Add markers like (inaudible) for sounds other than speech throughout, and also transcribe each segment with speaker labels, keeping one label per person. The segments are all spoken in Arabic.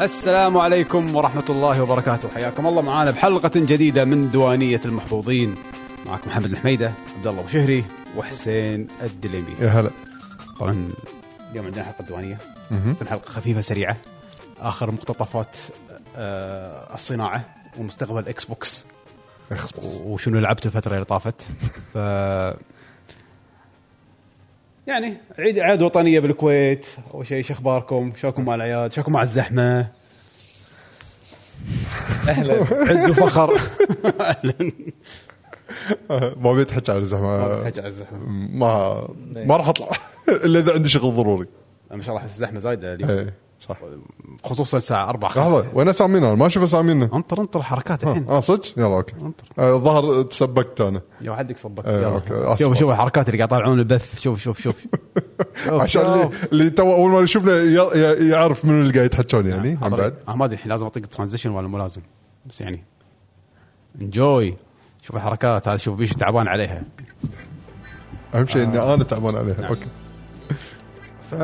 Speaker 1: السلام عليكم ورحمة الله وبركاته حياكم الله معانا بحلقة جديدة من دوانية المحفوظين معكم محمد الحميدة عبد الله وشهري وحسين الدليمي
Speaker 2: يا هلا
Speaker 1: طبعا اليوم عندنا حلقة دوانية
Speaker 2: مهم.
Speaker 1: تكون حلقة خفيفة سريعة آخر مقتطفات آه، الصناعة ومستقبل اكس بوكس
Speaker 2: اخبص
Speaker 1: وشنو لعبت الفترة اللي طافت ف
Speaker 2: (laughs)
Speaker 1: يعني عيد اعياد وطنية بالكويت اول شيء شو اخباركم؟ شلونكم مع الاعياد؟ شلونكم مع الزحمة؟ اهلا (laughs) عز
Speaker 2: (laughs)
Speaker 1: وفخر (laughs) اهلا
Speaker 2: آه، ما ابي تحكي عن الزحمه
Speaker 1: فجأة الزحمة
Speaker 2: ما ما راح (laughs) اطلع الا اذا عندي شغل ضروري
Speaker 1: ما شاء الله أحس الزحمة زايدة اليوم
Speaker 2: ايه صح
Speaker 1: خصوصا الساعة 4
Speaker 2: لحظه وين اسامينا انا ما اشوف اسامينا
Speaker 1: انطر انطر حركات
Speaker 2: آه،
Speaker 1: الحين
Speaker 2: اه صدق يلا اوكي آه، الظاهر تسبكت انا
Speaker 1: لو حدك صبك
Speaker 2: إيه،
Speaker 1: يلا.
Speaker 2: أوكي، أسف،
Speaker 1: شوف
Speaker 2: أسف.
Speaker 1: شوف الحركات اللي قاعد يطالعون البث شوف شوف
Speaker 2: (laughs)
Speaker 1: شوف شوف،
Speaker 2: عشان اللي,
Speaker 1: شوف.
Speaker 2: اللي تو اول ما يشوفنا ي- ي- يعرف منو اللي قاعد يتحجون يعني عن
Speaker 1: طبعاً.
Speaker 2: بعد
Speaker 1: أنا ما ادري الحين لازم اطق ترانزيشن ولا مو لازم بس يعني انجوي شوف الحركات هذا شوف بيش تعبان عليها
Speaker 2: اهم شيء اني انا تعبان عليها اوكي
Speaker 1: ف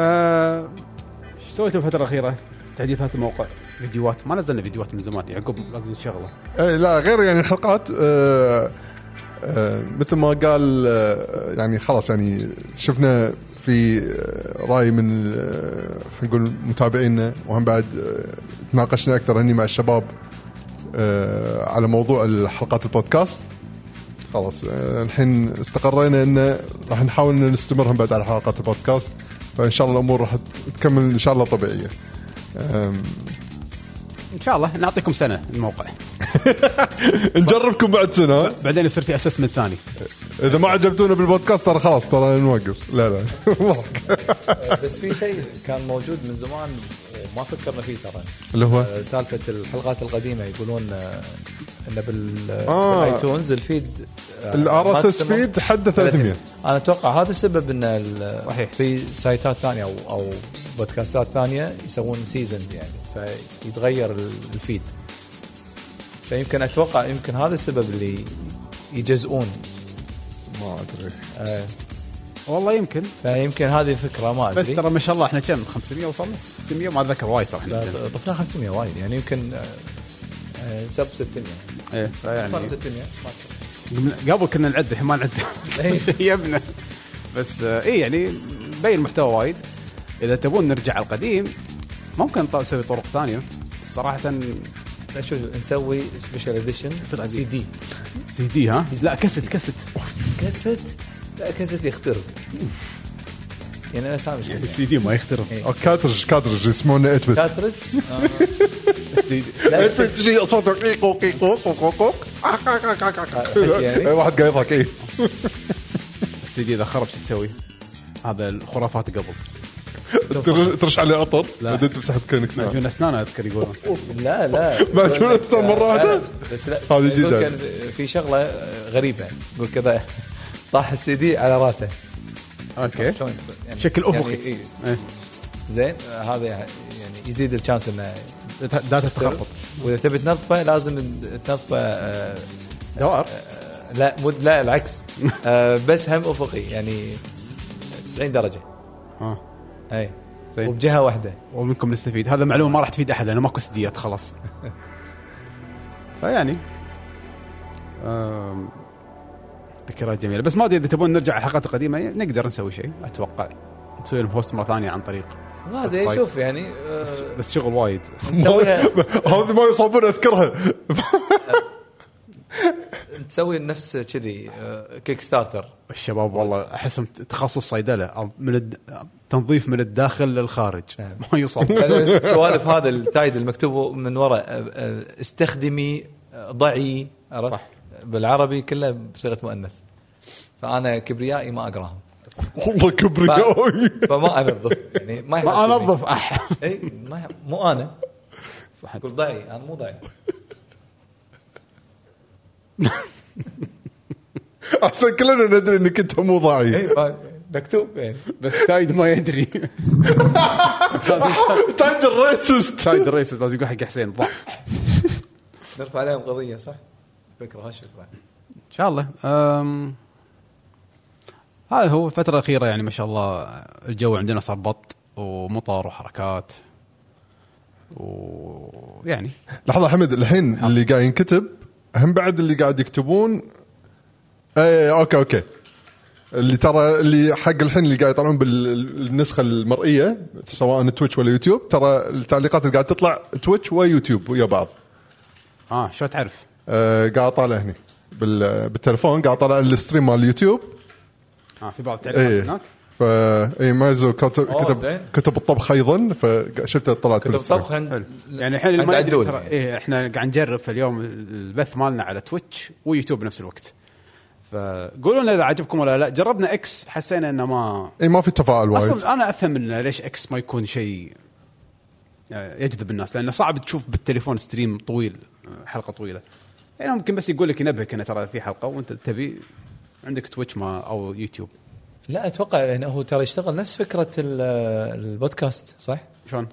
Speaker 1: شو سويت الفتره الاخيره؟ تحديثات الموقع فيديوهات ما نزلنا فيديوهات من زمان يعقوب لازم نشغله
Speaker 2: اي لا غير يعني الحلقات آه، آه، مثل ما قال آه، يعني خلاص يعني شفنا في آه، راي من آه، خلينا نقول متابعينا وهم بعد آه، تناقشنا اكثر هني مع الشباب آه، على موضوع الحلقات البودكاست خلاص آه، الحين استقرينا ان راح نحاول ان نستمر هم بعد على حلقات البودكاست فان شاء الله الامور راح تكمل ان شاء الله طبيعيه آم،
Speaker 1: ان شاء الله نعطيكم سنه الموقع
Speaker 2: نجربكم بعد سنه ها؟
Speaker 1: بعدين يصير في اسسمنت ثاني
Speaker 2: اذا ما عجبتونا بالبودكاست ترى خلاص ترى نوقف لا (laughs) لا
Speaker 3: بس في شيء كان موجود من زمان وما فكرنا فيه ترى
Speaker 2: اللي هو
Speaker 3: آه، سالفه الحلقات القديمه يقولون آه، ان بال
Speaker 2: آه.
Speaker 3: آه. بالايتونز الفيد آه،
Speaker 2: الار اس اس
Speaker 3: maximum
Speaker 2: فيد حده 300
Speaker 3: انا اتوقع هذا السبب ان ال-
Speaker 1: صحيح.
Speaker 3: في سايتات ثانيه او او بودكاستات ثانيه يسوون سيزونز يعني فيتغير ال- الفيد فيمكن اتوقع يمكن هذا السبب اللي يجزئون
Speaker 2: ما ادري
Speaker 3: آه،
Speaker 1: والله يمكن
Speaker 3: فيمكن هذه الفكره ما
Speaker 1: بس
Speaker 3: ادري
Speaker 1: ترى ما شاء الله احنا كم 500 وصلنا 600 ما اتذكر وايد ترى احنا
Speaker 3: لا، طفنا 500 وايد يعني يمكن آه، آه، سب 600
Speaker 1: إيه،
Speaker 2: يعني
Speaker 1: فيعني-
Speaker 3: طفنا 600 ما أدري.
Speaker 1: قبل- قبل كنا نعد الحين ما نعد (laughs)
Speaker 3: إيه.
Speaker 1: يبنا بس آه، اي يعني بين محتوى وايد اذا تبون نرجع على القديم ممكن ط- نسوي طرق ثانيه صراحه
Speaker 3: لا، شو نسوي سبيشال اديشن
Speaker 1: يصير
Speaker 3: سي
Speaker 1: عزيز.
Speaker 3: دي
Speaker 1: سي دي ها لا كست
Speaker 3: (laughs)
Speaker 1: كست
Speaker 3: كاسيت لا كاسيت يخترب يعني انا سامع شيء.
Speaker 1: السي دي ما يخترب
Speaker 3: إيه.
Speaker 2: أو كاترج كاترج يسمونه 8 بت
Speaker 3: كاترج
Speaker 1: السي دي.
Speaker 2: (laughs) 8 بت تجي اصوات قيقو قيقو قوقو قوق آه، عق، عق، عق، عق، عق.
Speaker 3: حكي يعني.
Speaker 2: إيه، واحد قاعد يضحك اي
Speaker 1: السي دي اذا خرب شو تسوي؟ هذا الخرافات قبل
Speaker 2: تر- ترش عليه عطر
Speaker 1: لا.
Speaker 2: بعدين تمسح بكنكس (laughs) معه.
Speaker 1: معجون اسنان اذكر يقولون
Speaker 3: لا لا
Speaker 2: ما شو نستر مرة واحدة؟
Speaker 3: بس لا
Speaker 2: هذه
Speaker 3: يقول
Speaker 2: جديدة.
Speaker 3: كان في شغله غريبه يقول كذا طاح السي دي على راسه
Speaker 2: إيه؟
Speaker 1: اوكي
Speaker 3: شلون يعني-
Speaker 1: شكل
Speaker 3: يعني
Speaker 1: افقي
Speaker 3: إيه،
Speaker 1: إيه.
Speaker 3: زين آه، هذا يعني يزيد الشانس انه
Speaker 1: داتا داتا تخربط
Speaker 3: واذا تبي تنظفه لازم تنظفه آه،
Speaker 1: دوار
Speaker 3: آه، لا مو لا العكس (laughs) آه، بس هم افقي يعني 90 درجه
Speaker 1: ها
Speaker 3: اي
Speaker 1: آه. زين.
Speaker 3: وبجهه واحده
Speaker 1: ومنكم نستفيد هذا معلومه ما راح تفيد احد لانه ماكو سديات خلاص فيعني أم، ذكريات جميله بس ما ادري اذا تبون نرجع على الحلقات القديمه نقدر نسوي شيء اتوقع نسوي لهم بوست مره ثانيه عن طريق
Speaker 3: ما
Speaker 1: طيب.
Speaker 3: ادري شوف يعني آه،
Speaker 1: بس شغل وايد
Speaker 3: نسويها
Speaker 2: هذه ما يصابون اذكرها
Speaker 3: نسوي نفس كذي آه، كيك ستارتر
Speaker 1: الشباب والله احسهم تخصص صيدله أو من الد... تنظيف من الداخل للخارج (laughs) ما يوصل
Speaker 3: بعدين سوالف هذا التايد المكتوب من وراء آه، آه، استخدمي آه، ضعي عرفت
Speaker 1: صح.
Speaker 3: بالعربي كله بصيغه مؤنث فانا كبريائي ما اقراهم
Speaker 2: والله كبري قوي (laughs)
Speaker 1: (laughs)
Speaker 3: فما انظف يعني ما
Speaker 1: ما
Speaker 3: يحط
Speaker 1: (laughs)
Speaker 3: لي.
Speaker 1: انظف اح
Speaker 3: اي إيه، ما يح- مو انا
Speaker 1: صح
Speaker 3: قول ضعي انا مو ضعي
Speaker 2: احسن كلنا ندري انك انت مو
Speaker 1: إيه.
Speaker 2: ضاعي (laughs)
Speaker 3: اي ما- إيه، مكتوب يعني
Speaker 1: بس تايد ما يدري (laughs) لازم
Speaker 2: تايد الريسست
Speaker 1: تايد الريسز لازم يقول حق حسين ضع
Speaker 3: نرفع عليهم قضيه صح؟ فكره هش الفكرة.
Speaker 1: ان شاء الله أم... هذا هو الفترة الأخيرة يعني ما شاء الله الجو عندنا صار بط ومطر وحركات ويعني
Speaker 2: لحظه حمد الحين اللي قاعد ينكتب هم بعد اللي قاعد يكتبون آه، اي اوكي اوكي اللي ترى اللي حق الحين اللي قاعد يطلعون بالنسخه المرئيه سواء تويتش ولا يوتيوب ترى التعليقات اللي قاعد تطلع تويتش ويوتيوب ويا بعض
Speaker 1: اه شو تعرف
Speaker 2: آه، قاعد اطالع هنا بال- بالتلفون قاعد اطالع الستريم مال إيه. اليوتيب
Speaker 1: اه في بعض
Speaker 2: اي
Speaker 1: التعليقات هناك
Speaker 2: فا اي مايزو كتب
Speaker 3: أوه،
Speaker 2: كتب,
Speaker 3: زين.
Speaker 2: كتب الطبخ ايضا فشفته طلعت
Speaker 3: كتب
Speaker 2: بالستريم.
Speaker 3: طبخ عند-
Speaker 1: حلو يعني الحين اللي ما
Speaker 3: عند
Speaker 1: يدري
Speaker 3: عدول
Speaker 1: ترى
Speaker 3: يعني.
Speaker 1: إيه احنا قاعد نجرب في اليوم البث مالنا على تويتش ويوتيوب بنفس الوقت فقولوا لنا اذا عجبكم ولا لا جربنا اكس حسينا انه ما
Speaker 2: اي إيه، ما في تفاعل وايد
Speaker 1: اصلا انا افهم انه ليش اكس ما يكون شيء آه، يجذب الناس لانه صعب تشوف بالتليفون ستريم طويل آه، حلقه طويله يعني ممكن بس يقول لك ينبهك انه ترى في حلقه وانت تبي عندك تويتش ما او يوتيوب
Speaker 3: لا اتوقع يعني هو ترى يشتغل نفس فكره ال- البودكاست صح؟
Speaker 1: شلون؟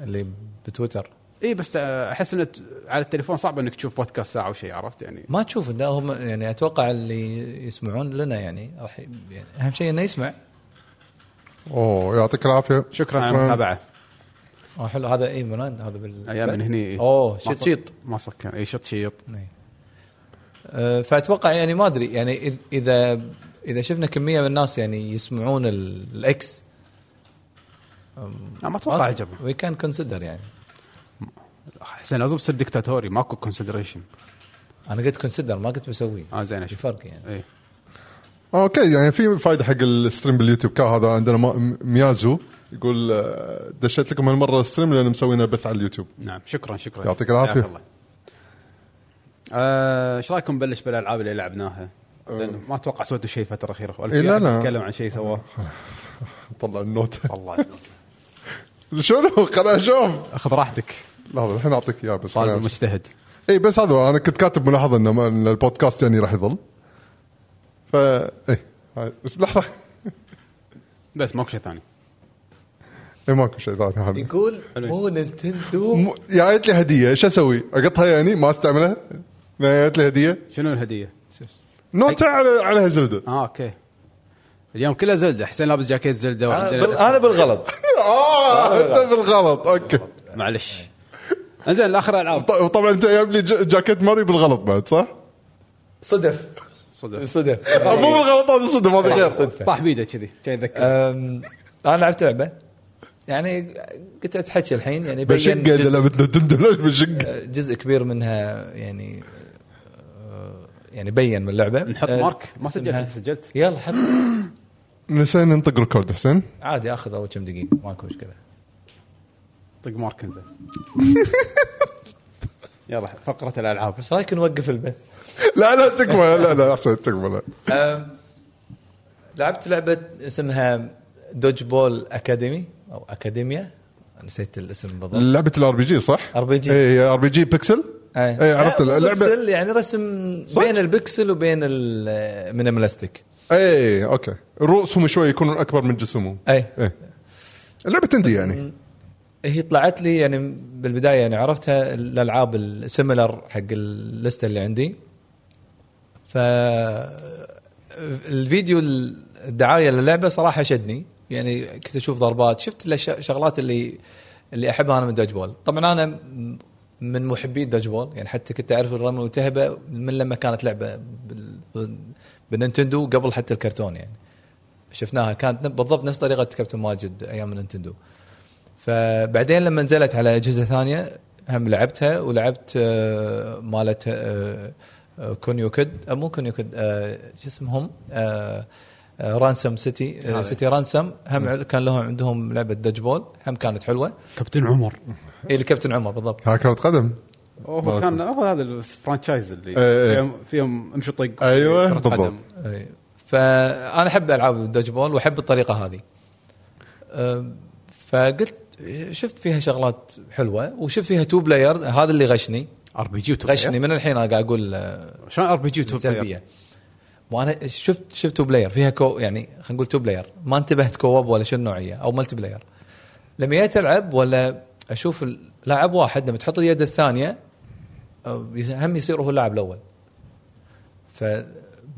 Speaker 3: اللي بتويتر
Speaker 1: اي بس آه، احس انه ت- على التليفون صعب انك تشوف بودكاست ساعه او شيء عرفت يعني
Speaker 3: ما تشوف ده هم يعني اتوقع اللي يسمعون لنا يعني راح ي- يعني اهم شيء انه يسمع
Speaker 2: اوه يعطيك العافيه
Speaker 1: شكرا على المتابعه
Speaker 3: اه حلو هذا اي منان هذا بال
Speaker 1: ايام من هني إيه.
Speaker 3: اوه
Speaker 1: ما
Speaker 3: شيط
Speaker 1: ص-
Speaker 3: شيط
Speaker 1: ما سكر اي شط إيه، شيط
Speaker 3: إي. نعم. أه، فاتوقع يعني ما ادري يعني إذ- اذا اذا شفنا كميه من الناس يعني يسمعون ال- الاكس
Speaker 1: لا ما اتوقع عجبه
Speaker 3: وي كان كونسيدر يعني
Speaker 1: حسين لازم تصير دكتاتوري ماكو كونسيدريشن
Speaker 3: انا قلت كونسيدر ما قلت بسويه
Speaker 1: اه زين
Speaker 3: في
Speaker 1: اشوف
Speaker 3: فرق يعني
Speaker 1: اي
Speaker 2: اوكي يعني في فائده حق الستريم باليوتيوب كا هذا عندنا ما- ميازو يقول آه، دشيت لكم هالمره الستريم لان مسوينا بث على اليوتيوب
Speaker 1: نعم شكرا شكرا
Speaker 2: يعطيك العافية.
Speaker 1: حياك الله. آه، ايش رايكم نبلش بالالعاب اللي لعبناها؟ لأن ما اتوقع سويتوا شيء الفتره الاخيره ولا
Speaker 2: آه. إيه،
Speaker 1: في
Speaker 2: لا،
Speaker 1: أحد
Speaker 2: لا.
Speaker 1: يتكلم عن شيء
Speaker 2: (laughs)
Speaker 1: سواه
Speaker 2: طلع النوت (laughs)
Speaker 1: والله
Speaker 2: شنو خلنا اشوف
Speaker 1: اخذ راحتك
Speaker 2: لحظه الحين اعطيك اياه بس
Speaker 1: طالب مجتهد
Speaker 2: اي بس هذا انا كنت كاتب ملاحظه انه ما- إن البودكاست يعني راح يظل فا اي هاي- بس لحظه
Speaker 1: بس ماكو شيء ثاني
Speaker 2: اي ماكو شيء ثاني هم.
Speaker 3: يقول
Speaker 1: حلو. (laughs)
Speaker 3: مو نينتندو
Speaker 2: م- جايت لي هديه ايش اسوي؟ اقطها يعني ما استعملها؟ جايت لي هديه
Speaker 1: شنو الهديه؟
Speaker 2: نوتة على عليها (laughs) زبده
Speaker 1: اه اوكي اليوم كلها زلده حسين لابس جاكيت زلده
Speaker 2: آه،
Speaker 3: أنا
Speaker 1: وعندنا-
Speaker 3: بال- انا بالغلط
Speaker 2: اه انت بالغلط اوكي
Speaker 1: معلش انزين اخر العاب
Speaker 2: ط- وطبعا انت جايب لي ج- جاكيت ماري بالغلط بعد صح؟
Speaker 3: آه، صدف
Speaker 1: صدق
Speaker 3: صدف
Speaker 2: آه، مو
Speaker 3: إيه.
Speaker 2: بالغلط هذا صدق
Speaker 3: آه،
Speaker 2: هذا غير
Speaker 3: صدفه
Speaker 1: طاح بيده كذي كان يتذكر
Speaker 3: أم، انا لعبت لعبه يعني قلت اتحكي الحين يعني بين
Speaker 2: بشقه اذا
Speaker 3: جزء,
Speaker 2: لعبتنا تندلج بشقه
Speaker 3: جزء كبير منها يعني أه، يعني بين من اللعبه
Speaker 1: نحط
Speaker 3: أه،
Speaker 1: مارك ما سجلت
Speaker 3: إنها-
Speaker 1: انت سجلت
Speaker 3: يلا حط
Speaker 2: نسينا ننطق ريكورد آه، حسين
Speaker 3: عادي اخذ اول كم دقيقه ماكو مشكله
Speaker 1: طق مارك انزين (laughs) يلا فقره الالعاب
Speaker 3: بس رايك نوقف البث
Speaker 2: لا لا تكمل لا لا احسن تكمل
Speaker 3: أم، آه، لعبت لعبه اسمها دوج بول اكاديمي او اكاديميا نسيت الاسم بالضبط
Speaker 2: لعبه الار بي جي صح؟ إيه،
Speaker 3: RPG.
Speaker 2: اي ار بي جي بيكسل
Speaker 3: اي
Speaker 2: إيه، عرفت اللعبة.
Speaker 3: آه. بيكسل يعني رسم
Speaker 2: صدق؟
Speaker 3: بين البكسل وبين ال- من البلاستيك
Speaker 2: اي اوكي إيه، رؤوسهم شوي يكونون اكبر من جسمهم
Speaker 3: اي
Speaker 2: اي لعبه تندي يعني
Speaker 3: هي طلعت لي يعني بالبدايه يعني عرفتها الالعاب السيميلر حق اللسته اللي عندي ف الفيديو الدعايه للعبه صراحه شدني يعني كنت اشوف ضربات شفت الأشياء- الشغلات اللي اللي احبها انا من داج بول طبعا انا م- من محبي الداج بول يعني حتى كنت اعرف الرمى الملتهبه من لما كانت لعبه بال- بال- بالنينتندو قبل حتى الكرتون يعني شفناها كانت بالضبط نفس طريقه كابتن ماجد ايام النينتندو فبعدين لما نزلت على اجهزه ثانيه هم لعبتها ولعبت آه، مالت آه، آه، كونيو كد آه، مو كونيو كد آه، شو اسمهم آه، رانسم سيتي آه،
Speaker 1: هذا.
Speaker 3: سيتي رانسم هم عل- كان لهم عندهم لعبه دج بول هم كانت حلوه
Speaker 1: كابتن عمر
Speaker 3: إيه، الكابتن عمر بالضبط
Speaker 2: ها كرة قدم
Speaker 1: هو كان هو هذا الفرانشايز اللي
Speaker 2: إيه، إيه.
Speaker 1: فيهم فيهم امشي طق
Speaker 2: أيوة،
Speaker 1: كرة قدم.
Speaker 2: بالضبط.
Speaker 3: إيه. فانا احب العاب الدج بول واحب الطريقه هذه أه، فقلت شفت فيها شغلات حلوه وشفت فيها تو بلايرز هذا اللي غشني
Speaker 1: ار بي جي وتو
Speaker 3: غشني
Speaker 1: بلاير.
Speaker 3: من الحين انا قاعد اقول آه،
Speaker 1: شلون ار بي جي وتو بلاير؟
Speaker 3: سلبيه وانا شفت شفت تو بلاير فيها كو يعني خلينا نقول تو بلاير ما انتبهت كواب ولا شنو النوعيه او ملتي بلاير لما جيت العب ولا اشوف ال- لاعب واحد لما تحط اليد الثانيه أو يس- هم يصير هو اللاعب الاول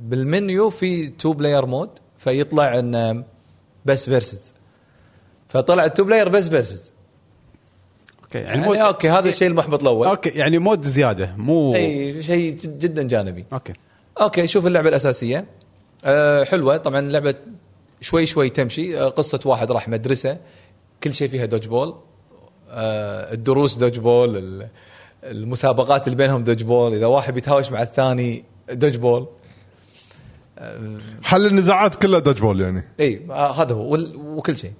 Speaker 3: فبالمنيو في تو بلاير مود فيطلع ان بس فيرسز فطلع التو بلاير بس فيرسز
Speaker 1: اوكي يعني مود
Speaker 3: يعني اوكي هذا الشيء المحبط الاول
Speaker 1: اوكي يعني مود زياده مو
Speaker 3: اي شيء جد- جدا جانبي
Speaker 1: اوكي
Speaker 3: اوكي نشوف اللعبه الاساسيه أه حلوه طبعا اللعبه شوي شوي تمشي أه قصه واحد راح مدرسه كل شيء فيها دوج بول أه الدروس دوج بول ال- المسابقات اللي بينهم دوج بول اذا واحد بيتهاوش مع الثاني دوج بول
Speaker 2: حل النزاعات كلها دج بول يعني
Speaker 3: اي آه، هذا هو وال- وكل شيء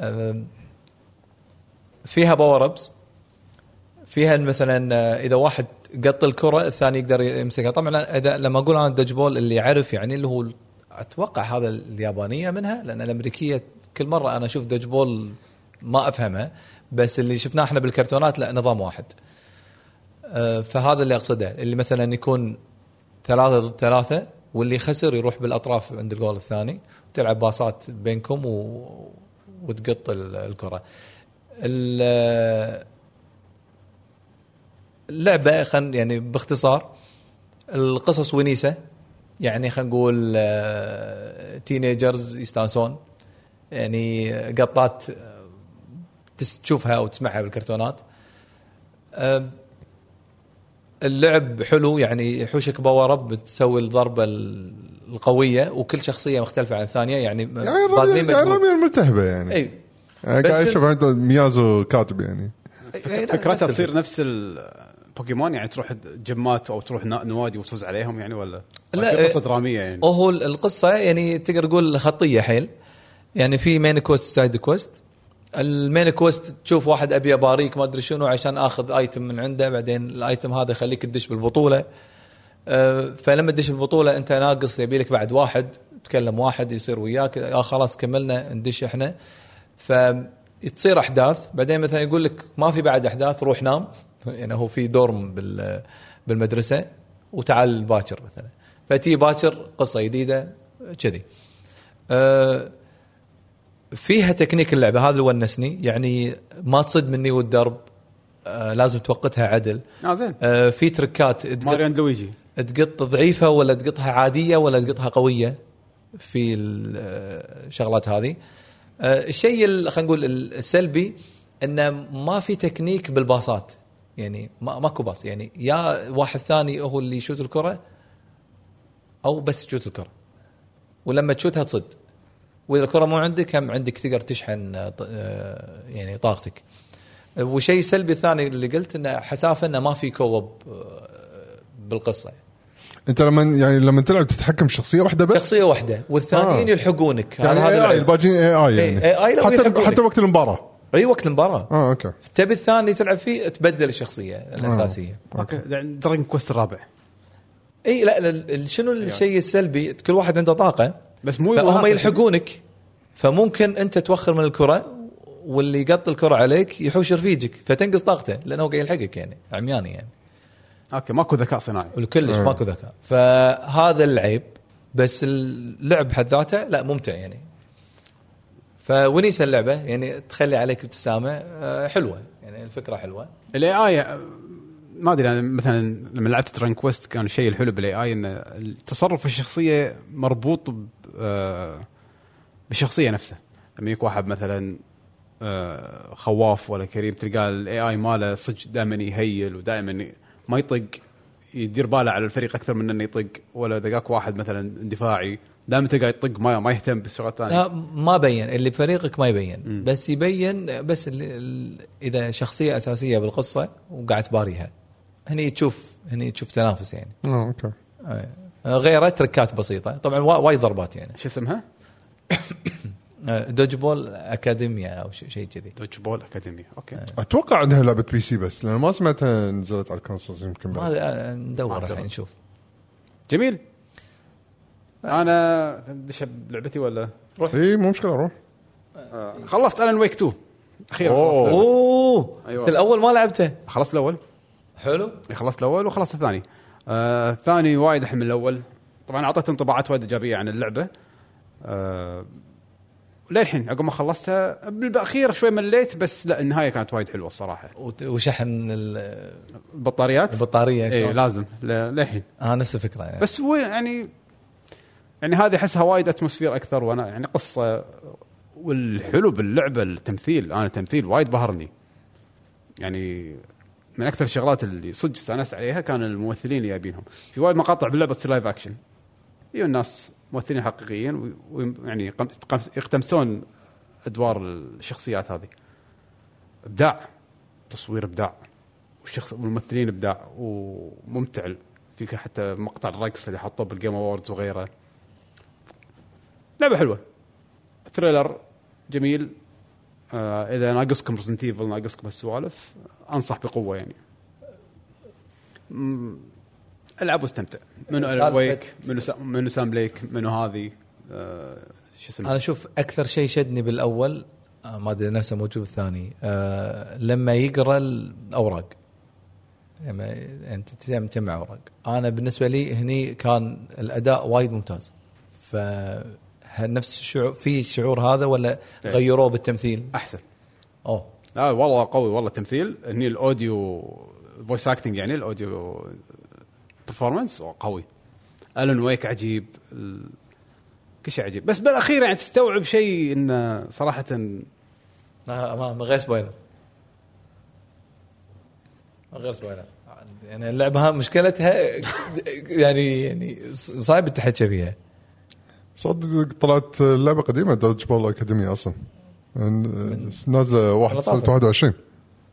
Speaker 3: أم، فيها باور ابس فيها مثلا آه، اذا واحد قط الكره الثاني يقدر يمسكها طبعا اذا لما اقول انا الدج بول اللي يعرف يعني اللي هو اتوقع هذا اليابانيه منها لان الامريكيه كل مره انا اشوف دج بول ما افهمها بس اللي شفناه احنا بالكرتونات لا نظام واحد آه، فهذا اللي اقصده اللي مثلا يكون ثلاثة ضد ثلاثة واللي خسر يروح بالاطراف عند الجول الثاني وتلعب باصات بينكم و... وتقط ال- الكرة. ال- اللعبة خن يعني باختصار القصص ونيسة يعني خلينا نقول آه، تينيجرز يستانسون يعني قطات آه، تس- تشوفها او تسمعها بالكرتونات آه، اللعب حلو يعني يحوشك باور اب تسوي الضربه ال- القويه وكل شخصيه مختلفه عن الثانيه يعني
Speaker 2: يعني الرمية-
Speaker 3: بادلين
Speaker 2: يعني
Speaker 3: مجموعة.
Speaker 2: الرميه الملتهبه يعني
Speaker 3: اي
Speaker 2: يعني
Speaker 3: إيه. بس
Speaker 2: قاعد
Speaker 3: في-
Speaker 2: اشوف عند ميازو كاتب يعني
Speaker 3: إي، إيه، لا، نفس
Speaker 1: فكرتها
Speaker 3: الفكرة.
Speaker 1: تصير نفس البوكيمون يعني تروح جمات او تروح نا- نوادي وتفوز عليهم يعني ولا
Speaker 3: لا،
Speaker 1: في قصه
Speaker 3: إيه.
Speaker 1: دراميه يعني
Speaker 3: وهو ال- القصه يعني تقدر تقول خطيه حيل يعني في مين كويست سايد كويست المين كويست تشوف واحد ابي اباريك ما ادري شنو عشان اخذ ايتم من عنده بعدين الايتم هذا يخليك تدش بالبطوله أه، فلما تدش البطوله انت ناقص يبي لك بعد واحد تكلم واحد يصير وياك آه خلاص كملنا ندش احنا فتصير احداث بعدين مثلا يقول لك ما في بعد احداث روح نام يعني هو في دورم بال بالمدرسه وتعال باكر مثلا فتي باكر قصه جديده كذي أه، فيها تكنيك اللعبه هذا اللي ونسني يعني ما تصد مني والدرب أه، لازم توقتها عدل
Speaker 1: اه زين
Speaker 3: أه، في تركات
Speaker 1: ماريو اند لويجي
Speaker 3: تقط ضعيفه ولا تقطها عاديه ولا تقطها قويه في ال- آه، الشغلات هذه آه، الشيء ال- خلينا نقول ال- السلبي انه ما في تكنيك بالباصات يعني ما ماكو باص يعني يا واحد ثاني هو اللي يشوت الكره او بس تشوت الكره ولما تشوتها تصد واذا الكره مو عندك هم عندك تقدر تشحن آه، ط- آه، يعني طاقتك آه، وشيء سلبي ثاني اللي قلت انه حسافه انه ما في كوب آه، بالقصه
Speaker 2: انت لما يعني لما تلعب تتحكم بشخصيه واحده بس
Speaker 3: شخصيه واحده والثانيين
Speaker 2: آه.
Speaker 3: يلحقونك
Speaker 2: يعني
Speaker 3: هذا
Speaker 2: اي اي
Speaker 3: العيب.
Speaker 2: الباجين اي اي يعني
Speaker 3: إيه، AI لو
Speaker 2: حتى
Speaker 3: يحبونك.
Speaker 2: حتى وقت المباراه
Speaker 3: اي وقت المباراه
Speaker 2: اه اوكي
Speaker 3: تبي الثاني تلعب فيه تبدل الشخصيه الاساسيه
Speaker 1: اوكي دراجون يعني كويست الرابع
Speaker 3: اي لا لا، ال- شنو الشيء السلبي كل واحد عنده طاقه
Speaker 1: بس مو
Speaker 3: فهم
Speaker 1: يبغى-
Speaker 3: يلحقونك فممكن انت توخر من الكره واللي يقط الكره عليك يحوش رفيجك فتنقص طاقته لانه هو قاعد يلحقك يعني عمياني يعني
Speaker 1: اوكي ماكو ذكاء صناعي
Speaker 3: والكلش ماكو ذكاء فهذا العيب بس اللعب بحد ذاته لا ممتع يعني فونيسه اللعبه يعني تخلي عليك ابتسامه آه، حلوه يعني الفكره حلوه
Speaker 1: الاي اي ما ادري انا مثلا لما لعبت تران كويست كان الشيء الحلو بالاي اي ان تصرف الشخصيه مربوط ب- آه، بالشخصيه نفسها لما يجيك واحد مثلا آه، خواف ولا كريم تلقاه الاي اي ماله صدق دائما يهيل ودائما ما يطق يدير باله على الفريق اكثر من انه يطق ولا دقاك واحد مثلا اندفاعي دائما تلقاه يطق ما ما يهتم بالشغلات الثانيه
Speaker 3: لا ما بين اللي بفريقك ما يبين بس يبين بس ال- ال- اذا شخصيه اساسيه بالقصه وقاعد تباريها هني تشوف هني تشوف تنافس يعني
Speaker 2: اه اوكي
Speaker 3: آه. غيره تركات بسيطه طبعا وا- وايد ضربات يعني
Speaker 1: شو اسمها؟
Speaker 3: آه، دوج بول اكاديميا او ش- شيء كذي
Speaker 1: دوتش بول اكاديمي اوكي
Speaker 2: اتوقع انها لعبه بي سي بس لان ما سمعتها نزلت على الكونسولز يمكن بعد
Speaker 3: هذا آه، ندور
Speaker 1: ما
Speaker 3: الحين
Speaker 1: أدري.
Speaker 3: نشوف
Speaker 1: جميل انا دش بلعبتي ولا
Speaker 2: اي مو مشكله روح
Speaker 1: خلصت الان ويك 2 اخيرا
Speaker 2: أوه.
Speaker 1: خلصت
Speaker 3: اوه
Speaker 1: أيوة.
Speaker 3: أيوة. الاول ما لعبته
Speaker 1: خلصت الاول
Speaker 3: حلو
Speaker 1: خلصت الاول وخلصت الثاني آه، الثاني وايد احلى من الاول طبعا اعطيت انطباعات وايد ايجابيه عن اللعبه آه، للحين عقب ما خلصتها بالاخير شوي مليت بس لا النهايه كانت وايد حلوه الصراحه
Speaker 3: وت- وشحن ال-
Speaker 1: البطاريات
Speaker 3: البطاريه
Speaker 1: اي
Speaker 3: شلون؟
Speaker 1: إيه، لازم ل- للحين
Speaker 3: اه نفس الفكره يعني.
Speaker 1: بس وين يعني يعني هذه احسها وايد اتموسفير اكثر وانا يعني قصه والحلو باللعبه التمثيل انا التمثيل وايد بهرني يعني من اكثر الشغلات اللي صدق استانست عليها كان الممثلين اللي جايبينهم في وايد مقاطع باللعبه تصير لايف اكشن يجون الناس ممثلين حقيقيين ويعني يقتمسون ادوار الشخصيات هذه ابداع تصوير ابداع والشخص والممثلين ابداع وممتع فيك حتى مقطع الرقص اللي حطوه بالجيم اووردز وغيره لعبه حلوه ثريلر جميل آه اذا ناقصكم ريزنت ايفل ناقصكم هالسوالف انصح بقوه يعني مم، العب واستمتع منو الن
Speaker 3: سالفة-
Speaker 1: ويك منو سا- منو سام بليك منو هذه آه شو
Speaker 3: انا
Speaker 1: اسمه
Speaker 3: اشوف اكثر شيء شدني بالاول آه، ما ادري نفسه موجود بالثاني آه، لما يقرا الاوراق لما انت تم- تجمع اوراق انا بالنسبه لي هني كان الاداء وايد ممتاز ف هل نفس الشعور في الشعور هذا ولا
Speaker 1: إيه.
Speaker 3: غيروه بالتمثيل؟
Speaker 1: احسن
Speaker 3: اوه
Speaker 1: لا والله قوي والله تمثيل هني الاوديو فويس اكتنج يعني الاوديو برفورمانس قوي الن ويك عجيب ال- كل شيء عجيب بس بالاخير يعني تستوعب شيء انه صراحه
Speaker 3: آه، ما- من غير سبويلر من غير سبويلر يعني اللعبه ها مشكلتها يعني يعني صعب التحكي فيها
Speaker 2: صدق طلعت لعبه قديمه دوج بول اكاديميه اصلا نازله واحد سنه 21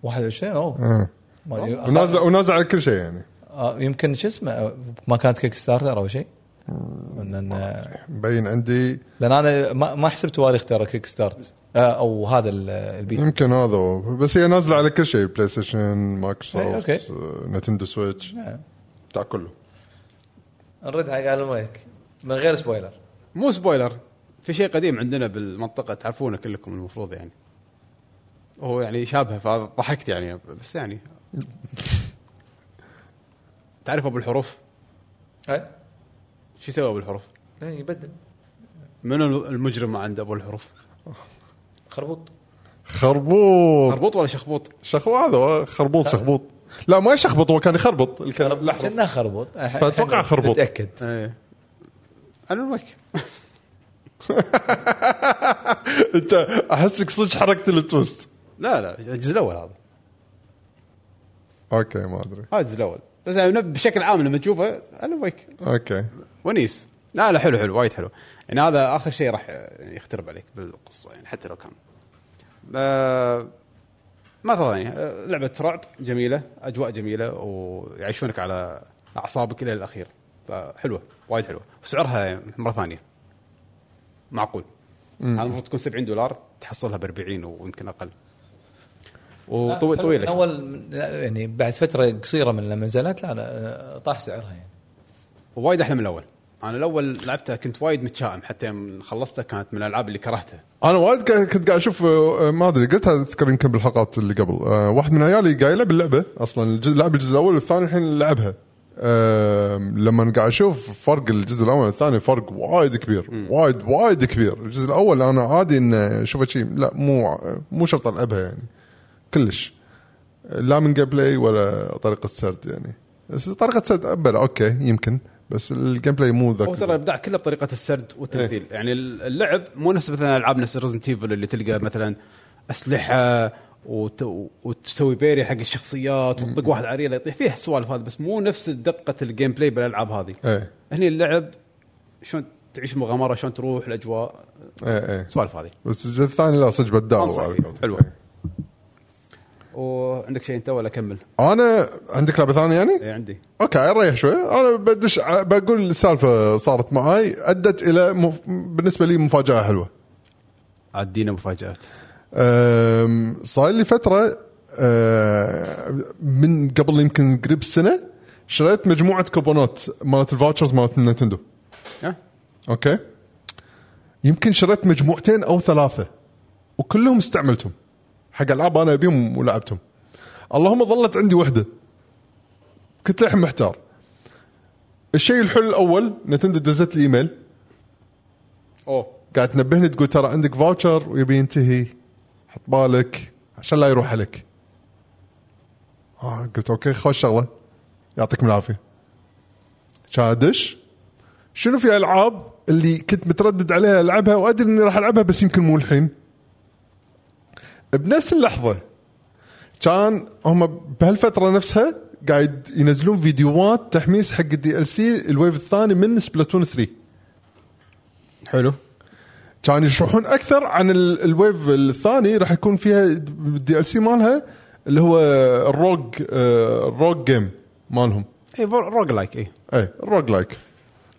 Speaker 3: 21 اوه
Speaker 2: آه.
Speaker 3: ما أدري.
Speaker 2: ونازله ونازله على كل شيء يعني
Speaker 3: آه، يمكن شو اسمه آه، ما كانت كيك ستارتر او شيء لان
Speaker 2: مبين عندي
Speaker 3: لان انا ما ما حسب تواريخ ترى كيك ستارت آه، او هذا ال- البيت
Speaker 2: يمكن هذا هو بس هي نازله على كل شيء بلاي ستيشن
Speaker 3: إيه،
Speaker 2: مايكروسوفت
Speaker 3: أوكي.
Speaker 2: آه، نتندو سويتش
Speaker 3: نعم.
Speaker 2: بتاع كله
Speaker 3: نرد حق الون ويك من غير سبويلر
Speaker 1: مو سبويلر في شيء قديم عندنا بالمنطقه تعرفونه كلكم المفروض يعني هو يعني شابه فضحكت يعني بس يعني تعرف ابو الحروف
Speaker 3: إيه؟
Speaker 1: شو سوى ابو الحروف
Speaker 3: إيه، يبدل
Speaker 1: منو المجرم عند ابو الحروف
Speaker 3: خربوط
Speaker 2: خربوط
Speaker 1: مربوط ولا شخبوط
Speaker 2: شخبوط هذا هو خربوط شخبوط لا ما يشخبط هو كان يخربط الكلام لحظه
Speaker 3: كنا خربوط
Speaker 2: فأتوقع خربوط.
Speaker 3: تاكد
Speaker 1: ايه الون ويك
Speaker 2: انت احسك صدق حركت التويست
Speaker 1: لا لا الجزء الاول هذا
Speaker 2: اوكي ما ادري
Speaker 1: هذا الجزء الاول بس يعني بشكل عام لما تشوفه الون ويك
Speaker 2: اوكي
Speaker 1: ونيس لا لا حلو حلو وايد حلو يعني هذا اخر شيء راح يعني يخترب عليك بالقصه يعني حتى لو كان آه، ما ترى يعني آه، لعبه رعب جميله اجواء جميله ويعيشونك على اعصابك الى الاخير فحلوه وايد حلوه وسعرها مره ثانيه معقول هذا المفروض تكون 70 دولار تحصلها ب 40 ويمكن اقل وطويل
Speaker 3: لا،
Speaker 1: طويله
Speaker 3: من
Speaker 1: شوي.
Speaker 3: اول من- لا، يعني بعد فتره قصيره من لما نزلت لا لا آه، طاح سعرها يعني
Speaker 1: وايد احلى من الاول انا الاول لعبته كنت وايد متشائم حتى يوم خلصته كانت من الالعاب اللي كرهتها
Speaker 2: انا وايد كا- كنت قاعد اشوف آه، ما ادري قلتها اذكر يمكن بالحلقات اللي قبل آه، واحد من عيالي قاعد يلعب اللعبه اصلا الجزء لعب الجزء الاول والثاني الحين لعبها آم، لما قاعد اشوف فرق الجزء الاول والثاني فرق وايد كبير وايد وايد كبير الجزء الاول انا عادي ان اشوفه شيء لا مو مو شرط العبها يعني كلش لا من جيم بلاي ولا طريقه سرد يعني بس طريقه سرد أبلة اوكي يمكن بس الجيم بلاي مو ذاك
Speaker 1: هو ترى الابداع كله بطريقه السرد والتمثيل إيه؟ يعني اللعب مو نفس مثلا العاب نفس ريزنت ايفل اللي تلقى مثلا اسلحه وت... وتسوي بيري حق الشخصيات وتطق واحد عريله يطيح فيها السوالف هذه بس مو نفس دقه الجيم بلاي بالالعاب هذه
Speaker 2: ايه
Speaker 1: هني اللعب شلون تعيش مغامره شلون تروح الاجواء
Speaker 2: ايه ايه
Speaker 1: السوالف هذه
Speaker 2: بس الجزء الثاني لا صدق بدعوا
Speaker 1: أنصح
Speaker 2: على
Speaker 1: فيه.
Speaker 2: قولتك.
Speaker 1: حلوة.
Speaker 2: إيه.
Speaker 1: وعندك شيء انت ولا اكمل؟
Speaker 2: انا عندك لعبه ثانيه يعني؟
Speaker 1: اي عندي
Speaker 2: اوكي ريح شوي انا بدش ع- بقول السالفه صارت معاي ادت الى مف... بالنسبه لي مفاجاه حلوه
Speaker 1: عدينا مفاجات
Speaker 2: أم، صار لي فتره أه، من قبل يمكن قريب سنه شريت مجموعه كوبونات مالت الفاوتشرز مالت نينتندو
Speaker 1: ها؟
Speaker 2: اوكي يمكن شريت مجموعتين او ثلاثه وكلهم استعملتهم حق العاب انا ابيهم ولعبتهم اللهم ظلت عندي وحده كنت للحين محتار الشيء الحلو الاول نتندو دزت لي ايميل
Speaker 1: اوه
Speaker 2: قاعد تنبهني تقول ترى عندك فاوتشر ويبي ينتهي حط بالك عشان لا يروح عليك آه قلت اوكي خوش شغله يعطيكم العافيه شادش شنو في العاب اللي كنت متردد عليها العبها وادري اني راح العبها بس يمكن مو الحين بنفس اللحظه كان هم بهالفتره نفسها قاعد ينزلون فيديوهات تحميس حق الدي ال سي الويف الثاني من سبلاتون 3
Speaker 1: حلو
Speaker 2: كان يشرحون اكثر عن ال- الويف الثاني راح يكون فيها الدي ال سي مالها اللي هو الروج آه، الروج جيم مالهم
Speaker 1: اي روج لايك اي
Speaker 2: اي الروج لايك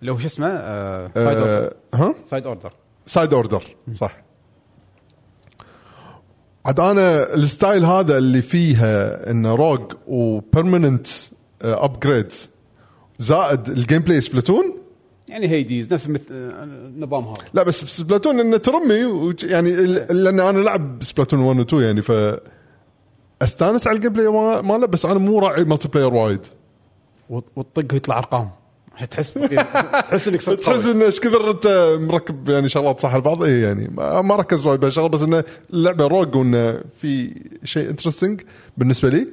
Speaker 1: اللي هو شو اسمه آه، سايد
Speaker 2: آه،
Speaker 1: اوردر
Speaker 2: ها
Speaker 1: سايد اوردر
Speaker 2: سايد اوردر صح عاد انا الستايل هذا اللي فيها انه روج وبيرمننت ابجريدز زائد الجيم بلاي سبلاتون
Speaker 1: يعني هيديز نفس مثل آه، نظام هذا
Speaker 2: لا بس سبلاتون انه ترمي وج- يعني ال- لان انا لعب سبلاتون 1 و 2 يعني ف استانس على الجيم بلاي ما- ماله بس انا مو راعي ملتي بلاير وايد
Speaker 1: وت- وتطق ويطلع ارقام عشان تحس (laughs) تحس انك صرت
Speaker 2: تحس
Speaker 1: قوي.
Speaker 2: انه ايش كثر انت مركب يعني شغلات صح البعض اي يعني ما ما ركز وايد بهالشغل بس انه اللعبه روج وانه في شيء انترستنج بالنسبه لي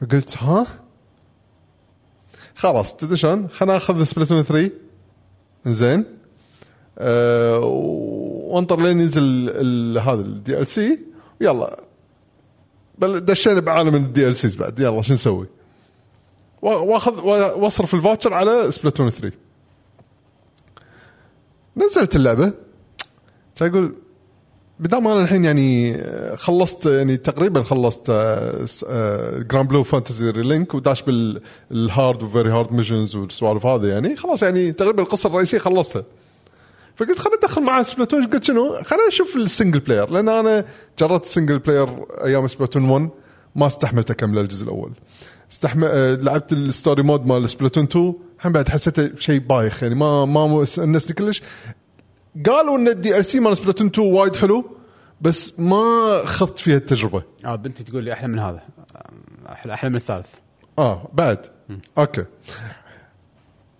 Speaker 2: فقلت ها خلاص تدري شلون خلنا ناخذ سبلاتون 3 زين أه وانطر لين ينزل ال- هذا الدي ال سي ويلا بل دشينا بعالم الدي ال سيز بعد يلا شو نسوي؟ وا- واخذ وا- واصرف الفوتشر على سبلاتون 3 نزلت اللعبه كان اقول بدام انا الحين يعني خلصت يعني تقريبا خلصت آه، جراند بلو فانتزي ريلينك وداش بالهارد وفيري هارد ميشنز والسوالف هذا يعني خلاص يعني تقريبا القصه الرئيسيه خلصتها فقلت خلينا ندخل مع سبلاتون قلت شنو خلينا نشوف السنجل بلاير لان انا جربت السنجل بلاير ايام سبلاتون 1 ما استحملت اكمل الجزء الاول استحمل آه، لعبت الستوري مود مال سبلاتون 2 هم بعد حسيته شيء بايخ يعني ما ما استانسني كلش قالوا ان الدي ال سي مال سبلاتون 2 وايد حلو بس ما خضت فيها التجربه
Speaker 1: اه بنتي تقول لي احلى من هذا آه، احلى احلى من الثالث
Speaker 2: اه بعد اوكي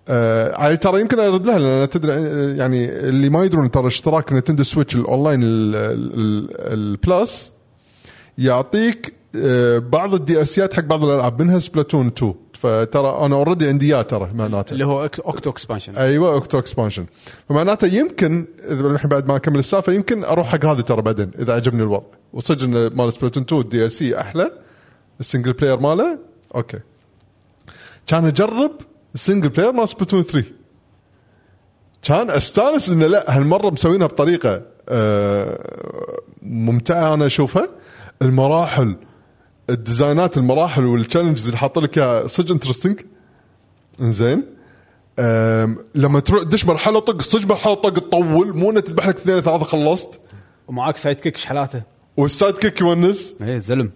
Speaker 2: آه على ترى يمكن ارد لها لان تدري آه، يعني اللي ما يدرون ترى اشتراك نتندو سويتش الاونلاين ال- ال- ال- البلس يعطيك آه بعض الدي ال سيات حق بعض الالعاب منها سبلاتون 2 فترى انا اوريدي عندي اياه ترى معناته
Speaker 1: اللي هو أك- اوكتو اكسبانشن
Speaker 2: ايوه اوكتو اكسبانشن فمعناته يمكن اذا الحين بعد ما اكمل السالفه يمكن اروح حق هذا ترى بعدين اذا عجبني الوضع وصدق ان مال سبلاتون 2 الدي ال سي احلى السنجل بلاير ماله اوكي كان اجرب السنجل بلاير مال سبلاتون 3 كان استانس انه لا هالمره مسوينها بطريقه آه، ممتعه انا اشوفها المراحل الديزاينات المراحل والتشالنجز اللي حاط لك اياها صدق انترستنج انزين أم، لما تروح دش مرحله طق صج مرحله طق تطول مو انه تذبح لك اثنين ثلاثه خلصت
Speaker 1: ومعاك سايد كيك شحالاته
Speaker 2: والسايد كيك يونس
Speaker 1: ايه زلم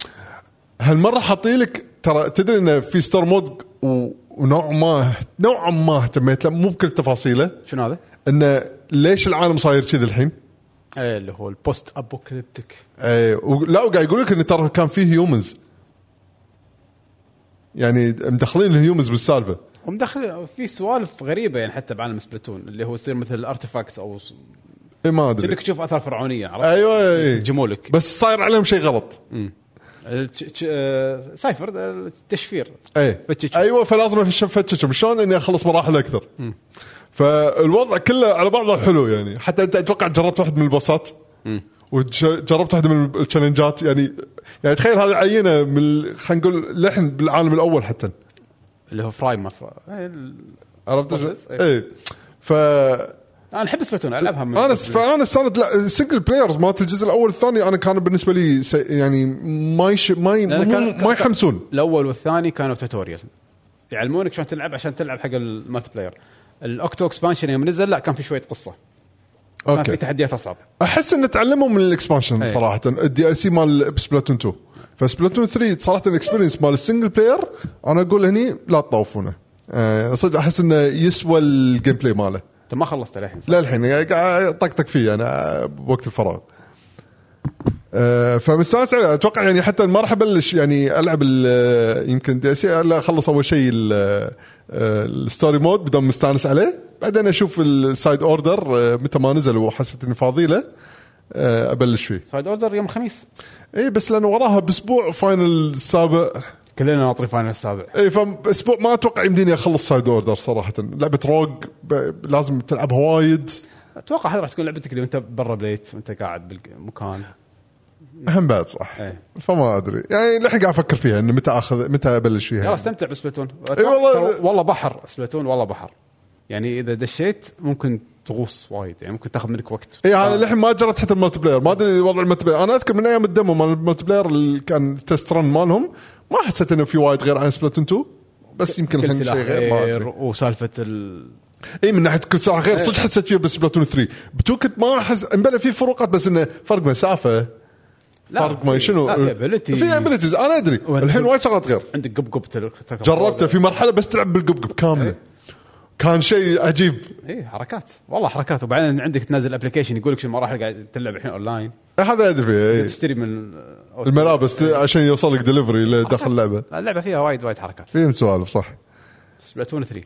Speaker 2: هالمره حاطين لك ترى تدري انه في ستار مود و- ونوع ما نوعا ما اهتميت له مو بكل تفاصيله
Speaker 1: شنو هذا؟
Speaker 2: انه ليش العالم صاير كذي الحين؟
Speaker 1: ايه اللي هو البوست ابوكليبتيك
Speaker 2: اي و- لا وقاعد يقول لك انه ترى كان فيه هيومنز يعني مدخلين الهيومنز بالسالفه
Speaker 1: ومدخل في سوالف غريبه يعني حتى بعالم سبلاتون اللي هو يصير مثل ارتفاكتس او ص-
Speaker 2: اي إيه، ما ادري
Speaker 1: كأنك تشوف اثار فرعونيه عرفت؟
Speaker 2: ايوه أي.
Speaker 1: جمولك
Speaker 2: بس صاير عليهم شيء غلط
Speaker 1: الت- ت- آه، سايفر آه، التشفير
Speaker 2: ايه
Speaker 1: فتشك.
Speaker 2: ايوه فلازم أفش- افتشهم شلون اني اخلص مراحل اكثر فالوضع كله على بعضه حلو يعني حتى انت اتوقع جربت واحد من الباصات وجربت واحده من التشالنجات يعني يعني تخيل هذه عينه من ال- خلينا نقول لحن بالعالم الاول حتى
Speaker 1: اللي هو فراي ما فرا إيه، ال-
Speaker 2: عرفت شو-
Speaker 1: بروسس، إيه.
Speaker 2: ايه ف
Speaker 1: انا احب سبلاتون العبها من
Speaker 2: انا فانا استانت لا السنجل بلايرز مالت الجزء الاول والثاني انا كان بالنسبه لي سي- يعني ما يش ما ي-
Speaker 1: لأن
Speaker 2: مو-
Speaker 1: كان-
Speaker 2: ما يحمسون
Speaker 1: الاول والثاني كانوا توتوريال يعلمونك شلون تلعب عشان تلعب حق المالتي بلاير الاوكتو اكسبانشن يوم نزل لا كان في شويه قصه كان في
Speaker 2: اوكي
Speaker 1: تحديات اصعب
Speaker 2: احس ان تعلموا من الاكسبانشن
Speaker 1: أي.
Speaker 2: صراحه الدي ال سي مال سبلاتون 2 فسبلاتون 3 صراحه الاكسبيرينس مال السنجل بلاير انا اقول هني لا تطوفونه أه، صدق احس انه يسوى الجيم بلاي ماله
Speaker 1: انت ما خلصت للحين صح؟
Speaker 2: لا الحين قاعد- يعني قاعد طقطق فيه انا بوقت الفراغ أه، فمستانس عليه اتوقع يعني حتى ما راح ابلش يعني العب ال- يمكن دي سي الا اخلص اول شيء ال- أه، الستوري مود بدون مستانس عليه بعدين اشوف السايد اوردر أه، متى ما نزل وحسيت اني فاضي له أه، ابلش فيه
Speaker 1: سايد اوردر يوم الخميس
Speaker 2: اي بس لانه وراها باسبوع فاينل السابع
Speaker 1: كلنا ناطرين فاينل السابع
Speaker 2: اي فاسبوع ما اتوقع يمديني اخلص سايد اوردر صراحه لعبه روج ب- لازم تلعبها وايد
Speaker 1: اتوقع هذه راح تكون لعبتك اللي انت برا بليت وانت قاعد بالمكان
Speaker 2: هم بعد صح
Speaker 1: إيه.
Speaker 2: فما ادري يعني للحين قاعد افكر فيها انه متى اخذ متى ابلش فيها
Speaker 1: يلا استمتع بسبلاتون
Speaker 2: إي إيه، والله.
Speaker 1: ترى والله بحر سبلاتون والله بحر يعني اذا دشيت ممكن تغوص وايد يعني ممكن تاخذ منك وقت
Speaker 2: اي انا للحين ما جربت حتى الملتي بلاير ما ادري وضع الملتي بلاير انا اذكر من ايام الدمو مال الملتي بلاير اللي كان تست رن مالهم ما حسيت انه في وايد غير عن سبلاتون 2 بس يمكن
Speaker 1: كل
Speaker 2: الحين شيء
Speaker 1: سلاح
Speaker 2: غير ما
Speaker 1: غير
Speaker 2: ادري
Speaker 1: وسالفه ال
Speaker 2: اي من ناحيه كل ساعه
Speaker 1: إيه.
Speaker 2: غير صدق حسيت فيها بسبلاتون 3 بتو كنت ما احس امبلا في فروقات بس انه فرق مسافه فرق ما
Speaker 1: في-
Speaker 2: شنو
Speaker 1: لا، في ability.
Speaker 2: في ابيلتيز انا ادري
Speaker 1: وأنت-
Speaker 2: الحين وايد شغلات غير
Speaker 1: عندك قبقب تركب
Speaker 2: جربته في مرحله بس تلعب بالقبقب كامله
Speaker 1: إيه.
Speaker 2: كان شيء عجيب
Speaker 1: اي إيه، حركات والله حركات وبعدين عندك تنزل ابلكيشن يقول لك شو المراحل قاعد تلعب الحين اونلاين
Speaker 2: هذا ادري فيه إيه.
Speaker 1: تشتري من يعني
Speaker 2: الملابس ت- عشان يوصل لك دليفري لداخل اللعبه
Speaker 1: اللعبه فيها وايد وايد حركات
Speaker 2: فيهم سوالف صح
Speaker 1: سبلاتون 3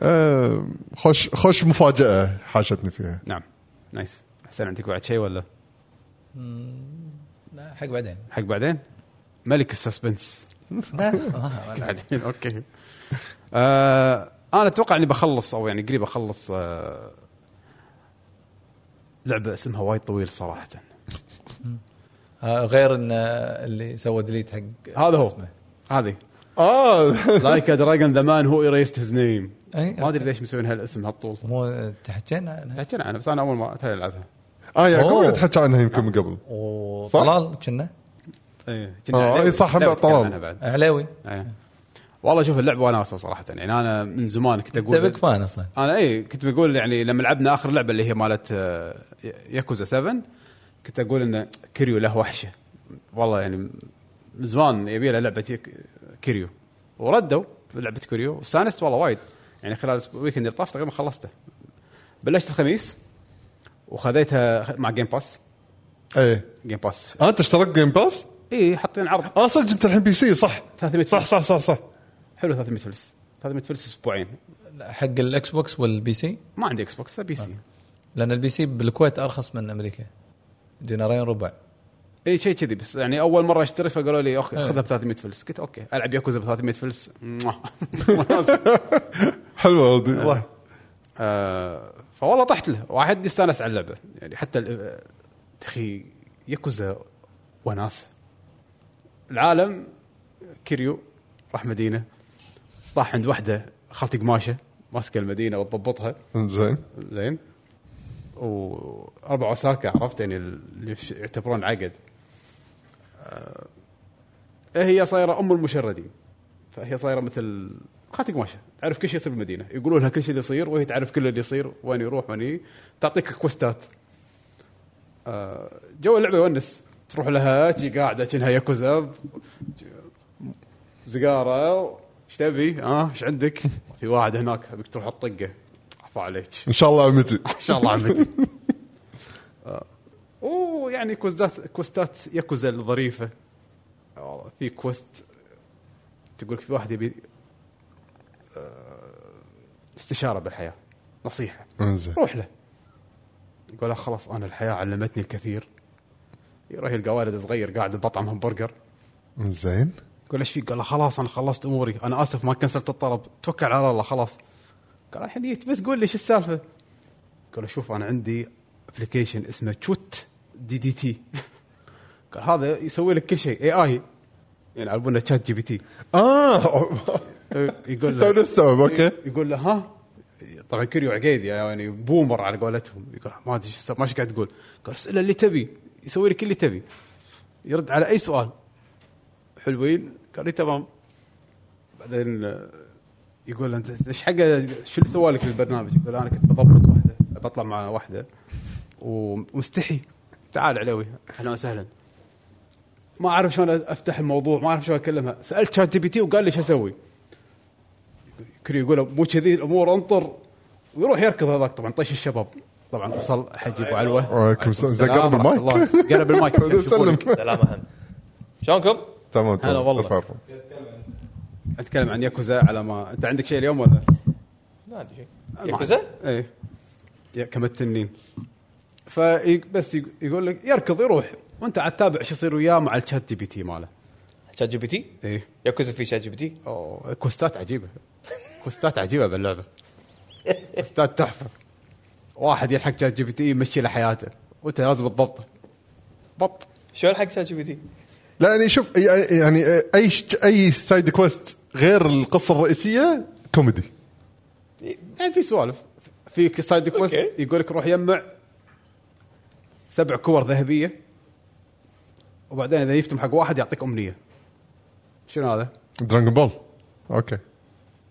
Speaker 2: آه، خوش خوش مفاجاه حاشتني فيها
Speaker 1: نعم نايس حسين عندك بعد شيء ولا
Speaker 3: لا، حق بعدين
Speaker 1: حق بعدين ملك السسبنس
Speaker 3: آه، أنا-
Speaker 1: بعدين اوكي آه انا اتوقع اني بخلص او يعني قريب اخلص آه لعبه اسمها وايد طويل صراحه
Speaker 3: آه، غير ان آه، اللي سوى ديليت حق
Speaker 1: هذا هو.
Speaker 3: اسمه.
Speaker 1: هذه آه.
Speaker 2: (laughs) اه
Speaker 1: لايك دراجون ذا مان هو erased هيز نيم
Speaker 3: أي،
Speaker 1: ما ادري ليش مسوين هالاسم هالطول
Speaker 3: إيه، مو تحكينا عنها
Speaker 1: تحكينا عنها بس انا اول مره أتابع العبها
Speaker 2: اه يعقوب
Speaker 3: أوه.
Speaker 2: اللي تحكى عنها يمكن من قبل
Speaker 3: وطلال كنا
Speaker 1: ايه
Speaker 2: آه،
Speaker 1: كنا
Speaker 2: إي صح،
Speaker 1: لعبة
Speaker 2: بعد طلال.
Speaker 1: تكلمنا عنها بعد
Speaker 3: علاوي
Speaker 1: إيه. والله شوف اللعبه وناسه صراحه يعني انا من زمان كنت
Speaker 3: انت
Speaker 1: اقول
Speaker 3: بيك فان اصلا
Speaker 1: انا اي كنت بقول يعني لما لعبنا اخر لعبه اللي هي مالت آه، ياكوزا 7 كنت اقول ان كيريو له وحشه والله يعني من زمان يبي له لعبه يك- كيريو وردوا لعبه كيريو واستانست والله وايد يعني خلال الأسبوع- الويكند اللي طاف تقريبا خلصته بلشت الخميس وخذيتها مع جيم باس
Speaker 2: ايه
Speaker 1: جيم باس
Speaker 2: آه، انت اشتركت جيم باس؟
Speaker 1: اي إيه، حاطين عرض
Speaker 2: اه صدق انت الحين بي سي صح
Speaker 1: 300
Speaker 2: صح صح صح صح
Speaker 1: حلو 300 فلس 300 فلس اسبوعين
Speaker 3: حق الاكس بوكس والبي سي
Speaker 1: ما عندي اكس بوكس بي سي
Speaker 3: لان البي سي بالكويت ارخص من امريكا دينارين ربع
Speaker 1: اي شيء كذي بس يعني اول مره اشتري فقالوا لي اخ
Speaker 3: إيه.
Speaker 1: خذها ب 300 فلس قلت اوكي العب ياكوزا ب 300 فلس مناسب.
Speaker 2: حلوه هذه صح
Speaker 1: آه، فوالله طحت له واحد استانس على اللعبه يعني حتى ال- آه، اخي ياكوزا وناس العالم كيريو راح مدينه طاح عند واحده خالتي قماشه ماسكه المدينه وتضبطها
Speaker 2: زين
Speaker 1: زين واربع اوساكا عرفت يعني اللي يش- يعتبرون عقد آه، هي صايره ام المشردين فهي صايره مثل خاتق ماشا تعرف كل شيء يصير بالمدينه يقولوا لها كل شيء اللي يصير وهي تعرف كل اللي يصير وين يروح وين يجي تعطيك كوستات آه، جو اللعبه يونس تروح لها تجي قاعده كأنها ياكوزا زقاره ايش تبي؟ ها ايش عندك؟ في واحد هناك ابيك تروح تطقه عفا عليك
Speaker 2: ان شاء الله عمتي
Speaker 1: ان شاء الله عمتي (laughs) اوه يعني كوستات كوستات ياكوزا الظريفه والله في كوست تقول في واحد يبي آه، استشاره بالحياه نصيحه
Speaker 2: انزين
Speaker 1: روح له يقول له خلاص انا الحياه علمتني الكثير يروح يلقى والد صغير قاعد بطعم همبرجر
Speaker 2: انزين
Speaker 1: يقول ايش فيك؟ قال له خلاص انا خلصت اموري، انا اسف ما كنسلت الطلب، توكل على الله خلاص. قال الحين جيت بس قول لي ايش السالفه؟ قال له شوف انا عندي ابلكيشن اسمه تشوت دي دي تي. (laughs) قال هذا يسوي لك كل شيء يعني اي اي يلعبونه تشات جي بي تي.
Speaker 2: اه
Speaker 1: يقول
Speaker 2: تو
Speaker 1: له
Speaker 2: نستوعب اوكي
Speaker 1: يقول له ها طبعا كيريو عقيد يعني بومر على قولتهم يقول ما ادري ايش ما ايش قاعد تقول قال اساله اللي تبي يسوي لك اللي تبي يرد على اي سؤال حلوين قال لي تمام بعدين آه، يقول انت ايش حقه شو اللي سوى لك البرنامج؟ يقول انا كنت بضبط واحده بطلع مع واحده ومستحي تعال علوي اهلا وسهلا ما اعرف شلون افتح الموضوع ما اعرف شلون اكلمها سالت شات جي بي تي وقال لي شو اسوي؟ كريو يقول مو كذي الامور انطر ويروح يركض هذاك طبعا طيش الشباب طبعا وصل حجيب علوه
Speaker 2: وعليكم السلام زين آه، قرب
Speaker 1: ورحمة
Speaker 2: المايك
Speaker 1: الله. قرب المايك عشان يشوفونك.
Speaker 2: سلم
Speaker 4: سلام اهم شلونكم؟
Speaker 2: (laughs) تمام
Speaker 1: هلا
Speaker 2: تمام
Speaker 1: والله.
Speaker 2: ألف عفو.
Speaker 1: اتكلم عن ياكوزا على ما انت عندك شيء اليوم ولا؟
Speaker 4: ما ادري شيء ياكوزا؟
Speaker 1: اي إيه. يا- كم التنين في بس يق- يقول لك يركض يروح وانت عاد تتابع شو يصير وياه مع الشات جي بي تي ماله
Speaker 4: شات جي بي تي؟
Speaker 1: اي
Speaker 4: ياكوزا في شات جي بي تي؟
Speaker 1: اوه كوستات عجيبه كوستات عجيبه باللعبه كوستات تحفه واحد يلحق شات جي بي تي يمشي له حياته وانت لازم تضبطه بط
Speaker 4: شلون حق شات جي بي تي؟
Speaker 2: لا يعني شوف يعني- يعني اي اي سايد كويست غير القصه الرئيسيه كوميدي
Speaker 1: يعني في سوالف في سايد كويست
Speaker 4: أوكي.
Speaker 1: يقول لك روح يجمع سبع كور ذهبيه وبعدين اذا جبتهم حق واحد يعطيك امنيه شنو هذا؟
Speaker 2: دراجون بول اوكي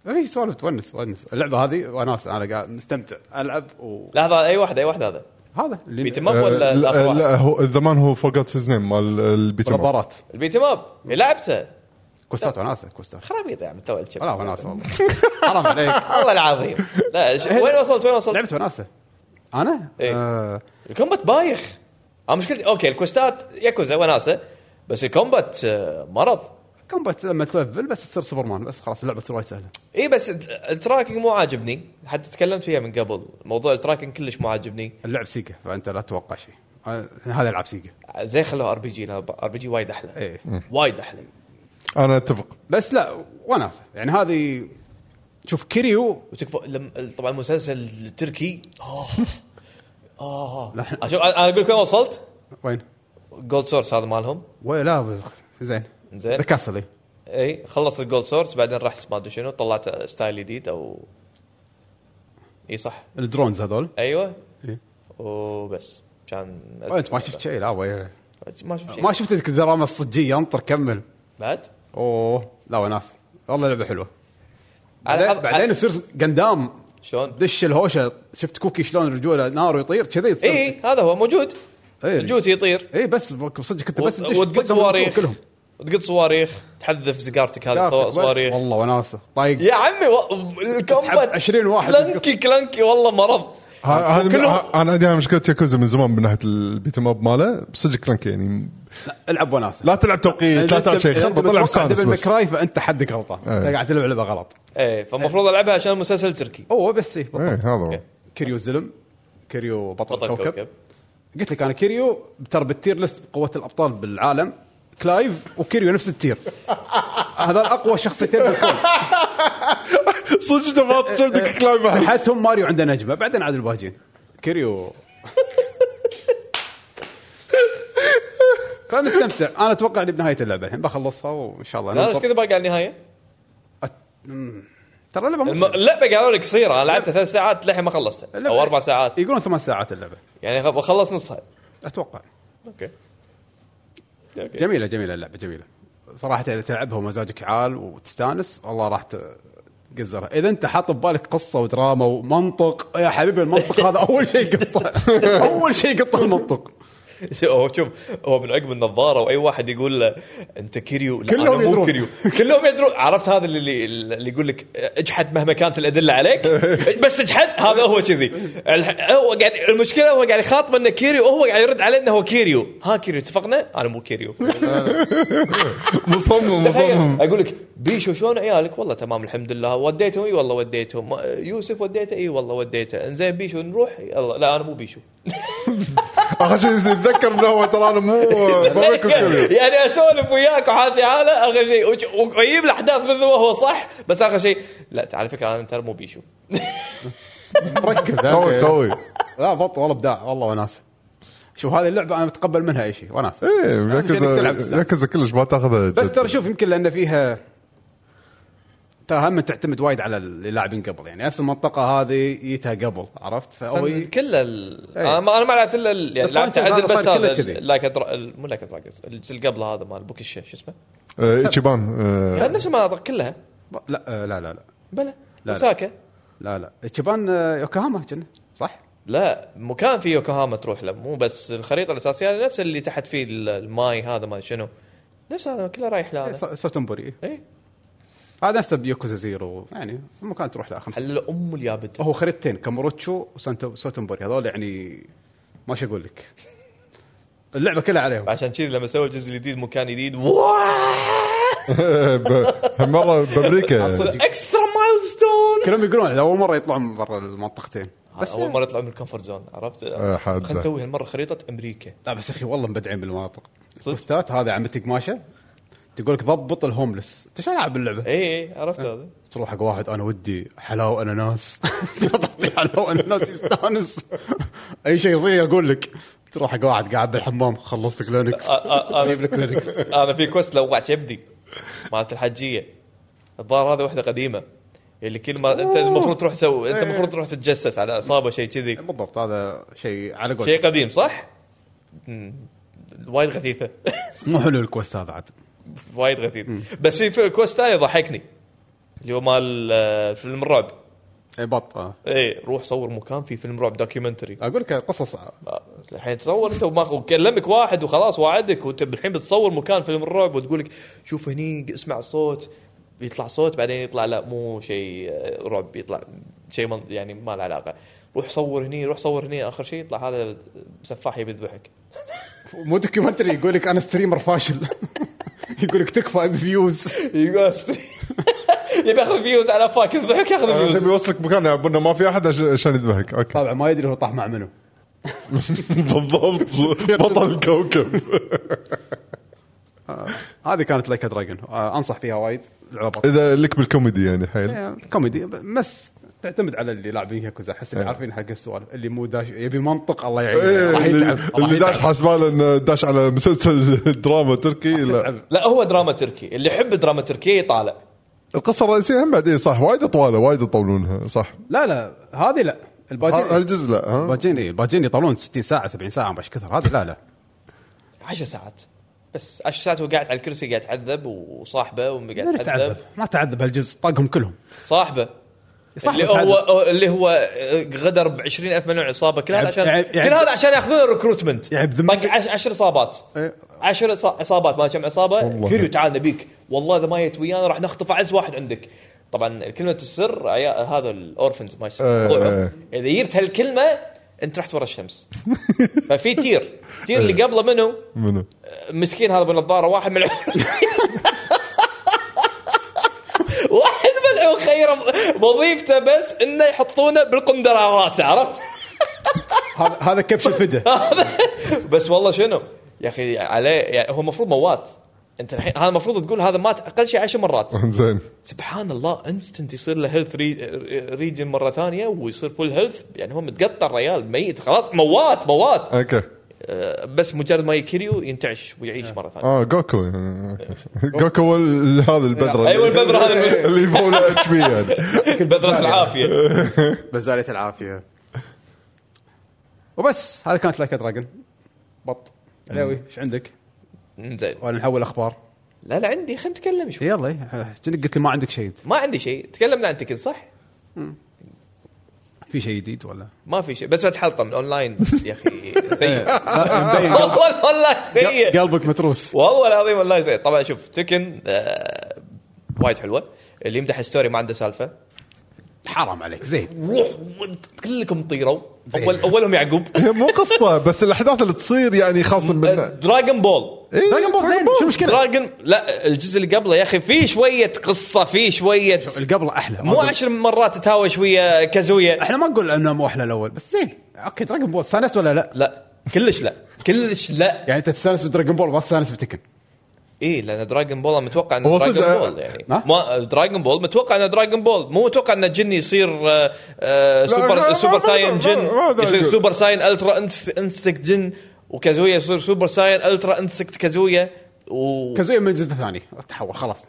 Speaker 1: في إيه، سوالف تونس تونس اللعبه هذه وناس انا قاعد مستمتع العب وهذا
Speaker 4: لحظه اي واحد اي واحد هذا
Speaker 1: اللي
Speaker 4: بيتم اب ولا
Speaker 2: آه،
Speaker 4: الآخر
Speaker 2: لا,
Speaker 4: واحد؟
Speaker 2: لا هو الزمان هو فورجوت هيز نيم مال البيتي ماب.
Speaker 1: برابارات
Speaker 4: البيتم اب إيه، لعبته
Speaker 1: كوستات وناسه كوستات
Speaker 4: خرابيط يا عم تو الشب.
Speaker 1: لا وناسه والله (laughs) حرام عليك
Speaker 4: والله العظيم لا ش... وين وصلت وين وصلت؟
Speaker 1: لعبت وناسه انا؟
Speaker 4: إيه.
Speaker 1: آه،
Speaker 4: الكومبات بايخ اه مشكلتي اوكي الكوستات ياكوزا وناسه بس الكومبات آه، مرض
Speaker 1: كومبات لما تلفل بس تصير سوبرمان بس خلاص اللعبه تصير وايد سهله
Speaker 4: اي إيه، بس الت- التراكنج مو عاجبني حتى تكلمت فيها من قبل موضوع التراكنج كلش مو عاجبني
Speaker 1: اللعب سيكا فانت لا تتوقع شيء آه، هذا العب سيكا
Speaker 4: زي خلوه ار بي جي ار بي جي وايد احلى
Speaker 1: ايه
Speaker 4: وايد احلى
Speaker 2: انا اتفق
Speaker 1: بس لا وناسه يعني هذه شوف كيريو
Speaker 4: وتكفى لم... طبعا المسلسل التركي (laughs) اه اه اشوف انا اقول لكم وصلت
Speaker 1: وين؟
Speaker 4: جولد سورس هذا مالهم
Speaker 1: ولا بخ- زين
Speaker 4: زين.
Speaker 1: ذا كاسل إيه.
Speaker 4: اي خلصت الجولد سورس بعدين رحت ما ادري شنو طلعت ستايل جديد او اي صح
Speaker 1: الدرونز هذول
Speaker 4: ايوه
Speaker 1: إيه.
Speaker 4: وبس كان
Speaker 1: انت ما شفت شيء لا وي-
Speaker 4: ما شفت شيء
Speaker 1: ما شفت تلك الدراما الصجيه انطر كمل
Speaker 4: بعد
Speaker 1: اوه لا وناس والله لعبه حلوه
Speaker 4: على
Speaker 1: بعدين,
Speaker 4: حظ-
Speaker 1: بعدين
Speaker 4: على-
Speaker 1: يصير قندام
Speaker 4: شلون
Speaker 1: دش الهوشه شفت كوكي شلون رجوله نار ويطير كذي يصير
Speaker 4: اي هذا هو موجود الجوت يطير
Speaker 1: اي بس صدق كنت بس تدش طقهم
Speaker 4: وتقط
Speaker 1: على طول
Speaker 4: صواريخ
Speaker 1: كلهم
Speaker 4: تقط صواريخ تحذف زقارتك هذه
Speaker 1: كارتك
Speaker 4: صوا-
Speaker 1: بس.
Speaker 4: صواريخ
Speaker 1: والله وناسه طايق
Speaker 4: يا عمي و... الكومبات
Speaker 1: 20 واحد
Speaker 4: كلنكي كلنكي والله مرض
Speaker 2: ه-
Speaker 1: آه،
Speaker 2: هذه من-
Speaker 4: كلهم-
Speaker 2: ه- انا عندي أنا مشكله ياكوزا من زمان من ناحيه البيتي ماب ماله صدق كلنك يعني
Speaker 1: العب وناسه
Speaker 2: لا تلعب توقيت لا تلعب شيء خربط طلع مستانس
Speaker 1: دبل
Speaker 2: بس
Speaker 1: مكراي فانت حدك غلطان
Speaker 2: إيه.
Speaker 1: انت قاعد تلعب لعبه غلط
Speaker 4: ايه فالمفروض العبها عشان المسلسل التركي
Speaker 1: اوه بس إيه،
Speaker 2: ايه
Speaker 1: بالضبط.
Speaker 2: هذا هو
Speaker 1: كيريو الزلم كيريو بطل,
Speaker 4: بطل
Speaker 1: الكوكب (laughs)
Speaker 4: كوكب
Speaker 1: قلت لك انا كيريو ترى بالتير ليست بقوه الابطال بالعالم كلايف وكيريو نفس التير (laughs) هذول اقوى شخصيتين بالكون
Speaker 2: صدق
Speaker 4: إيه.
Speaker 2: دبط شفتك كلايف أحس.
Speaker 1: حتهم ماريو عنده نجمه بعدين عاد الباجين كيريو (laughs) فمستمتع انا اتوقع اني بنهايه اللعبه الحين بخلصها وان شاء الله
Speaker 4: لا ايش
Speaker 1: ننطر.
Speaker 4: كذا باقي على النهايه؟
Speaker 1: ترى اللعبه
Speaker 4: الم...
Speaker 1: ممتعة.
Speaker 4: اللعبه قالوا لي قصيره انا لعبتها ثلاث ساعات للحين ما خلصتها
Speaker 1: اللعبة-
Speaker 4: او اربع ساعات
Speaker 1: يقولون ثمان ساعات اللعبه
Speaker 4: يعني خ- بخلص نصها
Speaker 1: اتوقع
Speaker 4: اوكي اوكي
Speaker 1: جميله جميله اللعبه جميله صراحه اذا تلعبها ومزاجك عال وتستانس والله راح ت- تقزرها اذا انت حاط ببالك قصه ودراما ومنطق يا حبيبي المنطق هذا اول شيء قطه اول شيء قطه المنطق
Speaker 4: (laughs) هو شوف هو من عقب النظاره واي واحد يقول له انت كيريو لا
Speaker 1: كلهم
Speaker 4: أنا مو
Speaker 1: يدرون.
Speaker 4: كيريو كلهم يدرون عرفت هذا اللي اللي يقول لك اجحد مهما كانت الادله عليك بس اجحد هذا هو كذي الح- هو قاعد المشكله هو قاعد يخاطب انه كيريو وهو قاعد يرد عليه انه هو كيريو ها كيريو اتفقنا انا مو كيريو
Speaker 2: مصمم مصمم
Speaker 4: اقول لك بيشو شلون عيالك والله تمام الحمد لله وديتهم اي والله وديتهم يوسف وديته اي والله وديته انزين بيشو نروح يلا لا انا مو بيشو
Speaker 2: اخر شيء يتذكر انه هو ترى انا
Speaker 1: (laughs)
Speaker 2: مو (laughs) بابكو كذي
Speaker 4: يعني اسولف وياك وحالتي حاله اخر شيء وج- واجيب الاحداث مثل ما هو صح بس اخر شيء لا على فكره انا ترى مو بيشو
Speaker 1: ركز يا
Speaker 2: قوي
Speaker 1: أخي.
Speaker 2: قوي
Speaker 1: لا بط والله ابداع والله وناس شوف هذه اللعبه انا متقبل منها اي شيء وناس (laughs)
Speaker 2: ايه
Speaker 1: يمكن تلعب
Speaker 2: ياكوزا
Speaker 1: تستانس.
Speaker 2: ياكوزا كلش ما تاخذها
Speaker 1: بس ترى
Speaker 2: جد.
Speaker 1: شوف يمكن لان فيها ترى هم تعتمد وايد على اللي لاعبين قبل يعني نفس المنطقه هذه جيتها قبل عرفت فهو ي-
Speaker 4: كل ال...
Speaker 1: إيه.
Speaker 4: انا ما انا ما لعبت الا ال- يعني لعبت
Speaker 1: الفرنشايز
Speaker 4: عدل
Speaker 1: هذا
Speaker 4: بس
Speaker 1: صار كله
Speaker 4: هذا
Speaker 1: كذي.
Speaker 4: ال- لايك أدرا- ال- مو لايك دراجونز الجزء اللي قبله هذا مال بوكيشا شو اسمه
Speaker 2: آه، ايتشيبان آه،
Speaker 4: كان نفس المناطق كلها
Speaker 1: لا آه، لا لا لا
Speaker 4: بلى
Speaker 1: لا.
Speaker 4: اوساكا
Speaker 1: لا لا يابان آه، يوكوهاما كنا صح؟
Speaker 4: لا مكان في يوكوهاما تروح له مو بس الخريطه الاساسيه هذه نفس اللي تحت فيه ال- الماي هذا ما شنو نفس هذا كله رايح إيه؟ له
Speaker 1: إيه،
Speaker 4: هذا.
Speaker 1: سو- سوتنبوري
Speaker 4: اي
Speaker 1: هذا نفسه بيوكوزا زيرو يعني مكان تروح له خمسة
Speaker 4: على ام اليابته
Speaker 1: هو خريطتين كاموروتشو وسوتنبوري هذول يعني ما شو اقول لك اللعبه كلها عليهم
Speaker 4: عشان كذي لما سووا الجزء الجديد مكان جديد واو
Speaker 2: ب- مره بامريكا
Speaker 4: اكسترا مايل ستون
Speaker 1: كلهم يقولون هذا اول مره يطلعون من برا المنطقتين
Speaker 4: بس
Speaker 1: بس يعني-
Speaker 4: اول مره يطلعوا من الكومفورت زون عرفت
Speaker 2: حد.
Speaker 4: خلينا نسوي هالمره خريطه امريكا
Speaker 1: لا بس اخي والله مبدعين بالمناطق
Speaker 4: صدق.
Speaker 1: بوستات هذا عمتك ماشى تقول لك ضبط الهوملس انت شلون العب اللعبه؟
Speaker 4: اي اي إيه، عرفت هذا
Speaker 1: تروح حق واحد انا ودي حلاوه (laughs) اناناس تعطي حلاوه اناناس يستانس اي شيء يصير اقول لك تروح حق واحد قاعد بالحمام خلصت كلونكس
Speaker 4: أ- أ- أ-
Speaker 1: يجيب لك كلونكس
Speaker 4: انا في كوست لوع كبدي مالت الحجيه الظاهر هذا وحده قديمه اللي كل ما انت المفروض تروح تسوي انت المفروض تروح تتجسس على اصابه شيء كذي
Speaker 1: (laughs) بالضبط هذا شيء على قول
Speaker 4: شيء قديم صح؟ مم. وايد غثيثه
Speaker 1: مو حلو الكوست هذا عاد
Speaker 4: وايد غثيث بس في- في كوست ثاني ضحكني اللي هو مال آه، فيلم الرعب
Speaker 1: اي بط آه.
Speaker 4: اي روح صور مكان في فيلم رعب دوكيومنتري
Speaker 1: اقول لك قصص
Speaker 4: آه، الحين تصور انت وما وكلمك واحد وخلاص وعدك وانت الحين بتصور مكان فيلم الرعب وتقول لك شوف هني اسمع صوت يطلع صوت بعدين يطلع لا مو شيء آه، رعب يطلع شيء من- يعني ما له علاقه روح صور هني روح صور هني اخر شيء يطلع هذا سفاح يبي يذبحك
Speaker 1: مو دوكيومنتري يقول لك انا ستريمر فاشل (laughs) يقول لك تكفى ابي (laughs) فيوز
Speaker 4: يقول (laughs) يبي ياخذ فيوز على فاك يذبحك ياخذ
Speaker 2: تبي
Speaker 4: فيوز
Speaker 2: يوصلك مكان يعبون ما في احد عش- عشان
Speaker 1: (laughs)
Speaker 2: يذبحك اوكي
Speaker 1: طبعا ما يدري هو طاح مع منو
Speaker 2: بالضبط بطل الكوكب
Speaker 1: هذه كانت لايك دراجون انصح آه، فيها وايد لعبه
Speaker 2: اذا لك بالكوميدي يعني حيل
Speaker 1: إيه، كوميدي بس تعتمد على اللي لاعبين ياكوزا احس اللي
Speaker 2: إيه.
Speaker 1: عارفين حق السؤال اللي مو داش يبي منطق الله يعينه
Speaker 2: إيه،
Speaker 1: راح يتعب
Speaker 2: اللي-
Speaker 1: راح
Speaker 2: اللي داش
Speaker 1: يتعب.
Speaker 2: حاسباله انه داش على مسلسل (laughs) دراما تركي لا
Speaker 1: يتعب.
Speaker 4: لا هو دراما تركي اللي يحب دراما تركيه يطالع
Speaker 2: القصه الرئيسيه هم بعدين صح وايد طواله وايد يطولونها صح
Speaker 1: لا لا هذه لا
Speaker 2: ه-
Speaker 1: الباجين
Speaker 2: هالجزء لا ها
Speaker 1: الباجين إيه، الباجين يطولون 60 ساعه 70 ساعه مش كثر هذه لا لا
Speaker 4: 10 ساعات بس 10 ساعات وقاعد على الكرسي قاعد يتعذب وصاحبه وامي
Speaker 1: ما
Speaker 4: قاعد
Speaker 1: تعذب
Speaker 4: تعذب
Speaker 1: ما تعذب هالجزء طاقهم كلهم
Speaker 4: صاحبه
Speaker 1: صاحبه
Speaker 4: اللي
Speaker 1: تعذب.
Speaker 4: هو اللي هو آه، غدر ب 20000 مليون عصابه كل هذا
Speaker 1: يعب-
Speaker 4: عشان
Speaker 1: يعب-
Speaker 4: كل
Speaker 1: يعب-
Speaker 4: هذا عشان ياخذون الريكروتمنت
Speaker 1: يعب ذمك.
Speaker 4: 10 اصابات
Speaker 1: إيه.
Speaker 4: 10 اصابات ما كم عصابه
Speaker 2: والله.
Speaker 4: كيريو تعال نبيك والله اذا ما جيت ويانا راح نخطف اعز واحد عندك طبعا كلمه السر عيا- هذا الاورفنز ما
Speaker 2: إيه،
Speaker 4: يسمونه.
Speaker 2: إيه.
Speaker 4: اذا جبت هالكلمه انت رحت ورا
Speaker 1: (laughs)
Speaker 4: الشمس ففي تير
Speaker 1: إيه.
Speaker 4: تير اللي قبله منو
Speaker 2: منو (laughs)
Speaker 4: مسكين هذا بالنظاره واحد ملعون (laughs) واحد ملعون خير وظيفته بس انه يحطونه بالقندره على راسه عرفت؟
Speaker 1: هذا هذا كبش
Speaker 2: (laughs)
Speaker 1: الفده
Speaker 4: بس والله شنو؟ يا اخي عليه يعني هو المفروض موات انت الحين هذا المفروض تقول هذا مات اقل شيء 10 مرات
Speaker 2: زين
Speaker 4: سبحان الله انستنت يصير له هيلث ريجن مره ثانيه ويصير فول هيلث يعني هو متقطع الريال ميت خلاص موات موات
Speaker 2: اوكي
Speaker 4: أه، بس مجرد ما يكريو ينتعش ويعيش مره ثانيه
Speaker 2: اه جوكو يعني، أوكي. جوكو هو ال- هذا البذره
Speaker 4: أيوة، البذرة
Speaker 2: (laughs)
Speaker 4: هذه.
Speaker 2: اللي يبون اتش بي يعني
Speaker 4: بذره العافيه
Speaker 1: بزارية العافيه وبس هذه كانت لايك دراجون بط علاوي ايش عندك؟
Speaker 4: زين
Speaker 1: ولا نحول اخبار
Speaker 4: لا لا عندي خلينا نتكلم شوي
Speaker 1: يلا إيه، كأنك قلت لي ما عندك شيء
Speaker 4: ما عندي شيء تكلمنا عن تكن صح؟
Speaker 1: في شيء جديد ولا؟ إيه.
Speaker 4: ما في شيء بس بتحلطم اونلاين يا اخي سيء
Speaker 1: لا، مبين
Speaker 4: (laughs)
Speaker 1: قلب-
Speaker 4: والله والله سيء
Speaker 1: قلبك متروس
Speaker 4: والله العظيم والله سيء طبعا شوف تكن آه وايد حلوه اللي يمدح ستوري ما عنده سالفه
Speaker 1: حرام عليك زين
Speaker 4: روح كلكم طيروا اول اولهم يعقوب
Speaker 2: هي مو قصه بس الاحداث اللي تصير يعني خاصه
Speaker 4: آه،
Speaker 2: من
Speaker 4: دراجون بول
Speaker 1: دراجون بول زين شو المشكله؟
Speaker 4: دراجون لا الجزء اللي قبله يا اخي في شويه قصه في شويه
Speaker 1: القبل احلى
Speaker 4: مو عشر مرات تهاوش ويا كازويا
Speaker 1: احنا ما نقول انه مو احلى الاول بس زين اوكي دراجون بول استانست ولا لا؟
Speaker 4: لا كلش لا كلش لا
Speaker 1: يعني انت تستانس بدراجون بول ما تستانس بتكن
Speaker 4: ايه لان دراجون بول أنا متوقع انه
Speaker 2: هو
Speaker 4: دراجون
Speaker 2: صدق- نعم.
Speaker 4: بول يعني
Speaker 1: ها؟
Speaker 4: ما دراجون بول متوقع انه دراجون بول مو متوقع انه جن يصير آه، آه،
Speaker 2: لا، لا،
Speaker 4: سوبر
Speaker 2: ما-
Speaker 4: سوبر
Speaker 2: ما-
Speaker 4: ساين
Speaker 2: ما-
Speaker 4: جن
Speaker 2: ما- ما-
Speaker 4: يصير
Speaker 2: ما-
Speaker 4: سوبر ساين الترا إنس- انستكت جن وكازويا يصير سوبر ساين الترا انستكت كازويا و
Speaker 1: كازويا من الجزء الثاني تحول خلاص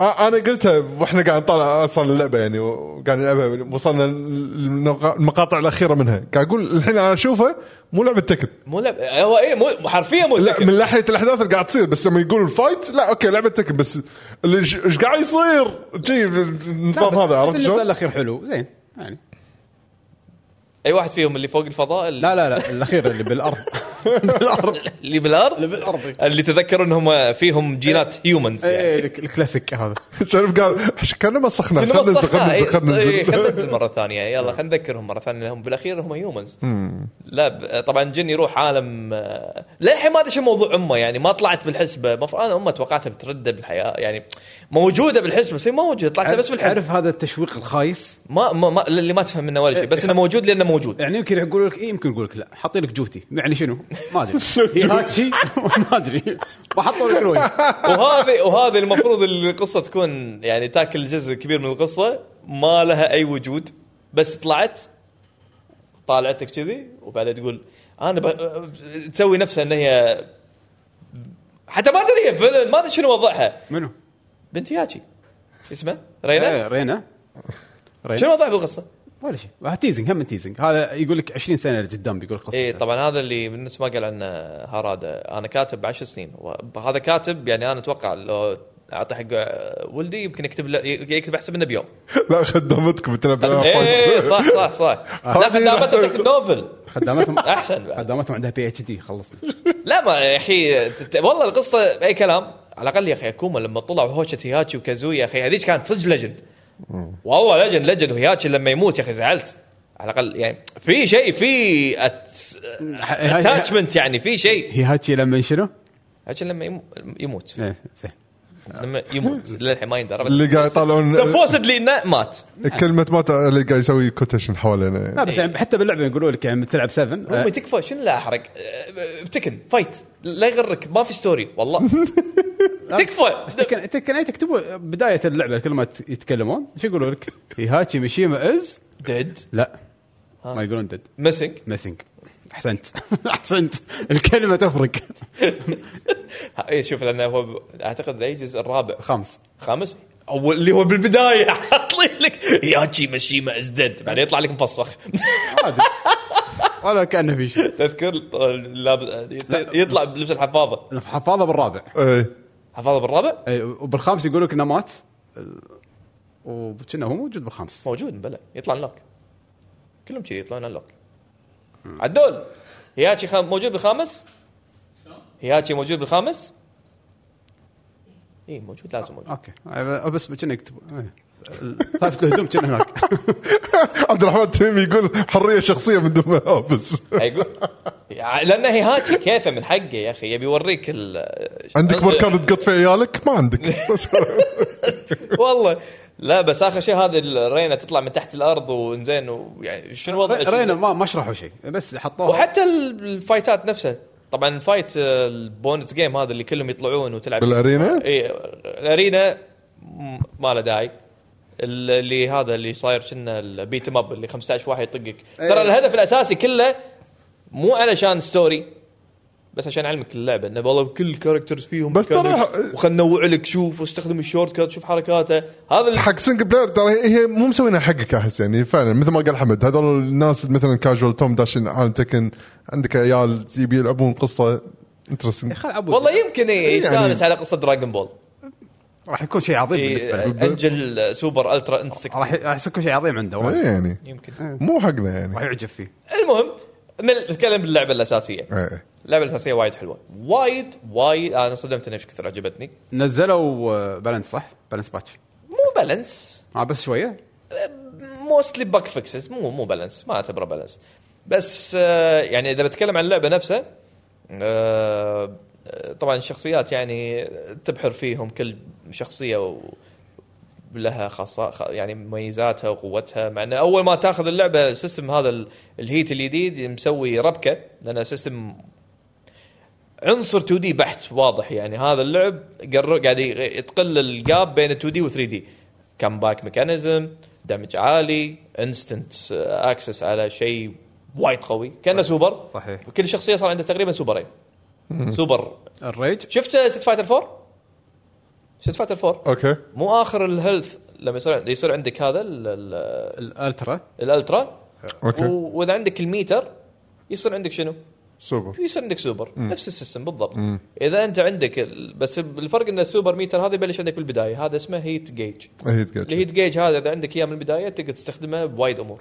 Speaker 2: آه، انا قلتها واحنا قاعد نطالع اصلا اللعبه يعني وقاعد نلعبها وصلنا للمقا- المقاطع الاخيره منها قاعد اقول الحين انا اشوفها مو لعبه تكن
Speaker 4: مو لعب هو ايه مو حرفيا مو
Speaker 2: لا
Speaker 4: تكن.
Speaker 2: من ناحيه الاحداث اللي قاعد تصير بس لما يقول الفايت لا اوكي لعبه تكن بس اللي ش- ايش قاعد يصير؟ شي النظام هذا عرفت
Speaker 1: شلون؟
Speaker 2: شلون؟
Speaker 1: الاخير حلو زين يعني
Speaker 4: اي واحد فيهم اللي فوق الفضاء اللي,
Speaker 1: لا لا لا الاخير اللي بالارض
Speaker 4: اللي بالارض
Speaker 1: اللي بالارض
Speaker 4: اللي تذكروا انهم فيهم
Speaker 2: إيه،
Speaker 4: جينات هيومنز يعني
Speaker 1: ايه الك- الكلاسيك هذا
Speaker 2: شرف قال "إيش كانه مسخنا
Speaker 4: في
Speaker 2: خلينا ننزل
Speaker 4: المسخة،
Speaker 2: خلينا
Speaker 4: إيه،
Speaker 2: ننزل خلينا
Speaker 4: إيه، خلنا
Speaker 2: ننزل
Speaker 4: ننزل مره ثانيه يلا خلينا نذكرهم مره ثانيه لهم بالاخير هم هيومنز لا ب- طبعا جن يروح عالم آه، للحين ما ادري شو موضوع امه يعني ما طلعت بالحسبه مفروض انا امه توقعتها بترده بالحياه يعني موجوده بالحسبه بس هي ما موجوده طلعت لها بس بالحسبه
Speaker 1: عارف هذا التشويق الخايس
Speaker 4: ما, ما, ما اللي ما تفهم منه ولا شيء بس انه موجود لانه موجود
Speaker 1: يعني يمكن يقول لك ايه يمكن يقول لك لا حاطين لك جوتي يعني شنو؟ ما ادري هيهاتشي (laughs) ما ادري وحطوا لك روي
Speaker 4: وهذه وهذه المفروض القصه تكون يعني تاكل جزء كبير من القصه ما لها اي وجود بس طلعت طالعتك كذي وبعدين تقول انا ب... تسوي نفسها ان هي حتى ما ادري هي فيلن ما ادري شنو وضعها
Speaker 1: منو؟
Speaker 4: بنت ياكي شو اسمه؟
Speaker 1: آه،
Speaker 4: رينا
Speaker 1: رينا
Speaker 4: شنو وضعها بالقصه؟
Speaker 1: ولا شيء تيزنج هم تيزنج هذا يقول لك 20 سنه لقدام بيقول قصه
Speaker 4: اي طبعا إيه، هذا اللي من نفس ما قال عنه هارادا انا كاتب 10 سنين وهذا كاتب يعني انا اتوقع لو اعطي حق ولدي يمكن يكتب ل- يكتب احسب منه بيوم
Speaker 2: لا خدمتكم تلعب
Speaker 4: اي إيه، صح صح صح لا خدامته تكتب نوفل
Speaker 1: خدامتهم
Speaker 4: احسن بعد
Speaker 1: خدامتهم عندها بي اتش دي خلصنا
Speaker 4: لا ما يا اخي تت- والله القصه اي كلام على الاقل يا اخي اكوما لما طلع هوشه هياتشي وكازويا يا اخي هذيك كانت صدق ليجند والله ليجند ليجند وهياتشي لما يموت يا اخي زعلت على الاقل يعني في شيء في اتاتشمنت يعني في شيء
Speaker 1: هي هاتشي لما شنو؟
Speaker 4: هياتشي لما يمو- يموت
Speaker 1: إيه، زين
Speaker 4: لما يموت للحين ما يندرى
Speaker 2: اللي قاعد يطالعون
Speaker 4: سبوسدلي انه مات
Speaker 2: كلمه مات اللي قاعد يسوي كوتيشن حوالينا
Speaker 1: لا بس يعني حتى باللعبه يقولوا لك يعني بتلعب 7
Speaker 4: امي
Speaker 1: آه،
Speaker 4: تكفى شنو لا احرق أه، بتكن فايت لا يغرك ما في ستوري والله تكفى
Speaker 1: تكن تكن أي تكتبوا بدايه اللعبه كل ما ت- يتكلمون شو يقولوا لك؟ (laughs) هي هاتشي ميشيما از
Speaker 4: ديد
Speaker 1: لا ما يقولون ديد
Speaker 4: (laughs) مسك
Speaker 1: ميسنج احسنت (laughs) احسنت الكلمه تفرق (laughs)
Speaker 4: اي إيه، شوف لانه هو ب- اعتقد اي جزء الرابع
Speaker 1: خمس
Speaker 4: خامس اول اللي هو (laughs) بالبدايه حاطين لك ياتشي مشيما ازدد بعدين يطلع لك مفسخ (laughs)
Speaker 1: عادي (laughs) ولا كانه في شيء
Speaker 4: تذكر لابس- يطلع بلبس الحفاظه
Speaker 1: حفاظه بالرابع
Speaker 2: ايه
Speaker 4: حفاظه بالرابع
Speaker 1: اي إيه، وبالخامس يقول لك انه مات إيه، وكنا هو موجود بالخامس
Speaker 4: موجود بلا يطلع انلوك كلهم كذي يطلعون انلوك عدول هياتشي خام موجود بالخامس هياتشي موجود بالخامس اي موجود لازم موجود
Speaker 1: اوكي أي إيه، بس كنا يكتبوا أي. طائفه الهدوم كنا
Speaker 4: (laughs)
Speaker 1: هناك
Speaker 2: عبد الرحمن تيمي يقول حريه شخصيه من دون ملابس
Speaker 4: هيقول لان هيهاتشي كيفه من حقه يا اخي يبي يوريك ال طيب.
Speaker 2: عندك بركان تقط في عيالك ما عندك بس
Speaker 4: والله لا بس اخر شيء هذه الرينا تطلع من تحت الارض وانزين ويعني يعني شنو وضعك
Speaker 1: رينا ما ما شرحوا شيء بس حطوها
Speaker 4: وحتى ال- الفايتات نفسها طبعا الفايت آه، البونس جيم هذا اللي كلهم يطلعون وتلعب
Speaker 2: بالارينا
Speaker 4: اي الارينا م- إيه، ما له داعي ال- اللي هذا اللي صاير كنا البيت ام اب اللي 15 واحد يطقك
Speaker 1: إيه.
Speaker 4: ترى الهدف الاساسي كله مو علشان ستوري بس عشان علمك اللعبه انه والله كل الكاركترز فيهم
Speaker 2: بس ترى- إيه.
Speaker 4: ميكانيكس، وخلنا ننوع لك شوف واستخدم الشورت كات شوف حركاته هذا اللي
Speaker 2: حق سنجل بلاير ترى هي مو مسوينها حقك احس يعني فعلا مثل ما قال حمد هذول الناس مثلا كاجوال توم داشين عالم تكن عندك عيال يبي يلعبون قصه انترستنج
Speaker 1: خل عبود
Speaker 4: والله يمكن
Speaker 2: يعني
Speaker 4: إيه يستانس على قصه دراجون بول
Speaker 1: راح يكون شيء عظيم بالنسبه
Speaker 4: إيه،
Speaker 1: له
Speaker 4: انجل سوبر الترا انستكت
Speaker 2: آه.
Speaker 1: راح راح يكون شيء عظيم عنده وايد.
Speaker 2: يعني
Speaker 4: يمكن
Speaker 2: مو حقنا
Speaker 1: راح
Speaker 2: يعني
Speaker 1: يعجب فيه
Speaker 4: المهم نل- نتكلم باللعبه الاساسيه
Speaker 2: إيه.
Speaker 4: اللعبه الاساسيه وايد حلوه وايد وايد انا صدمت إن ايش كثر عجبتني
Speaker 1: نزلوا آه، بالانس صح؟ بالانس باتش
Speaker 4: مو بالانس
Speaker 1: اه بس شويه
Speaker 4: موستلي باك فيكسز مو مو بالانس ما اعتبره بالانس بس آه، يعني اذا بتكلم عن اللعبه نفسها آه، آه، طبعا الشخصيات يعني تبحر فيهم كل شخصيه و- لها خاصة خ- يعني مميزاتها وقوتها مع انه اول ما تاخذ اللعبه السيستم هذا ال- الهيت الجديد مسوي ربكه لانه سيستم عنصر 2 دي بحت واضح يعني هذا اللعب قر- قاعد ي- تقل الجاب بين 2 دي و 3 دي كم باك ميكانيزم دمج عالي انستنت اكسس على شيء وايد قوي كانه سوبر
Speaker 1: صحيح.
Speaker 4: وكل شخصيه صار عندها تقريبا سوبرين سوبر
Speaker 1: الريج
Speaker 4: شفت ست فايتر 4 ست فايتر 4
Speaker 2: اوكي
Speaker 4: مو اخر الهيلث لما يصير يصير عندك هذا ال- ال-
Speaker 1: الالترا
Speaker 4: الالترا
Speaker 2: أوكي.
Speaker 4: و- واذا عندك الميتر يصير عندك شنو؟
Speaker 2: سوبر
Speaker 4: يصير عندك سوبر نفس السيستم بالضبط اذا انت عندك ال- بس الفرق ان السوبر ميتر هذا يبلش عندك بالبدايه هذا اسمه هيت جيج
Speaker 2: إيه، هي
Speaker 4: الهيت
Speaker 2: تقعد
Speaker 4: جيج هذا اذا عندك اياه من البدايه تقدر تستخدمه بوايد امور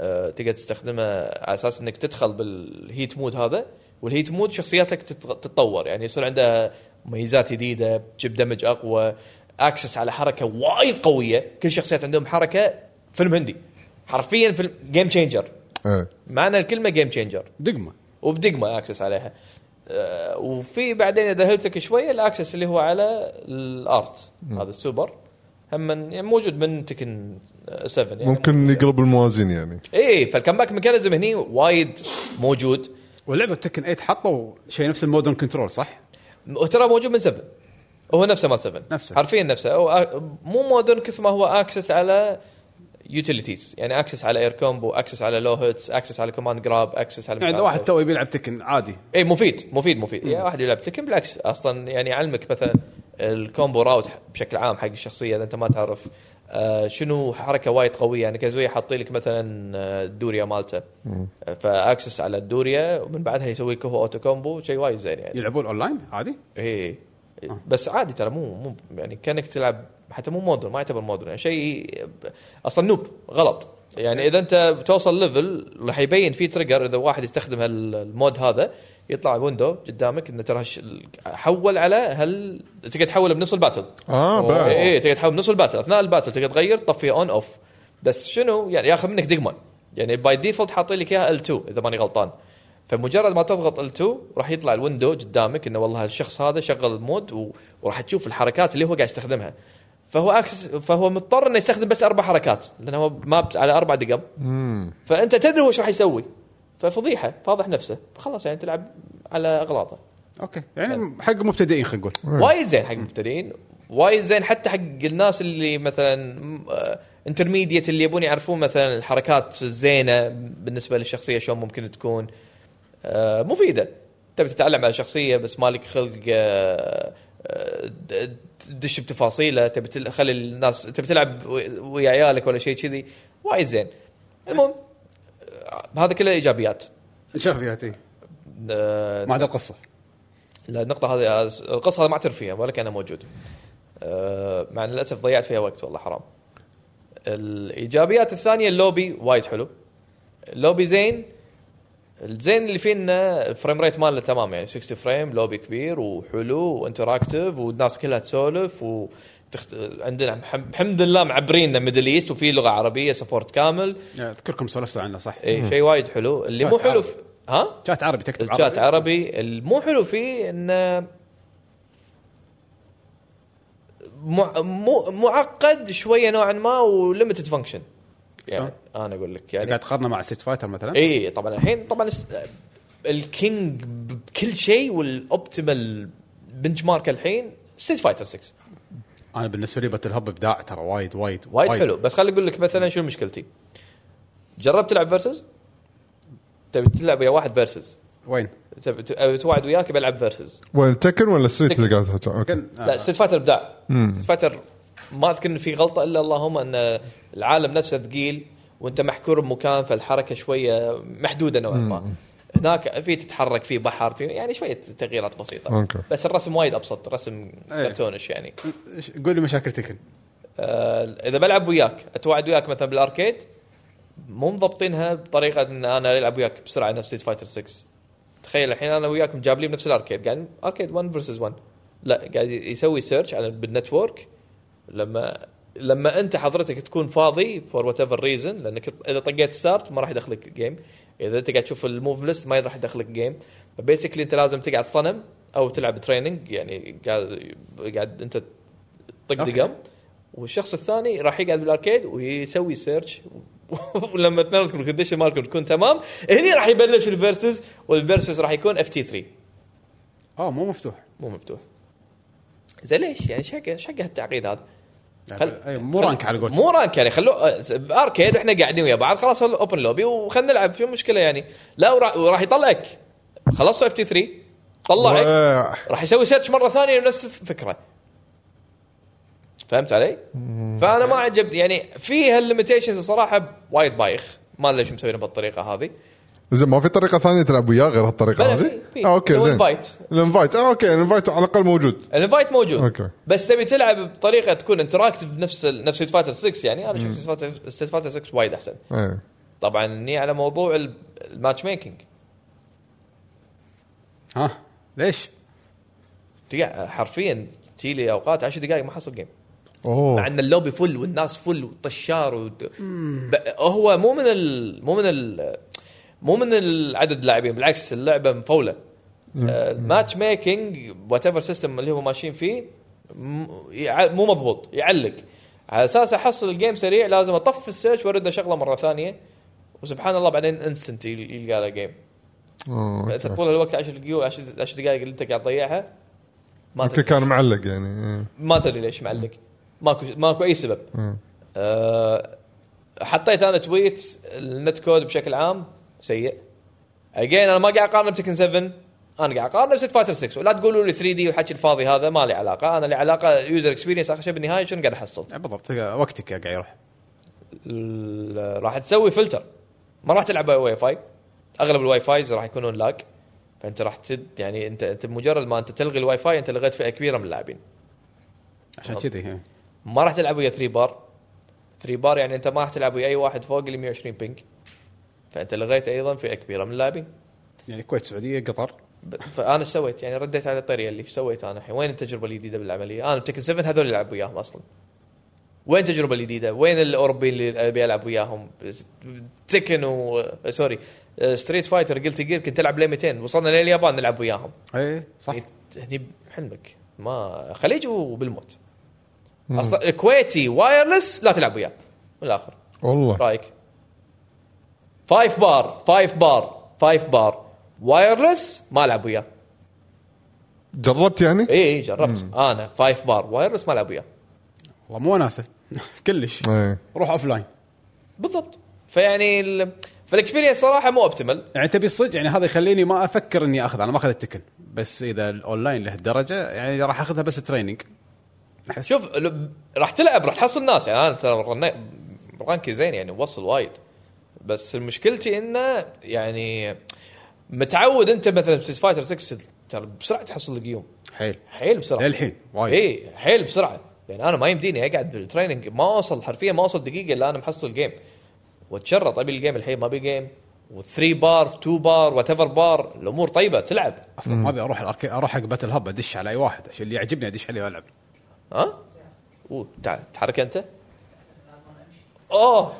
Speaker 4: أه تقدر تستخدمه على اساس انك تدخل بالهيت مود هذا والهيت مود شخصيتك تت- تتطور يعني يصير عندها مميزات جديده تجيب دمج اقوى اكسس على حركه وايد قويه كل شخصيات عندهم حركه فيلم هندي حرفيا فيلم جيم تشينجر
Speaker 2: إيه.
Speaker 4: معنى الكلمه جيم تشينجر
Speaker 1: دقمه
Speaker 4: وبدقمه اكسس عليها آه، وفي بعدين اذا هيلثك شويه الاكسس اللي هو على الارت
Speaker 1: نعم.
Speaker 4: هذا السوبر هم يعني موجود من تكن 7 يعني إيه،
Speaker 2: ممكن يقلب الموازين يعني
Speaker 4: اي فالكمباك ميكانيزم هني وايد موجود
Speaker 1: واللعبه تكن 8 حطوا شيء نفس المودرن كنترول صح؟ يعني
Speaker 4: وترى موجود من 7 هو نفسه مال 7
Speaker 1: نفسه.
Speaker 4: آه، حرفيا نفسه هو آ- مو مودرن كثر ما هو اكسس على يوتيليتيز يعني اكسس على اير كومبو اكسس على لو هيتس اكسس على كوماند جراب اكسس على
Speaker 1: يعني اذا
Speaker 4: مدري
Speaker 1: واحد تو بيلعب تكن عادي
Speaker 4: اي إيه، مفيد مفيد مفيد يا واحد يلعب لكن بالعكس اصلا يعني يعلمك مثلا الكومبو راوت بشكل عام حق الشخصيه اذا انت ما تعرف آه شنو حركه وايد قويه يعني كازويا حاطين لك مثلا آه، الدوريا مالته آه، فاكسس على الدوريا ومن بعدها يسوي لك هو اوتو كومبو شيء وايد زين يعني
Speaker 1: يلعبون اونلاين عادي
Speaker 4: اي
Speaker 1: آه.
Speaker 4: إيه. بس عادي ترى مو مو يعني كانك تلعب حتى مو مودرن ما يعتبر مودرن يعني شيء اصلا نوب غلط يعني اذا انت بتوصل ليفل راح يبين في تريجر اذا واحد يستخدم هالمود هذا يطلع ويندو قدامك انه ترى هالش- حول على هل تقدر تحول بنص الباتل
Speaker 2: اه بعد
Speaker 4: اي إي، إيه، تقدر تحول بنص الباتل اثناء الباتل تقدر تغير تطفيه اون اوف بس شنو يعني ياخذ منك دقمه يعني باي ديفولت حاطين لك اياها L2 اذا ماني غلطان فمجرد ما تضغط L2 راح يطلع الويندو قدامك انه والله الشخص هذا شغل المود و... وراح تشوف الحركات اللي هو قاعد يستخدمها فهو أكس... فهو مضطر انه يستخدم بس اربع حركات لانه هو ماب على اربع دقم
Speaker 2: مم.
Speaker 4: فانت تدري هو ايش راح يسوي ففضيحه فاضح نفسه خلاص يعني تلعب على اغلاطه
Speaker 1: اوكي
Speaker 4: إيه.
Speaker 1: يعني حق مبتدئين خلينا نقول
Speaker 4: وايد زين حق المبتدئين وايد زين حتى حق الناس اللي مثلا انترميديت اللي يبون يعرفون مثلا الحركات الزينه بالنسبه للشخصيه شلون ممكن تكون آه، مفيده تبي تتعلم على شخصيه بس مالك خلق آه، آه، د- تدش بتفاصيله تبي تل- تخلي الناس تبي تلعب وي- ويا عيالك ولا شيء كذي وايد زين المهم آه، هذا كله ايجابيات
Speaker 1: شوف يا تي
Speaker 4: آه،
Speaker 1: ما عدا القصه
Speaker 4: لا النقطة هذه القصة هذه ما اعترف فيها ولا كأنها موجودة. أه، مع إن للأسف ضيعت فيها وقت والله حرام. الإيجابيات الثانية اللوبي وايد حلو. اللوبي زين الزين اللي فيه انه الفريم ريت ماله تمام يعني 60 فريم لوبي كبير وحلو وانتراكتيف والناس كلها تسولف و تخت... عندنا الحم- الحمد لله معبرين ميدل ايست وفي لغه عربيه سبورت كامل
Speaker 1: اذكركم سولفتوا عنه صح؟
Speaker 4: اي شيء وايد حلو اللي مو
Speaker 1: شات
Speaker 4: حلو
Speaker 1: عربي.
Speaker 4: في... ها
Speaker 1: شات عربي تكتب عربي
Speaker 4: الشات عربي المو حلو فيه انه مع- مو معقد شويه نوعا ما وليمتد فانكشن يعني انا اقول لك يعني
Speaker 1: قاعد تقارنه مع ستيت فايتر مثلا
Speaker 4: اي طبعا الحين طبعا الس- الكينج بكل شيء والاوبتيمال بنش مارك الحين ستيت فايتر 6
Speaker 1: انا بالنسبه لي باتل هب ابداع ترى وايد وايد
Speaker 4: وايد حلو بس خليني اقول لك مثلا شو مشكلتي جربت تلعب فيرسز تبي تلعب ويا واحد فيرسز
Speaker 1: وين؟
Speaker 4: تبي تبي توعد وياك بلعب فيرسز
Speaker 2: وين تكن ولا ستريت اللي قاعد تحكي اوكي
Speaker 1: كان
Speaker 4: لا
Speaker 1: آه،
Speaker 4: ستريت فايتر ابداع
Speaker 2: مم.
Speaker 4: ستريت فايتر ما اذكر ان في غلطه الا اللهم ان العالم نفسه ثقيل وانت محكور بمكان فالحركه شويه محدوده نوعا ما هناك في تتحرك في بحر في يعني شويه تغييرات بسيطه
Speaker 2: أوكي.
Speaker 4: بس الرسم وايد ابسط رسم
Speaker 1: إيه.
Speaker 4: كرتونش يعني
Speaker 1: ش- قول لي مشاكل تكن
Speaker 4: آه، اذا بلعب وياك اتواعد وياك مثلا بالاركيد مو مضبطينها بطريقه ان انا العب وياك بسرعه نفس ستريت فايتر 6 تخيل الحين انا وياك مجابلين بنفس الاركيد قاعد اركيد 1 فيرسز 1 لا قاعد يسوي سيرش على بالنتورك لما لما انت حضرتك تكون فاضي فور وات ايفر ريزن لانك اذا طقيت ستارت ما راح يدخلك جيم اذا انت قاعد تشوف الموف ليست ما راح يدخلك جيم فبيسكلي انت لازم تقعد صنم او تلعب تريننج يعني قاعد قاعد انت طق
Speaker 1: أوكي.
Speaker 4: دقم والشخص الثاني راح يقعد بالاركيد ويسوي (laughs) سيرش ولما اثنيناتكم الكونديشن مالكم تكون تمام هني راح يبلش الفيرسز والفيرسز راح يكون اف تي 3
Speaker 1: اه مو مفتوح
Speaker 4: مو مفتوح زين ليش يعني شق شق هالتعقيد هذا
Speaker 1: يعني
Speaker 4: خل-
Speaker 1: أي، مو رانك على قولتك
Speaker 4: مو رانك يعني خلوه اركيد احنا قاعدين ويا بعض خلاص اوبن لوبي وخلنا نلعب شو المشكله يعني لا ورا- وراح يطلعك خلصتوا اف تي 3 طلعك
Speaker 2: واه.
Speaker 4: راح يسوي سيرش مره ثانيه لنفس الفكره فهمت علي؟ فانا ما عجبني يعني في هالليمتيشنز الصراحه وايد بايخ ما ادري ليش مسوينها بالطريقه هذه
Speaker 2: زين ما في طريقه ثانيه تلعب وياه غير هالطريقه
Speaker 4: بلا،
Speaker 2: هذه؟
Speaker 4: في- في.
Speaker 2: اه اوكي
Speaker 4: لو
Speaker 2: زين
Speaker 4: invite.
Speaker 2: الانفايت اه اوكي الانفايت على الاقل موجود
Speaker 4: الانفايت موجود
Speaker 2: أوكي.
Speaker 4: بس تبي تلعب بطريقه تكون انتراكتف نفس ال- نفس ستيت فايتر 6 يعني انا شفت ستيت فايتر 6 وايد احسن
Speaker 2: ايه
Speaker 4: طبعا ني على موضوع ال- الماتش ميكنج
Speaker 1: ها ليش؟
Speaker 4: تقع- حرفيا تيلي اوقات 10 دقائق ما حصل جيم مع
Speaker 2: اوه
Speaker 4: ان اللوبي فل والناس فل وطشار وت... ب... هو مو من ال... مو من ال... مو من العدد اللاعبين بالعكس اللعبه مفوله آه، الماتش ميكنج وات ايفر سيستم اللي هم ماشيين فيه م... يع... مو مضبوط يعلق على اساس احصل الجيم سريع لازم اطفي السيرش وارد اشغله مره ثانيه وسبحان الله بعدين انستنت يلقى له جيم
Speaker 2: أوه،
Speaker 4: انت
Speaker 2: اوكي
Speaker 4: طول الوقت 10 دقيقه 10 دقائق اللي انت قاعد تضيعها ما
Speaker 2: يمكن
Speaker 4: تدري
Speaker 2: كان معلق يعني ايه.
Speaker 4: ما تدري ليش معلق ماكو ماكو اي سبب
Speaker 2: مم.
Speaker 4: آه، حطيت انا تويت النت كود بشكل عام سيء اجين انا ما قاعد اقارن بتكن 7 انا قاعد اقارن بست فايتر 6 ولا تقولوا لي 3 دي والحكي الفاضي هذا ما لي علاقه انا لي علاقه يوزر اكسبيرينس اخر شيء بالنهايه شنو قاعد احصل
Speaker 1: يعني بالضبط وقتك قاعد يروح
Speaker 4: ال- راح تسوي فلتر ما راح تلعب على واي فاي اغلب الواي فايز راح يكونون لاك فانت راح تد يعني انت انت بمجرد ما انت تلغي الواي فاي انت لغيت فئه كبيره من اللاعبين
Speaker 1: عشان كذي
Speaker 4: ما راح تلعب ويا 3 بار 3 بار يعني انت ما راح تلعب ويا اي واحد فوق ال 120 بينج فانت لغيت ايضا فئه كبيره من اللاعبين
Speaker 1: يعني الكويت السعوديه قطر
Speaker 4: ب- فانا ايش سويت يعني رديت على الطريقه اللي ايش سويت انا الحين وين التجربه الجديده بالعمليه انا بتكن 7 هذول اللي العب وياهم اصلا وين التجربه الجديده وين الاوروبيين اللي ابي العب وياهم بس- تكن و آه، سوري آه، ستريت فايتر قلت جير كنت العب ل 200 وصلنا لليابان نلعب وياهم
Speaker 1: اي إيه، صح
Speaker 4: يعني هني بحلمك ما خليج وبالموت اصلا الكويتي وايرلس لا تلعب وياه من الاخر
Speaker 2: والله
Speaker 4: رايك فايف بار فايف بار فايف بار وايرلس ما العب وياه
Speaker 2: جربت يعني؟
Speaker 4: اي اي إيه، جربت انا فايف بار وايرلس ما العب وياه
Speaker 1: والله مو وناسه (laughs) كلش
Speaker 4: إيه.
Speaker 2: ايه
Speaker 1: روح اوف لاين
Speaker 4: بالضبط فيعني ال... فالاكسبيرينس صراحه مو اوبتيمال
Speaker 1: يعني تبي الصدق يعني هذا يخليني ما افكر اني اخذ انا ما اخذ التكن بس اذا الاونلاين لهالدرجه يعني راح اخذها بس تريننج
Speaker 4: شوف ال- راح تلعب راح تحصل ناس يعني انا ترى رن- رانكي زين يعني وصل وايد بس مشكلتي انه يعني متعود انت مثلا ستيت فايتر 6 ترى بسرعه تحصل لك يوم
Speaker 1: حيل
Speaker 4: حيل بسرعه
Speaker 1: للحين وايد
Speaker 4: اي حيل بسرعه لان انا ما يمديني اقعد بالتريننج ما اوصل حرفيا ما اوصل دقيقه الا انا محصل جيم واتشرط ابي الجيم الحين ما ابي جيم و3 بار 2 بار وات بار الامور طيبه تلعب
Speaker 1: اصلا ما ابي اروح الأركي... اروح حق باتل هب ادش على اي واحد عشان اللي يعجبني ادش عليه والعب
Speaker 4: ها؟ أوه، تعال تحرك انت اوه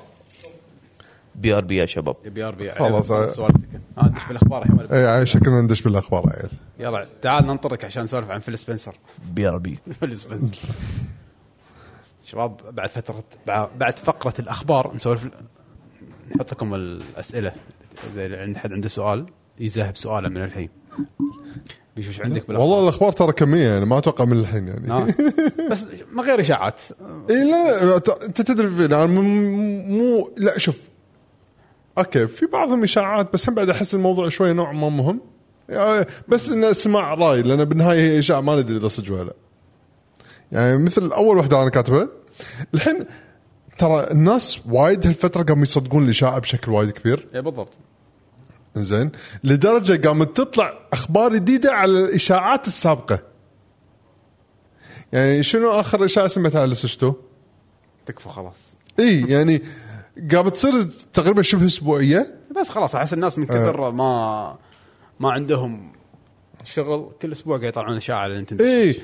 Speaker 4: بي ار بي يا شباب
Speaker 1: بي ار بي
Speaker 2: خلاص.
Speaker 1: سوالف تكن آه، ادش بالاخبار الحين ولا-
Speaker 2: اي على شكلنا إيه، ندش بالاخبار عيل
Speaker 1: يلا تعال ننطرك عشان نسولف عن فيل سبنسر (laughs)
Speaker 4: بي ار بي
Speaker 1: فيل سبنسر شباب بعد فتره بع- بعد فقره الاخبار نسولف نحط لكم الاسئله اذا اللي عند حد عنده سؤال يذهب سؤاله من الحين بيشوف ايش عندك بالاخبار
Speaker 2: والله الاخبار ترى كميه يعني ما اتوقع من الحين يعني
Speaker 1: آه. بس ما غير اشاعات
Speaker 2: اي إيه، لا ت- انت تدري في- يعني مو- مو لا شوف اوكي في بعضهم اشاعات بس هم بعد احس الموضوع شوي نوع ما مهم يعني بس انه سماع راي لان بالنهايه هي اشاعه ما ندري اذا صدق ولا لا يعني مثل اول واحده انا كاتبها الحين ترى الناس وايد هالفتره قاموا يصدقون الاشاعه بشكل وايد كبير
Speaker 1: اي إيه، بالضبط
Speaker 2: زين لدرجه قامت تطلع اخبار جديده على الاشاعات السابقه يعني شنو اخر اشاعه سمعتها على السويتش 2
Speaker 1: تكفى خلاص
Speaker 2: اي يعني قامت تصير تقريبا شبه اسبوعيه
Speaker 1: بس خلاص احس الناس من
Speaker 2: آه.
Speaker 1: كثر ما ما عندهم شغل كل اسبوع قاعد يطلعون اشاعه على نتندو
Speaker 2: اي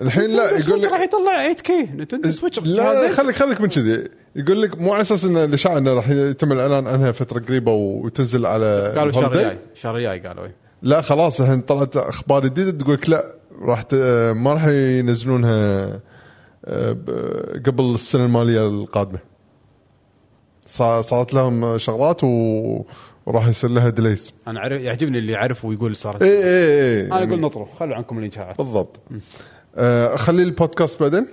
Speaker 2: الحين إيه، لا يقول
Speaker 1: راح
Speaker 2: لك إيه،
Speaker 1: يطلع 8 كي نتندو سويتش
Speaker 2: لا لا،
Speaker 1: جهازين.
Speaker 2: خليك خليك من كذي يقول لك مو على اساس ان الاشاعه انه راح يتم الاعلان عنها فتره قريبه وتنزل على
Speaker 1: قالوا الشهر
Speaker 2: الهوليداي.
Speaker 1: الجاي الشهر الجاي قالوا إيه.
Speaker 2: لا خلاص الحين طلعت اخبار جديده تقول لك لا راح ت... ما راح ينزلونها آه، ب- قبل السنه الماليه القادمه صا- صارت لهم شغلات و... وراح يصير لها ديليز
Speaker 1: انا عارف يعجبني اللي يعرف ويقول صارت
Speaker 2: اي اي اي
Speaker 1: انا اقول نطروا خلوا عنكم الاشاعات
Speaker 2: بالضبط آه، اخلي البودكاست بعدين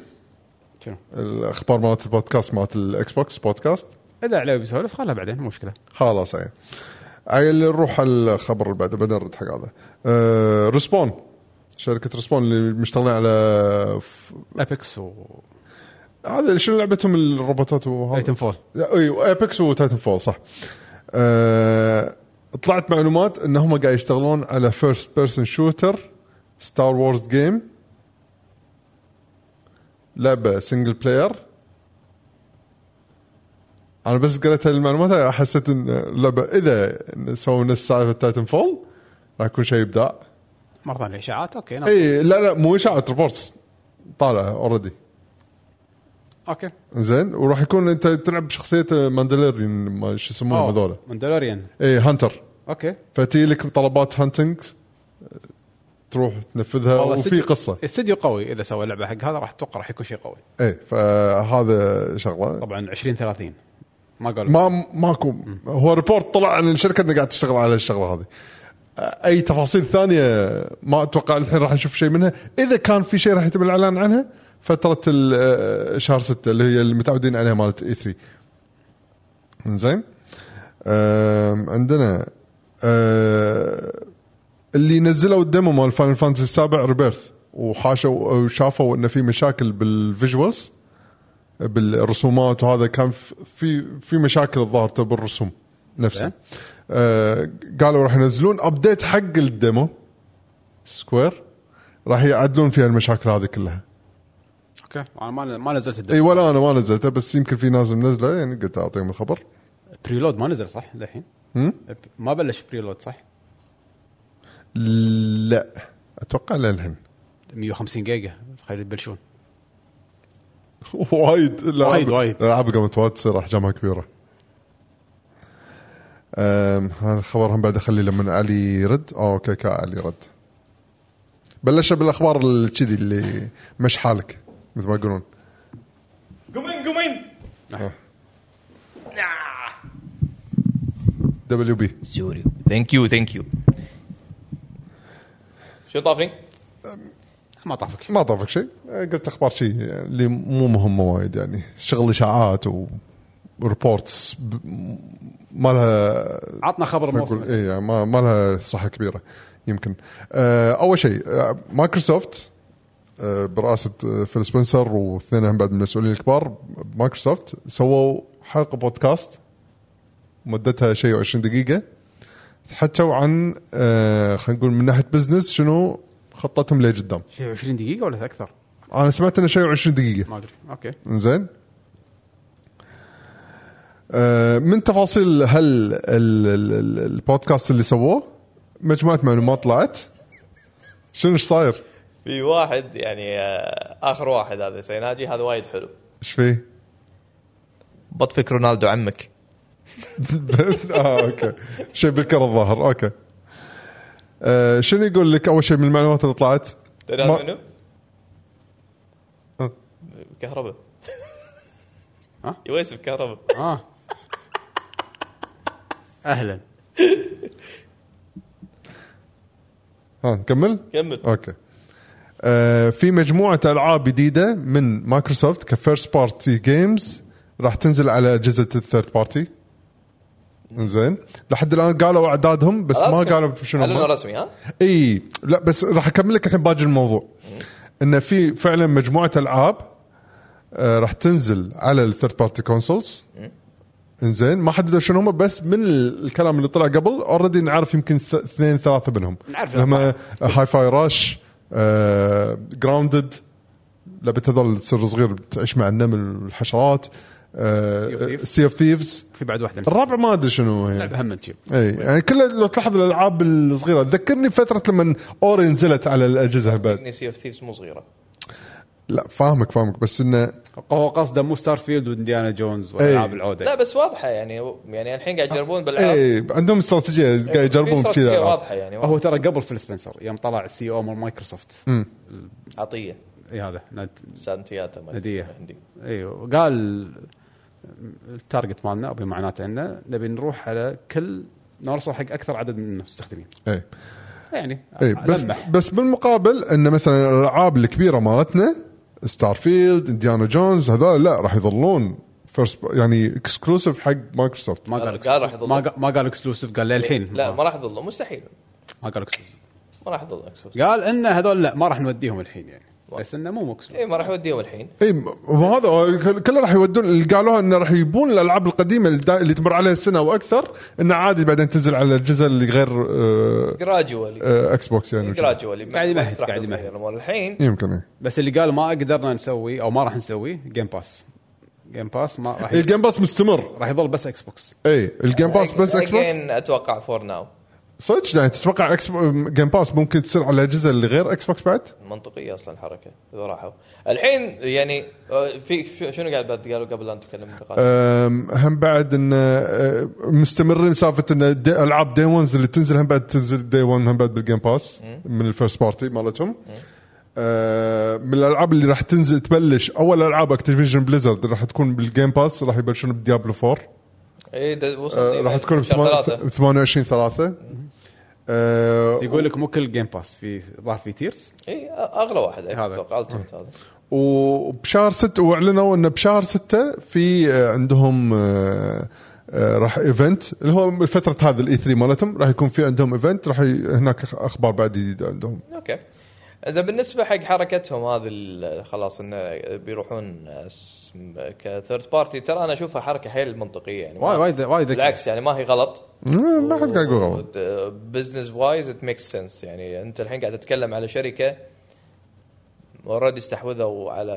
Speaker 1: شنو؟
Speaker 2: الاخبار مالت البودكاست مالت الاكس بوكس بودكاست
Speaker 1: اذا عليه بيسولف خلها بعدين مو مشكله
Speaker 2: خلاص إيه. عيل عيل نروح على الخبر اللي بعده بعدين نرد حق هذا آه، ريسبون شركه ريسبون اللي مشتغلين على ف-
Speaker 1: ابيكس و
Speaker 2: هذا شنو لعبتهم الروبوتات
Speaker 1: تايتن
Speaker 2: وهذا
Speaker 1: فول
Speaker 2: ايوه ابيكس وتايتن فول صح آه، طلعت معلومات ان هم قاعد يشتغلون على فيرست بيرسون شوتر ستار وورز جيم لعبه سنجل بلاير انا بس قريت المعلومات حسيت ان اللعبه اذا سووا نفس سالفه تايتن فول راح يكون شيء ابداع
Speaker 1: مره ثانيه اشاعات اوكي نعم.
Speaker 2: اي لا لا مو اشاعه ريبورتس طالعه اوريدي
Speaker 1: اوكي
Speaker 2: زين وراح يكون انت تلعب بشخصيه ماندلوريان ما شو يسمونهم هذول
Speaker 1: مندلوريان
Speaker 2: اي إيه، هانتر
Speaker 1: اوكي
Speaker 2: فتي لك طلبات هانتنج تروح تنفذها
Speaker 1: والله
Speaker 2: وفي
Speaker 1: صدق.
Speaker 2: قصه
Speaker 1: استديو قوي اذا سوى لعبه حق هذا راح اتوقع راح يكون شيء قوي
Speaker 2: اي إيه، فهذا شغله
Speaker 1: طبعا 20 30 ما قالوا
Speaker 2: ما ماكو هو ريبورت طلع عن الشركه انها قاعد تشتغل على الشغله هذه اي تفاصيل ثانيه ما اتوقع الحين راح نشوف شيء منها اذا كان في شيء راح يتم الاعلان عنها فتره ال- آه، شهر 6 اللي هي اللي متعودين عليها مالت اي 3 زين عندنا آه، اللي نزلوا الديمو مال فاينل فانتسي السابع ريبيرث وحاشوا وشافوا انه في مشاكل بالفيجوالز بالرسومات وهذا كان ف- في في مشاكل الظاهر تبع بالرسوم نفسه
Speaker 1: زين.
Speaker 2: آه، قالوا راح ينزلون ابديت حق الديمو سكوير راح يعدلون فيها المشاكل هذه كلها
Speaker 1: اوكي انا ما ما نزلت
Speaker 2: اي
Speaker 1: الدم
Speaker 2: ولا انا ما نزلته بس يمكن في ناس منزله يعني قلت اعطيهم الخبر
Speaker 1: بريلود ما نزل صح للحين
Speaker 2: هم؟
Speaker 1: ما بلش بريلود صح
Speaker 2: لا اتوقع للحين
Speaker 1: 150 جيجا خلي يبلشون
Speaker 2: (laughs) وايد الألعاب-
Speaker 1: وايد- وايد.
Speaker 2: الالعاب قامت وايد تصير احجامها كبيره أم، هذا الخبر هم بعد اخليه لما علي يرد اوكي كا علي رد بلش بالاخبار ال- كذي اللي مش حالك مثل ما يقولون آه.
Speaker 4: قومين قومين آه.
Speaker 2: دبليو بي
Speaker 4: سوري ثانك يو ثانك يو شو طافني؟
Speaker 1: ما طافك
Speaker 2: ما طافك شيء أه، قلت اخبار شيء اللي مو مهمه وايد يعني شغل اشاعات وريبورتس ما لها
Speaker 1: عطنا خبر
Speaker 2: نقول
Speaker 1: موسم
Speaker 2: اي إيه، ما ما لها صحه كبيره يمكن آه، اول شيء آه، مايكروسوفت آه، برئاسه آه، فيل سبنسر واثنينهم بعد من المسؤولين الكبار مايكروسوفت سووا حلقه بودكاست مدتها شيء 20 دقيقه تحكوا عن آه، خلينا نقول من ناحيه بزنس شنو خطتهم لقدام
Speaker 1: شيء 20 دقيقه ولا اكثر
Speaker 2: انا سمعت انه شيء 20 دقيقه
Speaker 1: ما ادري اوكي
Speaker 2: زين آه، من تفاصيل هل ال- ال- ال- البودكاست اللي سووه مجموعه معلومات طلعت شنو ايش صاير؟
Speaker 4: في واحد يعني آه، اخر واحد هذا سيناجي هذا وايد حلو
Speaker 2: ايش فيه؟ (laughs)
Speaker 4: بطفك رونالدو عمك
Speaker 2: اه اوكي شيء بالكره الظاهر اوكي آه، شنو يقول لك اول شيء من المعلومات اللي طلعت؟
Speaker 4: تدري هذا
Speaker 2: ما- أه.
Speaker 4: منو؟
Speaker 2: ها.
Speaker 4: كهرباء
Speaker 1: ها؟
Speaker 4: (laughs) يويس بكهرباء
Speaker 1: اه (laughs) اهلا
Speaker 2: ها نكمل؟
Speaker 4: كمل
Speaker 2: اوكي آه، في مجموعه العاب جديده من مايكروسوفت كفيرست بارتي جيمز راح تنزل على اجهزه الثيرد بارتي زين لحد الان قالوا اعدادهم بس ما
Speaker 4: رسمي.
Speaker 2: قالوا شنو
Speaker 4: اعلنوا
Speaker 2: هم.
Speaker 4: رسمي ها؟
Speaker 2: اي لا بس راح اكمل لك الحين باقي الموضوع ان في فعلا مجموعه العاب آه، راح تنزل على الثيرد بارتي كونسولز انزين ما حددوا شنو هم بس من ال- الكلام اللي طلع قبل اوريدي نعرف يمكن ث- اثنين ثلاثه منهم
Speaker 1: نعرف
Speaker 2: هم هاي فاي راش جراوندد لعبه هذول تصير صغير تعيش مع النمل والحشرات آه،
Speaker 1: Sea of Thieves.
Speaker 2: سي اوف ثيفز
Speaker 1: في بعد واحده
Speaker 2: الرابع ما ادري شنو هي
Speaker 1: لعبه هم تجيب
Speaker 2: اي يعني كلها لو تلاحظ الالعاب الصغيره تذكرني فتره لما اوري نزلت على الاجهزه بعد
Speaker 4: اني سي اوف ثيفز مو صغيره
Speaker 2: لا فاهمك فاهمك بس انه
Speaker 1: هو قصده مو ستار فيلد وانديانا جونز والعاب العوده
Speaker 4: لا بس واضحه يعني يعني الحين قاعد يجربون بالالعاب
Speaker 2: اي عندهم استراتيجيه أه، إيه، قاعد يجربون
Speaker 4: إيه، في
Speaker 2: كذا
Speaker 4: استراتيجية
Speaker 2: ألعاب.
Speaker 4: واضحه يعني
Speaker 1: هو ترى قبل فيل سبنسر يوم طلع السي او مال مايكروسوفت
Speaker 4: عطيه
Speaker 1: اي هذا ناد-
Speaker 4: سانتياتا ما أدري.
Speaker 1: هدية.
Speaker 4: عندي.
Speaker 1: ايوه قال التارجت مالنا او بمعناته عندنا نبي نروح على كل نوصل حق اكثر عدد من المستخدمين
Speaker 2: اي
Speaker 1: يعني
Speaker 2: اي إيه. بس
Speaker 1: لمح.
Speaker 2: بس بالمقابل ان مثلا الالعاب الكبيره مالتنا ستار فيلد انديانا جونز هذول لا راح يظلون فيرست يعني اكسكلوسيف حق مايكروسوفت
Speaker 1: ما قال
Speaker 4: قال راح
Speaker 1: exclusive.
Speaker 4: يضل.
Speaker 1: ما قال- ما قال اكسلوسيف قال للحين
Speaker 4: لا ما راح يضلوا مستحيل
Speaker 1: ما قال اكسلوسيف
Speaker 4: ما راح يضلوا اكسس
Speaker 1: قال ان هذول لا ما راح نوديهم الحين يعني بس انه مو مكسلوسيف
Speaker 4: اي إيه، ما راح يوديهم الحين
Speaker 2: اي إيه، ما هذا كل- كله راح يودون اللي قالوها انه راح يبون الالعاب القديمه اللي, دا- اللي تمر عليها سنه واكثر انه عادي بعدين تنزل على الاجهزه اللي غير آه،
Speaker 4: جراجوالي
Speaker 2: آه، اكس بوكس يعني وكذا.
Speaker 4: جراجوالي
Speaker 1: قاعد يمهد، قاعد يمهد.
Speaker 4: الحين
Speaker 2: يمكن إيه.
Speaker 1: بس اللي قال ما قدرنا نسوي او ما راح نسوي جيم باس جيم باس ما راح
Speaker 2: الجيم باس مستمر
Speaker 1: راح يظل بس اكس بوكس
Speaker 2: اي الجيم باس إيه، بس اكس بوكس
Speaker 4: Again، اتوقع فور ناو
Speaker 2: صدق يعني تتوقع اكس جيم باس ممكن تصير على الاجهزه اللي غير اكس بوكس بعد؟
Speaker 4: منطقيه اصلا الحركه اذا راحوا الحين يعني آه، في في- شنو قاعد بعد قالوا قبل لا نتكلم أه
Speaker 2: آه، أم، هم بعد ان أه، مستمرين سالفه ان دي- العاب دي 1 اللي تنزل هم بعد تنزل دي 1 هم بعد بالجيم باس من الفيرست بارتي مالتهم أه، من الالعاب اللي راح تنزل تبلش اول العاب اكتيفيجن بليزرد راح تكون بالجيم باس راح يبلشون بديابلو 4
Speaker 4: اي ده وصلت
Speaker 2: أه،
Speaker 4: إيه،
Speaker 2: راح تكون ب
Speaker 4: شهر ثلاثة.
Speaker 2: 28 3 آه،
Speaker 1: يقول لك مو كل جيم باس في ظهر في تيرز
Speaker 4: اي اغلى واحد إيه،
Speaker 1: هذا.
Speaker 4: اتوقع Ultimate هذا
Speaker 2: وبشهر 6 واعلنوا انه بشهر 6 في آه، عندهم آه، آه، راح ايفنت اللي هو من فتره هذا الاي 3 مالتهم راح يكون في عندهم ايفنت راح ي... هناك أخ- اخبار بعد جديده عندهم
Speaker 4: اوكي اذا بالنسبه حق حركتهم هذه ال- خلاص انه بيروحون اسم- كثيرد بارتي ترى انا اشوفها حركه حيل منطقيه يعني
Speaker 1: وايد وايد وايد
Speaker 4: بالعكس يعني ما هي غلط
Speaker 2: مم، ما حد قاعد يقول غلط
Speaker 4: بزنس وايز ات ميك سنس يعني انت الحين قاعد تتكلم على شركه اوريدي استحوذوا على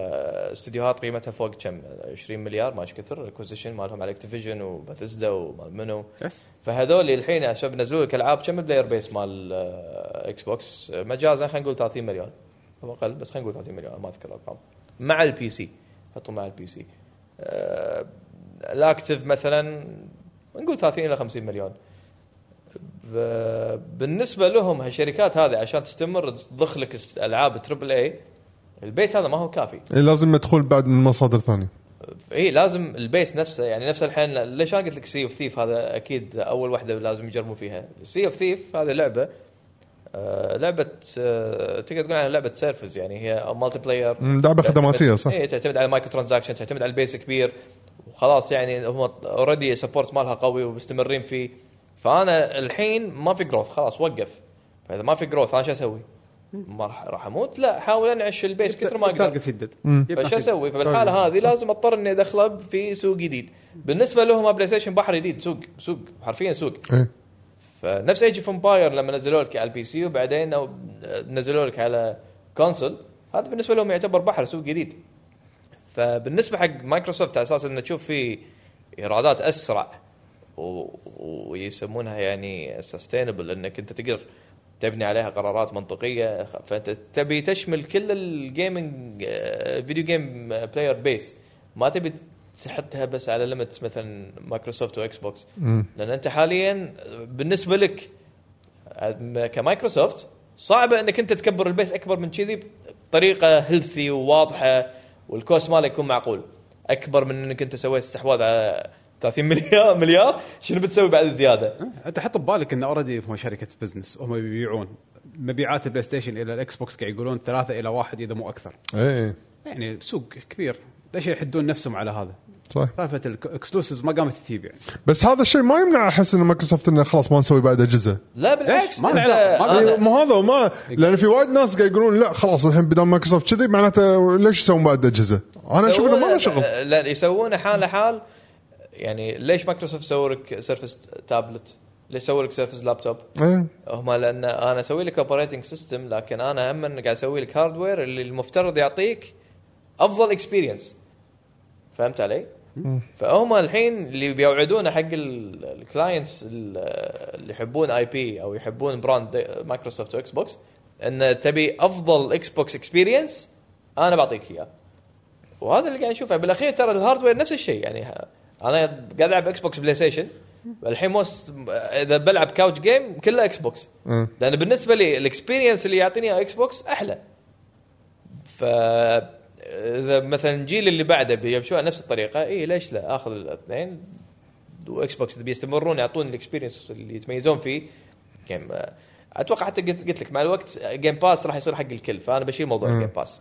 Speaker 4: استديوهات قيمتها فوق كم 20 مليار ما ايش كثر الاكوزيشن مالهم على اكتيفيجن وباثيزدا ومال منو
Speaker 1: يس
Speaker 4: فهذول الحين عشان بنزلوا لك العاب كم البلاير بيس مال آه، اكس بوكس آه، مجازا خلينا نقول 30 مليون او اقل بس خلينا نقول 30 مليون ما اذكر الارقام مع البي سي حطوا مع البي سي آه، الاكتف مثلا نقول 30 الى 50 مليون ب- بالنسبه لهم هالشركات هذه عشان تستمر تضخ لك است- العاب تربل اي البيس هذا ما هو كافي
Speaker 2: إيه، لازم مدخول بعد من مصادر ثانيه
Speaker 4: اي إيه، لازم البيس نفسه يعني نفس الحين ليش انا قلت لك سي اوف ثيف هذا اكيد اول واحده لازم يجربون فيها سي اوف ثيف هذه لعبه آه لعبه آه تقدر تقول عنها لعبه سيرفز يعني هي مالتي بلاير
Speaker 2: مم، لعبه خدماتيه صح؟
Speaker 4: اي تعتمد على مايكرو ترانزاكشن تعتمد على البيس كبير وخلاص يعني هم اوريدي سبورت مالها قوي ومستمرين فيه فانا الحين ما في جروث خلاص وقف فاذا ما في جروث انا شو اسوي؟ ما راح راح اموت لا احاول انعش البيس كثر ما اقدر
Speaker 1: تارجت يدد
Speaker 4: فشو اسوي؟ فبالحاله هذه لازم اضطر اني ادخله في سوق جديد. بالنسبه لهم بلاي ستيشن بحر جديد سوق سوق حرفيا سوق.
Speaker 2: ايه
Speaker 4: فنفس ايج اوف امباير لما نزلوا لك على البي سي وبعدين أو- نزلوا لك على كونسل هذا بالنسبه لهم يعتبر بحر سوق جديد. فبالنسبه حق مايكروسوفت على اساس انه تشوف في ايرادات اسرع و- ويسمونها يعني سستينبل انك انت تقدر تبني عليها قرارات منطقيه خ- فانت تبي تشمل كل آه، الجيمنج فيديو جيم بلاير بيس ما تبي تحطها بس على ليمتس مثلا مايكروسوفت واكس بوكس لان انت حاليا بالنسبه لك أم- كمايكروسوفت صعبه انك انت تكبر البيس اكبر من كذي بطريقه هيلثي وواضحه والكوست ماله يكون معقول اكبر من انك انت سويت استحواذ على 30 مليار مليار شنو بتسوي بعد الزياده؟
Speaker 1: انت حط ببالك ان اوريدي هم شركه بزنس هم يبيعون مبيعات البلاي ستيشن الى الاكس بوكس قاعد يقولون ثلاثه الى واحد اذا مو اكثر
Speaker 2: ايه
Speaker 1: يعني سوق كبير ليش يحدون نفسهم على هذا؟
Speaker 2: صح
Speaker 1: سالفه الاكسلوسيفز ما قامت تجيب يعني
Speaker 2: بس هذا الشيء ما يمنع احس ان مايكروسوفت انه خلاص ما نسوي بعد اجهزه
Speaker 4: لا بالعكس
Speaker 1: ما
Speaker 4: أنت-
Speaker 1: له علاقة، ما له
Speaker 4: أنا-
Speaker 1: علاقة.
Speaker 2: ما هذا وما لان في وايد ناس قاعد يقولون لا خلاص الحين بدل مايكروسوفت كذي معناته ليش يسوون بعد اجهزه؟ انا اشوف انه ما له شغل
Speaker 4: يسوونه- لا يسوونه حال لحال يعني ليش مايكروسوفت سووا لك سيرفس تابلت؟ ليش سووا لك سيرفس لابتوب؟
Speaker 2: إيه.
Speaker 4: هم لان انا اسوي لك اوبريتنج سيستم لكن انا هم قاعد اسوي لك هاردوير اللي المفترض يعطيك افضل اكسبيرينس فهمت علي؟ فهم الحين اللي بيوعدونه حق الكلاينتس اللي يحبون اي بي او يحبون براند مايكروسوفت واكس بوكس ان تبي افضل اكس بوكس اكسبيرينس انا بعطيك اياه وهذا اللي قاعد نشوفه بالاخير ترى الهاردوير نفس الشيء يعني ه- انا قاعد العب اكس بوكس بلاي ستيشن الحين موست اذا بلعب كاوتش جيم كله اكس بوكس
Speaker 2: مم.
Speaker 4: لان بالنسبه لي الاكسبيرينس اللي يعطيني اياه اكس بوكس احلى ف اذا مثلا الجيل اللي بعده بيمشوا على نفس الطريقه اي ليش لا اخذ الاثنين واكس بوكس اذا بيستمرون يعطون الاكسبيرينس اللي يتميزون فيه جيم اتوقع حتى قلت, قلت لك مع الوقت جيم باس راح يصير حق الكل فانا بشيل موضوع الجيم باس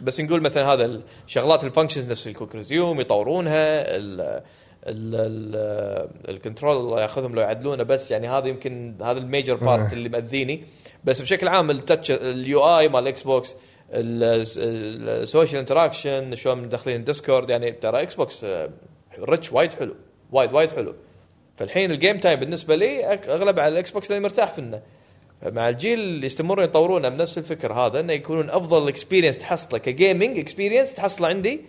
Speaker 4: بس نقول مثلا هذا الشغلات الفانكشنز نفس الكوك ريزيوم يطورونها ال ال- ال- الكنترول الله ياخذهم لو يعدلونه بس يعني هذا يمكن هذا الميجر بارت اللي مأذيني بس بشكل عام التاتش اليو اي مال الاكس بوكس السوشيال انتراكشن شلون مدخلين الديسكورد يعني ترى اكس بوكس ريتش وايد حلو وايد وايد حلو فالحين الجيم تايم بالنسبه لي أك- اغلب على الاكس بوكس لاني مرتاح فينه مع الجيل اللي يستمرون يطورونه بنفس الفكر هذا انه يكونون افضل اكسبيرينس تحصله كجيمنج اكسبيرينس تحصله عندي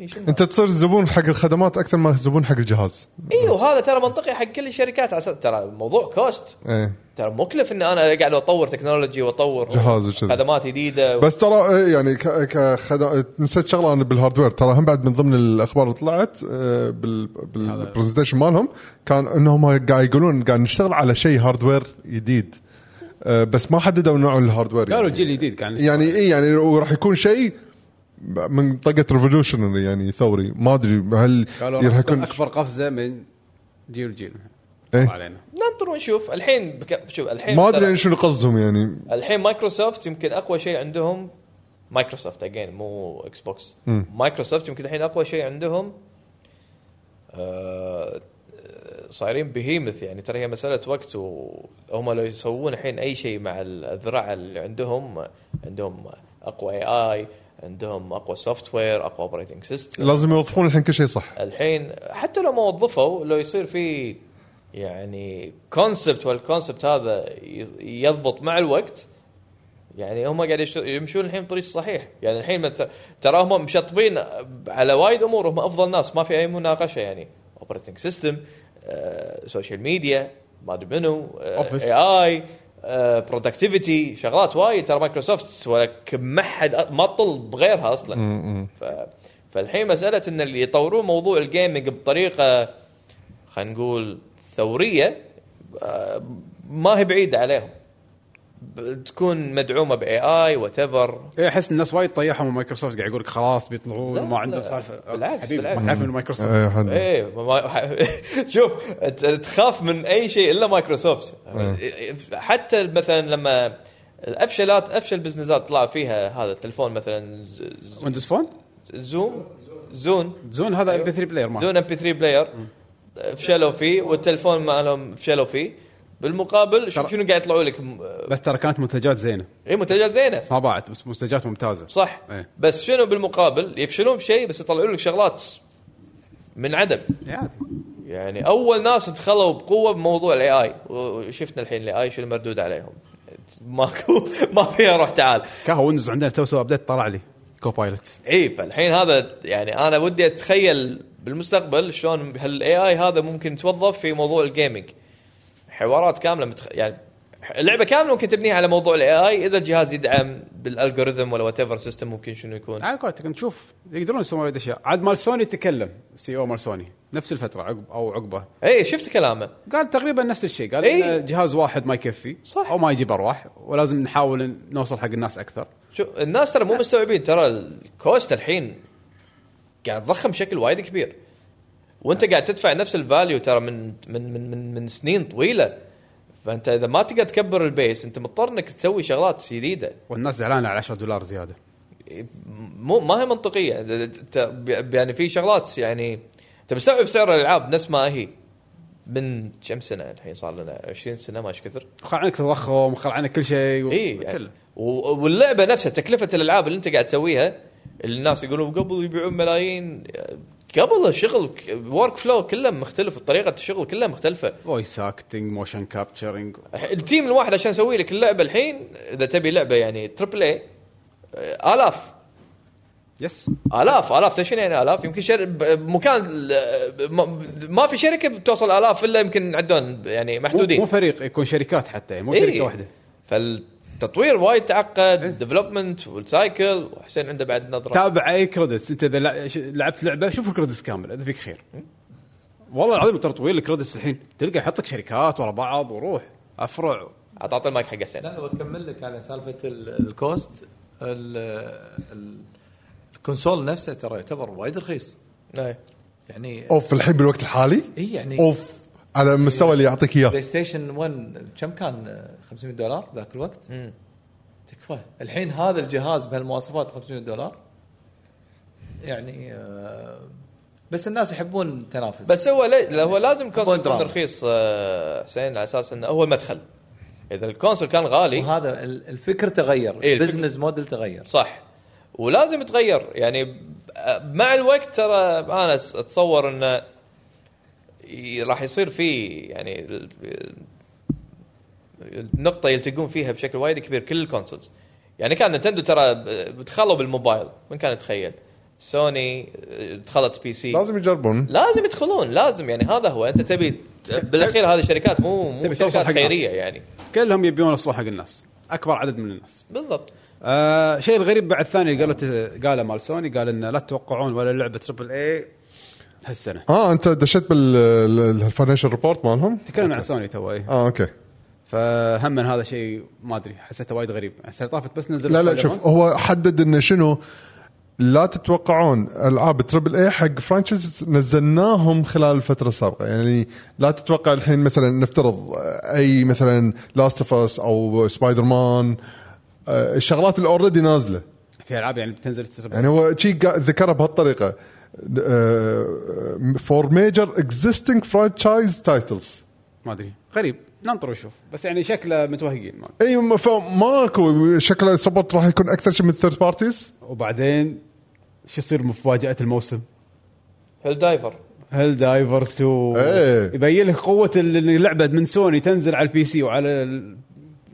Speaker 4: إيش
Speaker 2: انت تصير زبون حق الخدمات اكثر ما زبون حق الجهاز
Speaker 4: اي وهذا إيوه، ترى منطقي حق كل الشركات على أساس- ترى موضوع كوست
Speaker 2: ايه
Speaker 4: ترى مكلف ان انا قاعد اطور تكنولوجي واطور
Speaker 2: جهاز وكذا.
Speaker 4: خدمات جديده
Speaker 2: بس ترى إيه، يعني ك- كخدم نسيت شغله انا بالهاردوير ترى هم بعد من ضمن الاخبار اللي طلعت آه، بال بالبرزنتيشن مالهم كان انهم قاعد يقولون قاعد نشتغل على شيء هاردوير جديد آه، بس ما حددوا نوع الهاردوير
Speaker 1: قالوا
Speaker 2: يعني.
Speaker 1: الجيل الجديد كان
Speaker 2: يعني اي يعني وراح يكون شيء من طقه ريفولوشنري يعني ثوري ما ادري هل
Speaker 1: قالوا راح يكون
Speaker 2: يكون
Speaker 1: اكبر قفزه من جيل لجيل
Speaker 2: إيه.
Speaker 1: ما علينا
Speaker 4: ننطر ونشوف الحين بك... شوف الحين
Speaker 2: ما
Speaker 4: ترى-
Speaker 2: ادري شنو قصدهم يعني
Speaker 4: الحين مايكروسوفت يمكن اقوى شيء عندهم مايكروسوفت اجين مو اكس بوكس
Speaker 2: مم.
Speaker 4: مايكروسوفت يمكن الحين اقوى شيء عندهم آه، صايرين بهيمث يعني ترى هي مساله وقت وهم لو يسوون الحين اي شيء مع الاذرع اللي عندهم عندهم اقوى اي اي عندهم اقوى سوفت وير اقوى اوبريتنج سيستم
Speaker 2: لازم يوظفون الحين كل شيء صح
Speaker 4: الحين حتى لو ما وظفوا لو يصير في يعني كونسبت والكونسبت هذا ي- يضبط مع الوقت يعني هم قاعد يش- يمشون الحين بطريق صحيح يعني الحين مث- ترى هم مشطبين على وايد امور هم افضل ناس ما في اي مناقشه يعني اوبريتنج سيستم سوشيال ميديا ما ادري منو آه،
Speaker 1: Office.
Speaker 4: اي اي برودكتيفيتي آه، شغلات وايد ترى مايكروسوفت ولا كم- ما حد ما طل بغيرها اصلا ف... فالحين مساله ان اللي يطورون موضوع الجيمنج بطريقه خلينا نقول ثوريه آه، ما هي بعيده عليهم ب- تكون مدعومه باي اي وات ايفر
Speaker 1: إيه، احس الناس وايد طيحهم مايكروسوفت قاعد يقول لك خلاص بيطلعون
Speaker 4: لا،
Speaker 1: وما عندهم
Speaker 4: لا،
Speaker 1: سالفه
Speaker 4: بالعكس،
Speaker 1: حبيبي
Speaker 4: بالعكس.
Speaker 1: ما تعرف من مايكروسوفت
Speaker 2: إيه، حد.
Speaker 4: ايه ما- ما- (laughs) شوف ت- تخاف من اي شيء الا مايكروسوفت
Speaker 2: مم.
Speaker 4: حتى مثلا لما الافشلات افشل بزنسات طلع فيها هذا التلفون مثلا ز- ز-
Speaker 1: ويندوز فون
Speaker 4: زوم زون
Speaker 1: زون هذا ام بي 3 بلاير ما
Speaker 4: أيوه. زون ام بي 3 بلاير فشلوا فيه والتلفون مالهم فشلوا فيه بالمقابل شوف
Speaker 1: ترى-
Speaker 4: شنو قاعد يطلعوا لك م-
Speaker 1: بس ترى كانت منتجات زينه
Speaker 4: اي منتجات زينه
Speaker 1: ما باعت بس منتجات ممتازه
Speaker 4: صح
Speaker 1: إيه.
Speaker 4: بس شنو بالمقابل يفشلون بشيء بس يطلعوا لك شغلات من عدم
Speaker 1: إيه، عادي
Speaker 4: يعني اول ناس دخلوا بقوه بموضوع الاي اي وشفنا الحين الاي اي شو المردود عليهم (laughs) ماكو ما فيها روح تعال
Speaker 1: كاها ويندوز عندنا تو سوى ابديت طلع لي كوبايلوت
Speaker 4: اي فالحين هذا يعني انا ودي اتخيل بالمستقبل شلون هالاي اي هذا ممكن يتوظف في موضوع الجيمنج حوارات كامله متخ... يعني اللعبه كامله ممكن تبنيها على موضوع الاي اي اذا الجهاز يدعم بالالجوريثم ولا وات ايفر سيستم ممكن شنو يكون
Speaker 1: على قولتك نشوف يقدرون يسوون وايد اشياء عاد مال سوني تكلم سي او مال سوني نفس الفتره عقب او عقبه
Speaker 4: اي شفت كلامه
Speaker 1: قال تقريبا نفس الشيء قال
Speaker 4: إيه.
Speaker 1: إن جهاز واحد ما يكفي
Speaker 4: صح.
Speaker 1: او ما يجيب ارواح ولازم نحاول إن نوصل حق الناس اكثر
Speaker 4: شو الناس ترى مو مستوعبين ترى الكوست الحين قاعد تضخم بشكل وايد كبير وانت قاعد تدفع نفس الفاليو ترى من من من من, من سنين طويله فانت اذا ما تقدر تكبر البيس انت مضطر انك تسوي شغلات جديده
Speaker 1: والناس زعلانه على 10 دولار زياده
Speaker 4: مو ما هي منطقيه ت- ب- يعني في شغلات يعني انت مستوعب سعر الالعاب نفس ما هي من كم سنه الحين صار لنا 20 سنه ما ايش كثر
Speaker 1: خل عنك تضخم خل عنك كل شيء و... (laughs)
Speaker 4: اي
Speaker 1: كله.
Speaker 4: يعني و- واللعبه نفسها تكلفه الالعاب اللي انت قاعد تسويها اللي الناس يقولون قبل يبيعون ملايين قبل الشغل ورك فلو كله مختلف طريقه الشغل كلها مختلفه
Speaker 1: فويس اكتنج موشن كابتشرنج
Speaker 4: التيم الواحد عشان يسوي لك اللعبه الحين اذا تبي لعبه يعني تربل اي الاف
Speaker 1: يس
Speaker 4: الاف الاف تدري شنو يعني الاف يمكن شر... ب- مكان ال- ما- ما في شركه بتوصل الاف الا يمكن عدون يعني
Speaker 1: مو, مو
Speaker 4: محدودين
Speaker 1: فريق يكون شركات حتى يعني مو
Speaker 4: إيه.
Speaker 1: شركه واحده
Speaker 4: فالتطوير وايد تعقد
Speaker 1: إيه.
Speaker 4: الديفلوبمنت والسايكل وحسين عنده بعد نظره
Speaker 1: تابع اي كريدتس انت اذا لع- ش- لعبت لعبه شوف الكريدتس كامل اذا فيك خير والله العظيم ترى طويل الكريدتس الحين تلقى يحطك شركات ورا بعض وروح افرع
Speaker 4: عط اعطي المايك حق حسين
Speaker 3: لا بكمل لك على سالفه ال- الكوست ال- ال- الكونسول نفسه ترى يعتبر وايد رخيص
Speaker 4: أي.
Speaker 3: يعني
Speaker 2: اوف الحين بالوقت الحالي
Speaker 3: اي يعني
Speaker 2: اوف على المستوى اللي يعطيك اياه
Speaker 3: بلاي ستيشن 1 كم كان 500 دولار ذاك الوقت
Speaker 4: مم.
Speaker 3: تكفى الحين هذا الجهاز بهالمواصفات 500 دولار يعني آه، بس الناس يحبون التنافس
Speaker 4: بس هو لي... لا، هو لازم كونسول يكون
Speaker 3: دراما.
Speaker 4: رخيص آه، حسين على اساس انه هو المدخل اذا الكونسول كان غالي
Speaker 3: وهذا ال- الفكر تغير
Speaker 4: إيه، الفكر-
Speaker 3: البزنس موديل تغير
Speaker 4: صح ولازم يتغير يعني ب- مع الوقت ترى انا أس- اتصور انه ي- راح يصير في يعني ال- ال- النقطه يلتقون فيها بشكل وايد كبير كل الكونسولز يعني كان نتندو ترى ب- دخلوا بالموبايل من كان يتخيل سوني آه، دخلت بي سي
Speaker 2: لازم يجربون
Speaker 4: لازم يدخلون لازم يعني هذا هو انت تبي ت- بالاخير هذه الشركات مو مو
Speaker 1: تبي توصل
Speaker 4: شركات
Speaker 1: حق الناس.
Speaker 4: خيريه يعني
Speaker 1: كلهم يبيون يوصلون حق الناس اكبر عدد من الناس
Speaker 4: بالضبط
Speaker 1: آه شيء الغريب بعد الثاني اللي قالوا قاله مال سوني قال ان لا تتوقعون ولا لعبه تربل اي هالسنه
Speaker 2: اه انت دشيت بالفاينانشال ريبورت مالهم
Speaker 1: تكلمنا عن سوني تو اي
Speaker 2: اه اوكي
Speaker 1: فهم من هذا شيء ما ادري حسيته وايد غريب السنه طافت بس نزل
Speaker 2: لا لا
Speaker 1: سبايدر
Speaker 2: شوف
Speaker 1: مان.
Speaker 2: هو حدد انه شنو لا تتوقعون العاب تربل اي حق فرانشيز نزلناهم خلال الفتره السابقه يعني لا تتوقع الحين مثلا نفترض آه، اي مثلا لاست اوف اس او سبايدر مان آه، الشغلات اللي اوريدي نازله
Speaker 1: في العاب يعني بتنزل تربل
Speaker 2: يعني هو شيء قا- ذكرها بهالطريقه فور ميجر اكزيستنج فرانشايز تايتلز
Speaker 1: ما ادري غريب ننطر ونشوف بس يعني شكله متوهقين ما-
Speaker 2: اي ما- فماكو شكله سبورت راح يكون اكثر شيء من الثيرد بارتيز
Speaker 1: وبعدين شو يصير مفاجاه الموسم
Speaker 4: هيل دايفر
Speaker 1: هل دايفرز 2
Speaker 2: إيه.
Speaker 1: يبين لك قوه ال- إن اللعبه من سوني تنزل على البي سي وعلى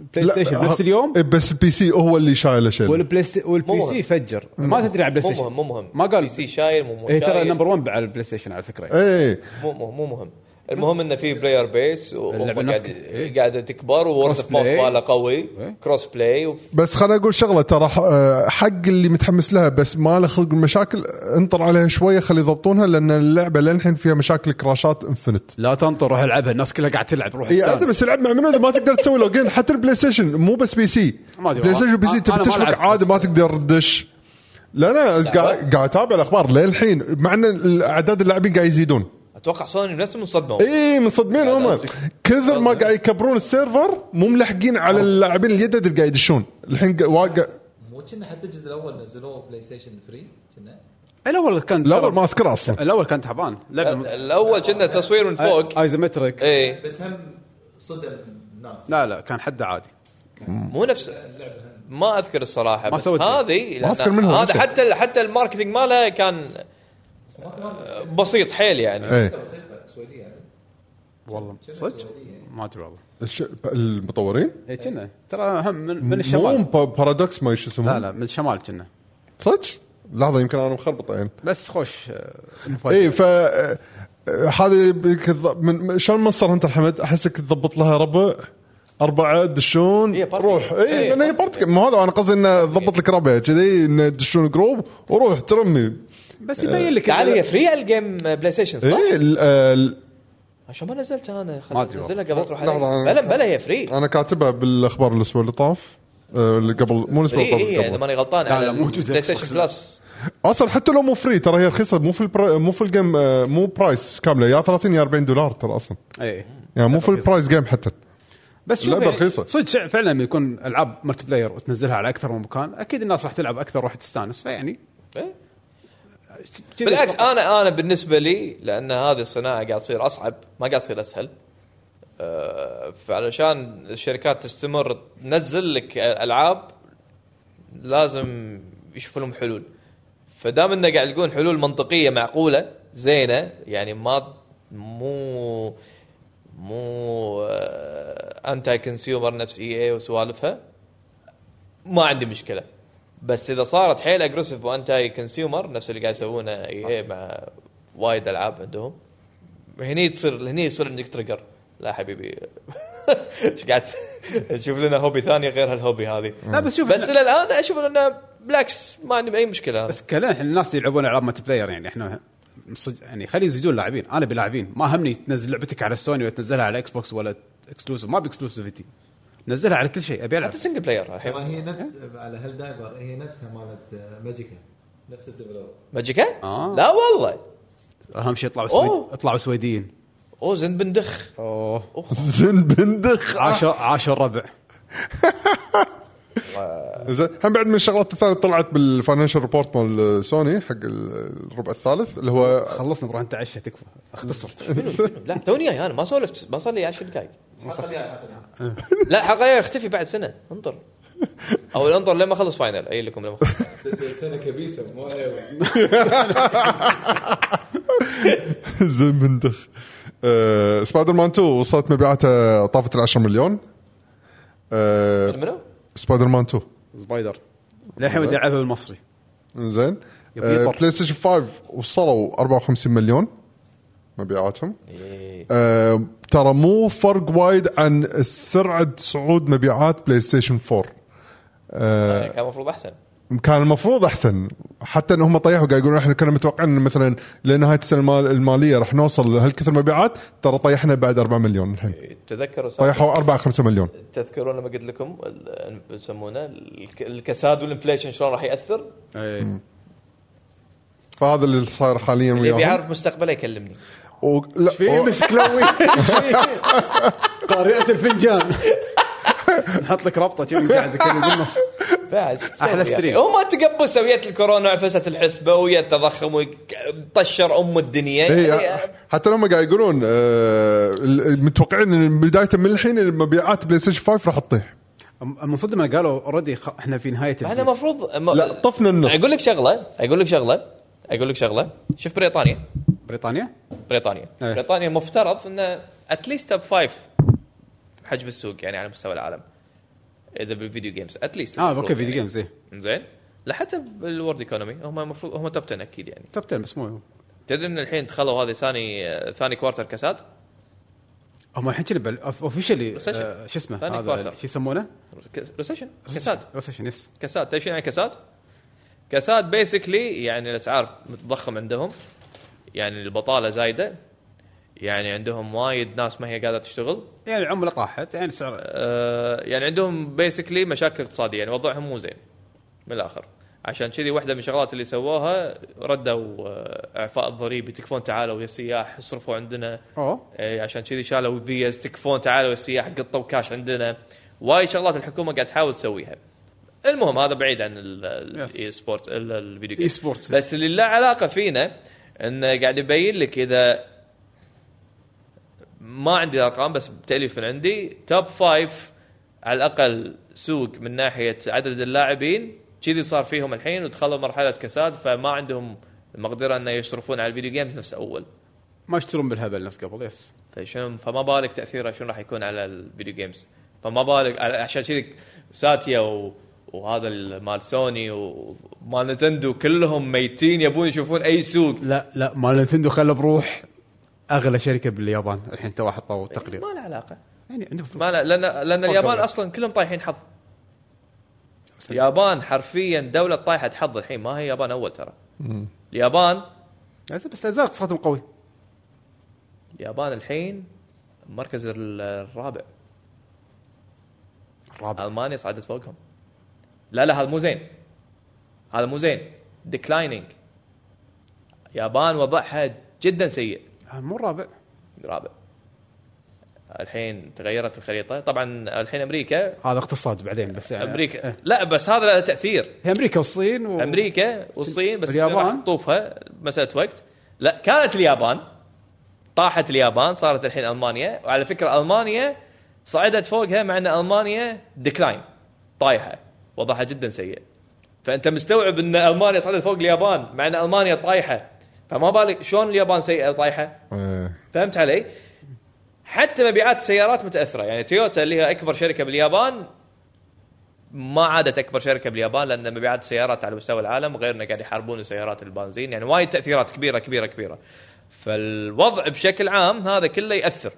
Speaker 1: البلاي
Speaker 2: لا،
Speaker 1: ستيشن نفس
Speaker 2: ه-
Speaker 1: اليوم
Speaker 2: إيه، بس البي سي هو اللي شايله شيء
Speaker 1: والبلاي ست... والبي
Speaker 4: مو
Speaker 1: سي
Speaker 4: مهم.
Speaker 1: فجر ما تدري على البلاي
Speaker 4: مو
Speaker 1: ستيشن
Speaker 4: مهم مو مهم
Speaker 1: ما قال
Speaker 4: بي سي شايل مو مهم
Speaker 1: إيه ترى
Speaker 4: شايل.
Speaker 1: نمبر 1 على البلاي ستيشن على فكره
Speaker 2: اي
Speaker 4: مو مو مو مهم المهم انه في بلاير بيس
Speaker 1: اللعبة
Speaker 4: وقاعد
Speaker 1: نفس- إيه.
Speaker 4: قاعده تكبر وورد
Speaker 1: Cross
Speaker 4: اوف ماوث
Speaker 1: play.
Speaker 4: ماله قوي
Speaker 1: إيه.
Speaker 4: كروس بلاي وف-
Speaker 2: بس خليني اقول شغله ترى ح- آه، حق اللي متحمس لها بس ما له خلق المشاكل انطر عليها شويه خلي يضبطونها لان اللعبه للحين فيها مشاكل كراشات انفنت
Speaker 1: لا تنطر روح العبها الناس كلها قاعد تلعب روح
Speaker 2: اي
Speaker 1: استانس.
Speaker 2: عاد بس العب مع منو اذا ما تقدر تسوي لوجين حتى البلاي ستيشن مو بس بي سي
Speaker 1: ما أدري
Speaker 2: بلاي
Speaker 1: والله.
Speaker 2: ستيشن وبي سي
Speaker 1: أنا- أنا
Speaker 2: تبي
Speaker 1: ما
Speaker 2: تشبك
Speaker 1: لعبت
Speaker 2: عادي
Speaker 1: بس.
Speaker 2: ما تقدر تدش لا لا قاعد قاعد اتابع الاخبار للحين مع ان اعداد اللاعبين قاعد يزيدون
Speaker 4: اتوقع سوني نفسهم انصدموا
Speaker 1: إيه.
Speaker 2: اي منصدمين
Speaker 4: لا،
Speaker 2: هم
Speaker 4: لا،
Speaker 2: كثر ما قاعد يكبرون السيرفر مو ملحقين على اللاعبين الجدد اللي قاعد يدشون الحين قا- واقع
Speaker 3: مو كنا حتى الجزء الاول نزلوه بلاي ستيشن فري كنا
Speaker 1: الاول إيه، كان
Speaker 2: الاول ما اذكره اصلا
Speaker 1: الاول كان تعبان لعبه
Speaker 4: الاول كنا تصوير من
Speaker 1: إيه.
Speaker 4: فوق إيه.
Speaker 1: ايزومتريك
Speaker 4: اي
Speaker 3: بس هم صدم الناس
Speaker 1: لا لا كان حده عادي
Speaker 4: مو نفس ما اذكر الصراحه
Speaker 1: ما
Speaker 4: بس
Speaker 1: سويت فيها.
Speaker 4: هذه
Speaker 2: ما
Speaker 4: لأن
Speaker 2: أذكر منها
Speaker 4: هذا
Speaker 2: شيء.
Speaker 4: حتى حتى الماركتينج ماله كان آه، بسيط حيل
Speaker 1: إيه.
Speaker 4: يعني
Speaker 2: ايه
Speaker 3: سويديه
Speaker 1: والله صدق ما ادري والله
Speaker 2: الش- المطورين
Speaker 1: اي كنا ترى هم من, من
Speaker 2: مو
Speaker 1: الشمال
Speaker 2: با- بارادوكس ما ايش اسمه
Speaker 1: لا لا من الشمال كنا
Speaker 2: صدق لحظه يمكن انا مخربط يعني
Speaker 1: بس خوش آه،
Speaker 4: طيب.
Speaker 1: مفاجأة.
Speaker 4: إيه.
Speaker 2: اي ف آه، آه، هذه بك- من من- شلون مصر انت الحمد احسك تضبط لها ربع اربعه دشون
Speaker 4: هي إيه، بارتي. إيه.
Speaker 2: روح اي
Speaker 4: هي
Speaker 2: لان هي بارتك مو هذا انا قصدي انه ضبط لك ربع كذي انه دشون جروب وروح ترمي
Speaker 1: بس يبين لك
Speaker 4: آه، تعال هي
Speaker 1: إن-
Speaker 4: فري على الجيم بلاي ستيشن صح؟
Speaker 2: اي ال- آه، ال-
Speaker 4: عشان ما نزلتها انا
Speaker 1: ما أدري
Speaker 4: خلت نزلها
Speaker 1: والله.
Speaker 4: قبل تروح
Speaker 2: لحظة،
Speaker 4: علي.
Speaker 2: أنا-
Speaker 4: بلا بلا هي فري
Speaker 2: انا كاتبها بالاخبار الاسبوع اللي طاف آه، اللي قبل مو الاسبوع اللي
Speaker 4: فري
Speaker 2: طاف
Speaker 4: اي
Speaker 2: اللي
Speaker 4: اذا
Speaker 2: قبل.
Speaker 4: إيه، يعني ماني غلطان
Speaker 1: لا، لا،
Speaker 4: على
Speaker 1: موجودة.
Speaker 4: بلاي ستيشن بلس
Speaker 2: اصلا حتى لو مو فري ترى هي رخيصه مو في البر... مو في الجيم آه، مو برايس كامله يا 30 يا 40 دولار ترى اصلا
Speaker 1: اي
Speaker 2: يعني مو في البرايس جيم حتى
Speaker 1: إيه. بس شوف
Speaker 2: لعبة
Speaker 1: يعني
Speaker 2: رخيصة.
Speaker 1: صدق شع- فعلا لما يكون العاب ملتي بلاير وتنزلها على اكثر من مكان اكيد الناس راح تلعب اكثر وراح تستانس فيعني
Speaker 4: إيه.
Speaker 1: كذي
Speaker 4: بالعكس
Speaker 1: أتوقع.
Speaker 4: انا انا بالنسبه لي لان هذه الصناعه قاعد تصير اصعب ما قاعد تصير اسهل آه، فعلشان الشركات تستمر تنزل لك العاب لازم يشوفوا لهم حلول فدام انه قاعد يلقون حلول منطقيه معقوله زينه يعني ما مو مو انتي كونسيومر نفس اي اي وسوالفها ما عندي مشكله بس اذا صارت حيل اجريسيف وانتي كونسيومر نفس اللي قاعد يسوونه اي اي مع وايد العاب عندهم هني تصير هني يصير عندك تريجر لا حبيبي (laughs) ايش قاعد تشوف لنا هوبي ثاني غير هالهوبي هذه
Speaker 1: لا بس شوف
Speaker 4: بس
Speaker 1: إن-
Speaker 4: الى الان اشوف انه بالعكس ما عندي اي مشكله
Speaker 1: بس كلام احنا الناس يلعبون العاب ملتي بلاير يعني احنا صدق يعني خلي يزيدون لاعبين انا بلاعبين ما همني تنزل لعبتك على سوني ولا تنزلها على اكس بوكس ولا اكسكلوسيف ما باكسكلوسيفيتي نزلها على كل شيء ابي العب
Speaker 4: حتى سنجل بلاير الحين
Speaker 1: أيوة.
Speaker 3: هي نفس
Speaker 4: إيه؟
Speaker 3: على هيل دايفر هي نفسها مالت ماجيكا نفس الديفلوبر
Speaker 4: ماجيكا؟
Speaker 1: آه.
Speaker 4: لا والله
Speaker 1: اهم شيء اطلعوا
Speaker 4: أوه.
Speaker 1: سويد... اطلعوا سويديين
Speaker 4: اوه زين بندخ
Speaker 1: اوه
Speaker 2: (laughs) زين بندخ
Speaker 1: عاشر عاشر ربع
Speaker 2: زين هم بعد من الشغلات الثانيه طلعت بالفاينانشال ريبورت مال سوني حق الربع الثالث اللي هو (laughs)
Speaker 1: خلصنا نروح نتعشى تكفى اختصر
Speaker 4: لا توني جاي انا ما سولفت ما صار لي 10 دقائق لا حلقه جاية اختفي بعد سنه انطر او انطر لما اخلص فاينل اي لكم لما أخلص.
Speaker 3: سنه كبيسه مو أيوة.
Speaker 2: زين بندخ آه، سبايدر مان 2 وصلت مبيعاتها طافت ال 10 مليون آه،
Speaker 4: منو؟
Speaker 2: سبايدر مان 2
Speaker 1: سبايدر للحين ودي العبها بالمصري
Speaker 2: زين
Speaker 1: يبي
Speaker 2: آه،
Speaker 1: يطر.
Speaker 2: بلاي ستيشن 5 وصلوا 54 مليون مبيعاتهم
Speaker 4: إيه.
Speaker 2: آه، ترى مو فرق وايد عن سرعه صعود مبيعات بلاي ستيشن 4 آه،
Speaker 4: يعني كان المفروض احسن
Speaker 2: كان المفروض احسن حتى انهم طيحوا قاعد يقولون احنا كنا متوقعين إن مثلا لنهايه السنه المال- الماليه راح نوصل لهالكثر مبيعات ترى طيحنا بعد 4 مليون الحين
Speaker 4: إيه. تذكروا سالفة-
Speaker 2: طيحوا 4 5 مليون
Speaker 4: تذكرون لما قلت لكم ال- يسمونه الك- الكساد والانفليشن شلون راح ياثر
Speaker 1: ايه.
Speaker 2: فهذا اللي صاير حاليا
Speaker 4: اللي
Speaker 2: وياهم
Speaker 4: بيعرف مستقبله يكلمني
Speaker 2: و... لا
Speaker 1: في
Speaker 2: و...
Speaker 1: مسكلوي قارئة الفنجان نحط لك رابطه كذي قاعد أكلم بالنص
Speaker 4: بعد شو تسوي
Speaker 1: أحلى
Speaker 4: يا
Speaker 1: ستريم.
Speaker 4: أخي؟ هم تقبسوا ويا الكورونا وفسات الحسبه ويا التضخم وطشر ام الدنيا
Speaker 2: اي
Speaker 4: يعني
Speaker 2: إيه، حتى لما قاعد يقولون آه، ال- ال- متوقعين ان بدايه من الحين المبيعات بلاي ستيشن 5 راح تطيح
Speaker 1: من صدمنا قالوا اوريدي خ... احنا في نهايه
Speaker 4: احنا
Speaker 1: الجيل.
Speaker 4: المفروض
Speaker 2: لا طفنا النص
Speaker 4: اقول لك شغله اقول لك شغله اقول لك شغله شوف بريطانيا
Speaker 1: بريطانيا
Speaker 4: بريطانيا
Speaker 1: إيه.
Speaker 4: بريطانيا مفترض انه اتليست توب فايف حجم السوق يعني على مستوى العالم اذا بالفيديو جيمز اتليست
Speaker 1: اه اوكي فيديو جيمز ايه
Speaker 4: يعني. زين لا حتى بالورد ايكونومي هم المفروض هم توب 10 اكيد يعني
Speaker 1: توب 10 بس مو
Speaker 4: تدري ان الحين دخلوا هذه ثاني آه، ثاني كوارتر كساد
Speaker 1: هم الحين كنا بال- أوف- اوفيشلي
Speaker 4: Recession.
Speaker 1: آه، شو اسمه
Speaker 4: ثاني
Speaker 1: هذا
Speaker 4: quarter.
Speaker 1: شو يسمونه؟
Speaker 4: كس- ريسيشن كساد
Speaker 1: ريسيشن يس
Speaker 4: كساد تدري شنو يعني كساد؟ كساد بيسكلي يعني الاسعار متضخم عندهم يعني البطاله زايده يعني عندهم وايد ناس ما هي قادره تشتغل
Speaker 1: يعني العمله طاحت يعني سعر
Speaker 4: آه، يعني عندهم بيسكلي مشاكل اقتصاديه يعني وضعهم مو زين من الاخر عشان كذي واحده من الشغلات اللي سووها ردوا آه، اعفاء الضريبي تكفون تعالوا يا سياح اصرفوا عندنا
Speaker 1: اوه
Speaker 4: إيه، عشان كذي شالوا فيز تكفون تعالوا السياح قطوا كاش عندنا وايد شغلات الحكومه قاعد تحاول تسويها المهم هذا بعيد عن
Speaker 1: Yes.
Speaker 4: الاي سبورت الفيديو
Speaker 1: اي
Speaker 4: جيم
Speaker 1: سبورتس
Speaker 4: بس اللي له علاقه فينا انه قاعد يبين لك اذا ما عندي ارقام بس بتاليف من عندي توب فايف على الاقل سوق من ناحيه عدد اللاعبين كذي صار فيهم الحين ودخلوا مرحله كساد فما عندهم المقدره انه يصرفون على الفيديو جيمز نفس اول
Speaker 1: ما يشترون بالهبل نفس قبل يس
Speaker 4: فشنو فما بالك تاثيره شنو راح يكون على الفيديو جيمز فما بالك على- عشان كذي ساتيا و... وهذا ال- مال سوني ومال نتندو كلهم ميتين يبون يشوفون اي سوق
Speaker 1: لا لا مال نتندو خله بروح اغلى شركه باليابان الحين تو حطوا تقرير
Speaker 4: ما له علاقه
Speaker 1: يعني عندهم فلوس
Speaker 4: ما له لان لان اليابان اصلا كلهم طايحين حظ
Speaker 1: طيب.
Speaker 4: اليابان حرفيا دوله طايحه حظ الحين ما هي اليابان اول ترى اليابان
Speaker 1: بس بس لا زال اقتصادهم قوي
Speaker 4: اليابان الحين المركز ال- الرابع
Speaker 1: الرابع
Speaker 2: آه.
Speaker 4: المانيا صعدت فوقهم لا لا هذا مو زين هذا مو زين ديكلايننج يابان وضعها جدا سيء
Speaker 1: آه، مو الرابع
Speaker 4: رابع الحين تغيرت الخريطه طبعا الحين امريكا
Speaker 1: هذا اقتصاد بعدين بس يعني
Speaker 4: امريكا
Speaker 1: إيه.
Speaker 4: لا بس هذا له تاثير
Speaker 1: هي امريكا والصين و...
Speaker 4: امريكا والصين بس
Speaker 1: اليابان.
Speaker 4: اليابان طوفها مساله وقت لا كانت اليابان طاحت اليابان صارت الحين المانيا وعلى فكره المانيا صعدت فوقها مع ان المانيا ديكلاين طايحه وضعها جدا سيء فانت مستوعب ان المانيا صعدت فوق اليابان مع ان المانيا طايحه فما بالك شلون اليابان سيئه وطايحه
Speaker 2: إيه.
Speaker 4: فهمت علي؟ حتى مبيعات السيارات متاثره يعني تويوتا اللي هي اكبر شركه باليابان ما عادت اكبر شركه باليابان لان مبيعات السيارات على مستوى العالم غير انه قاعد يحاربون سيارات البنزين يعني وايد تاثيرات كبيره كبيره كبيره فالوضع بشكل عام هذا كله ياثر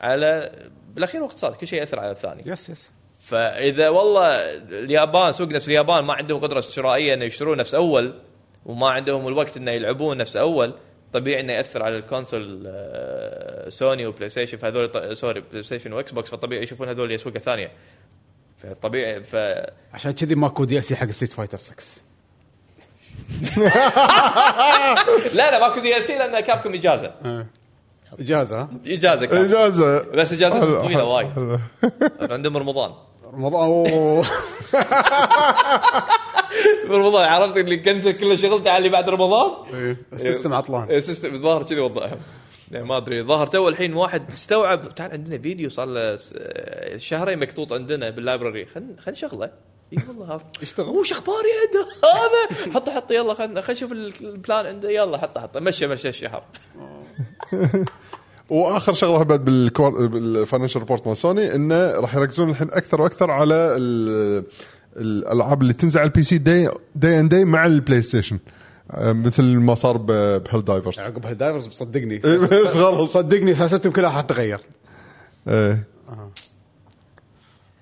Speaker 4: على بالاخير هو اقتصاد كل شيء ياثر على الثاني
Speaker 1: يس يس
Speaker 4: فاذا والله اليابان سوق نفس اليابان ما عندهم قدره شرائيه انه يشترون نفس اول وما عندهم الوقت انه يلعبون نفس اول طبيعي انه ياثر على الكونسول آه، سوني وبلاي ستيشن فهذول ط- سوري بلاي ستيشن واكس بوكس فطبيعي يشوفون هذول الاسواق الثانيه فطبيعي ف
Speaker 1: عشان كذي ماكو دي ال سي حق ستريت فايتر 6
Speaker 4: لا لا ماكو دي ال سي لان كابكم اجازه
Speaker 1: اجازه ها؟
Speaker 4: اجازه كابكوم.
Speaker 2: اجازه
Speaker 4: بس اجازتهم
Speaker 2: حلو،
Speaker 4: طويله
Speaker 2: حلو، (laughs)
Speaker 4: وايد
Speaker 2: حلو.
Speaker 4: عندهم رمضان
Speaker 1: رمضان أوه.
Speaker 4: رمضان عرفت اللي كنسل كل شغلته على اللي بعد رمضان
Speaker 2: إيه.
Speaker 1: السيستم عطلان
Speaker 4: السيستم الظاهر إيه، كذي وضعهم يعني ما ادري الظاهر تو الحين واحد استوعب تعال عندنا فيديو صار له س- آه، شهرين مكتوط عندنا باللايبرري خلينا خلينا نشغله اي والله هذا
Speaker 1: اشتغل.
Speaker 4: وش اخباري عنده هذا حطه حطه يلا خلينا خلينا نشوف ال- البلان عنده يلا حطه حطه مشى مشى الشهر
Speaker 2: واخر شغله بعد بالكوار... بالفاينانشال ريبورت مال سوني انه راح يركزون الحين اكثر واكثر على ال... الالعاب اللي تنزل على البي سي داي داي ان داي مع البلاي ستيشن آه، مثل ما صار ب... بهيل دايفرز
Speaker 1: عقب هالدايفرز صدقني
Speaker 2: إيه، بس خلاص
Speaker 1: صدقني سياستهم كلها حتتغير
Speaker 2: ايه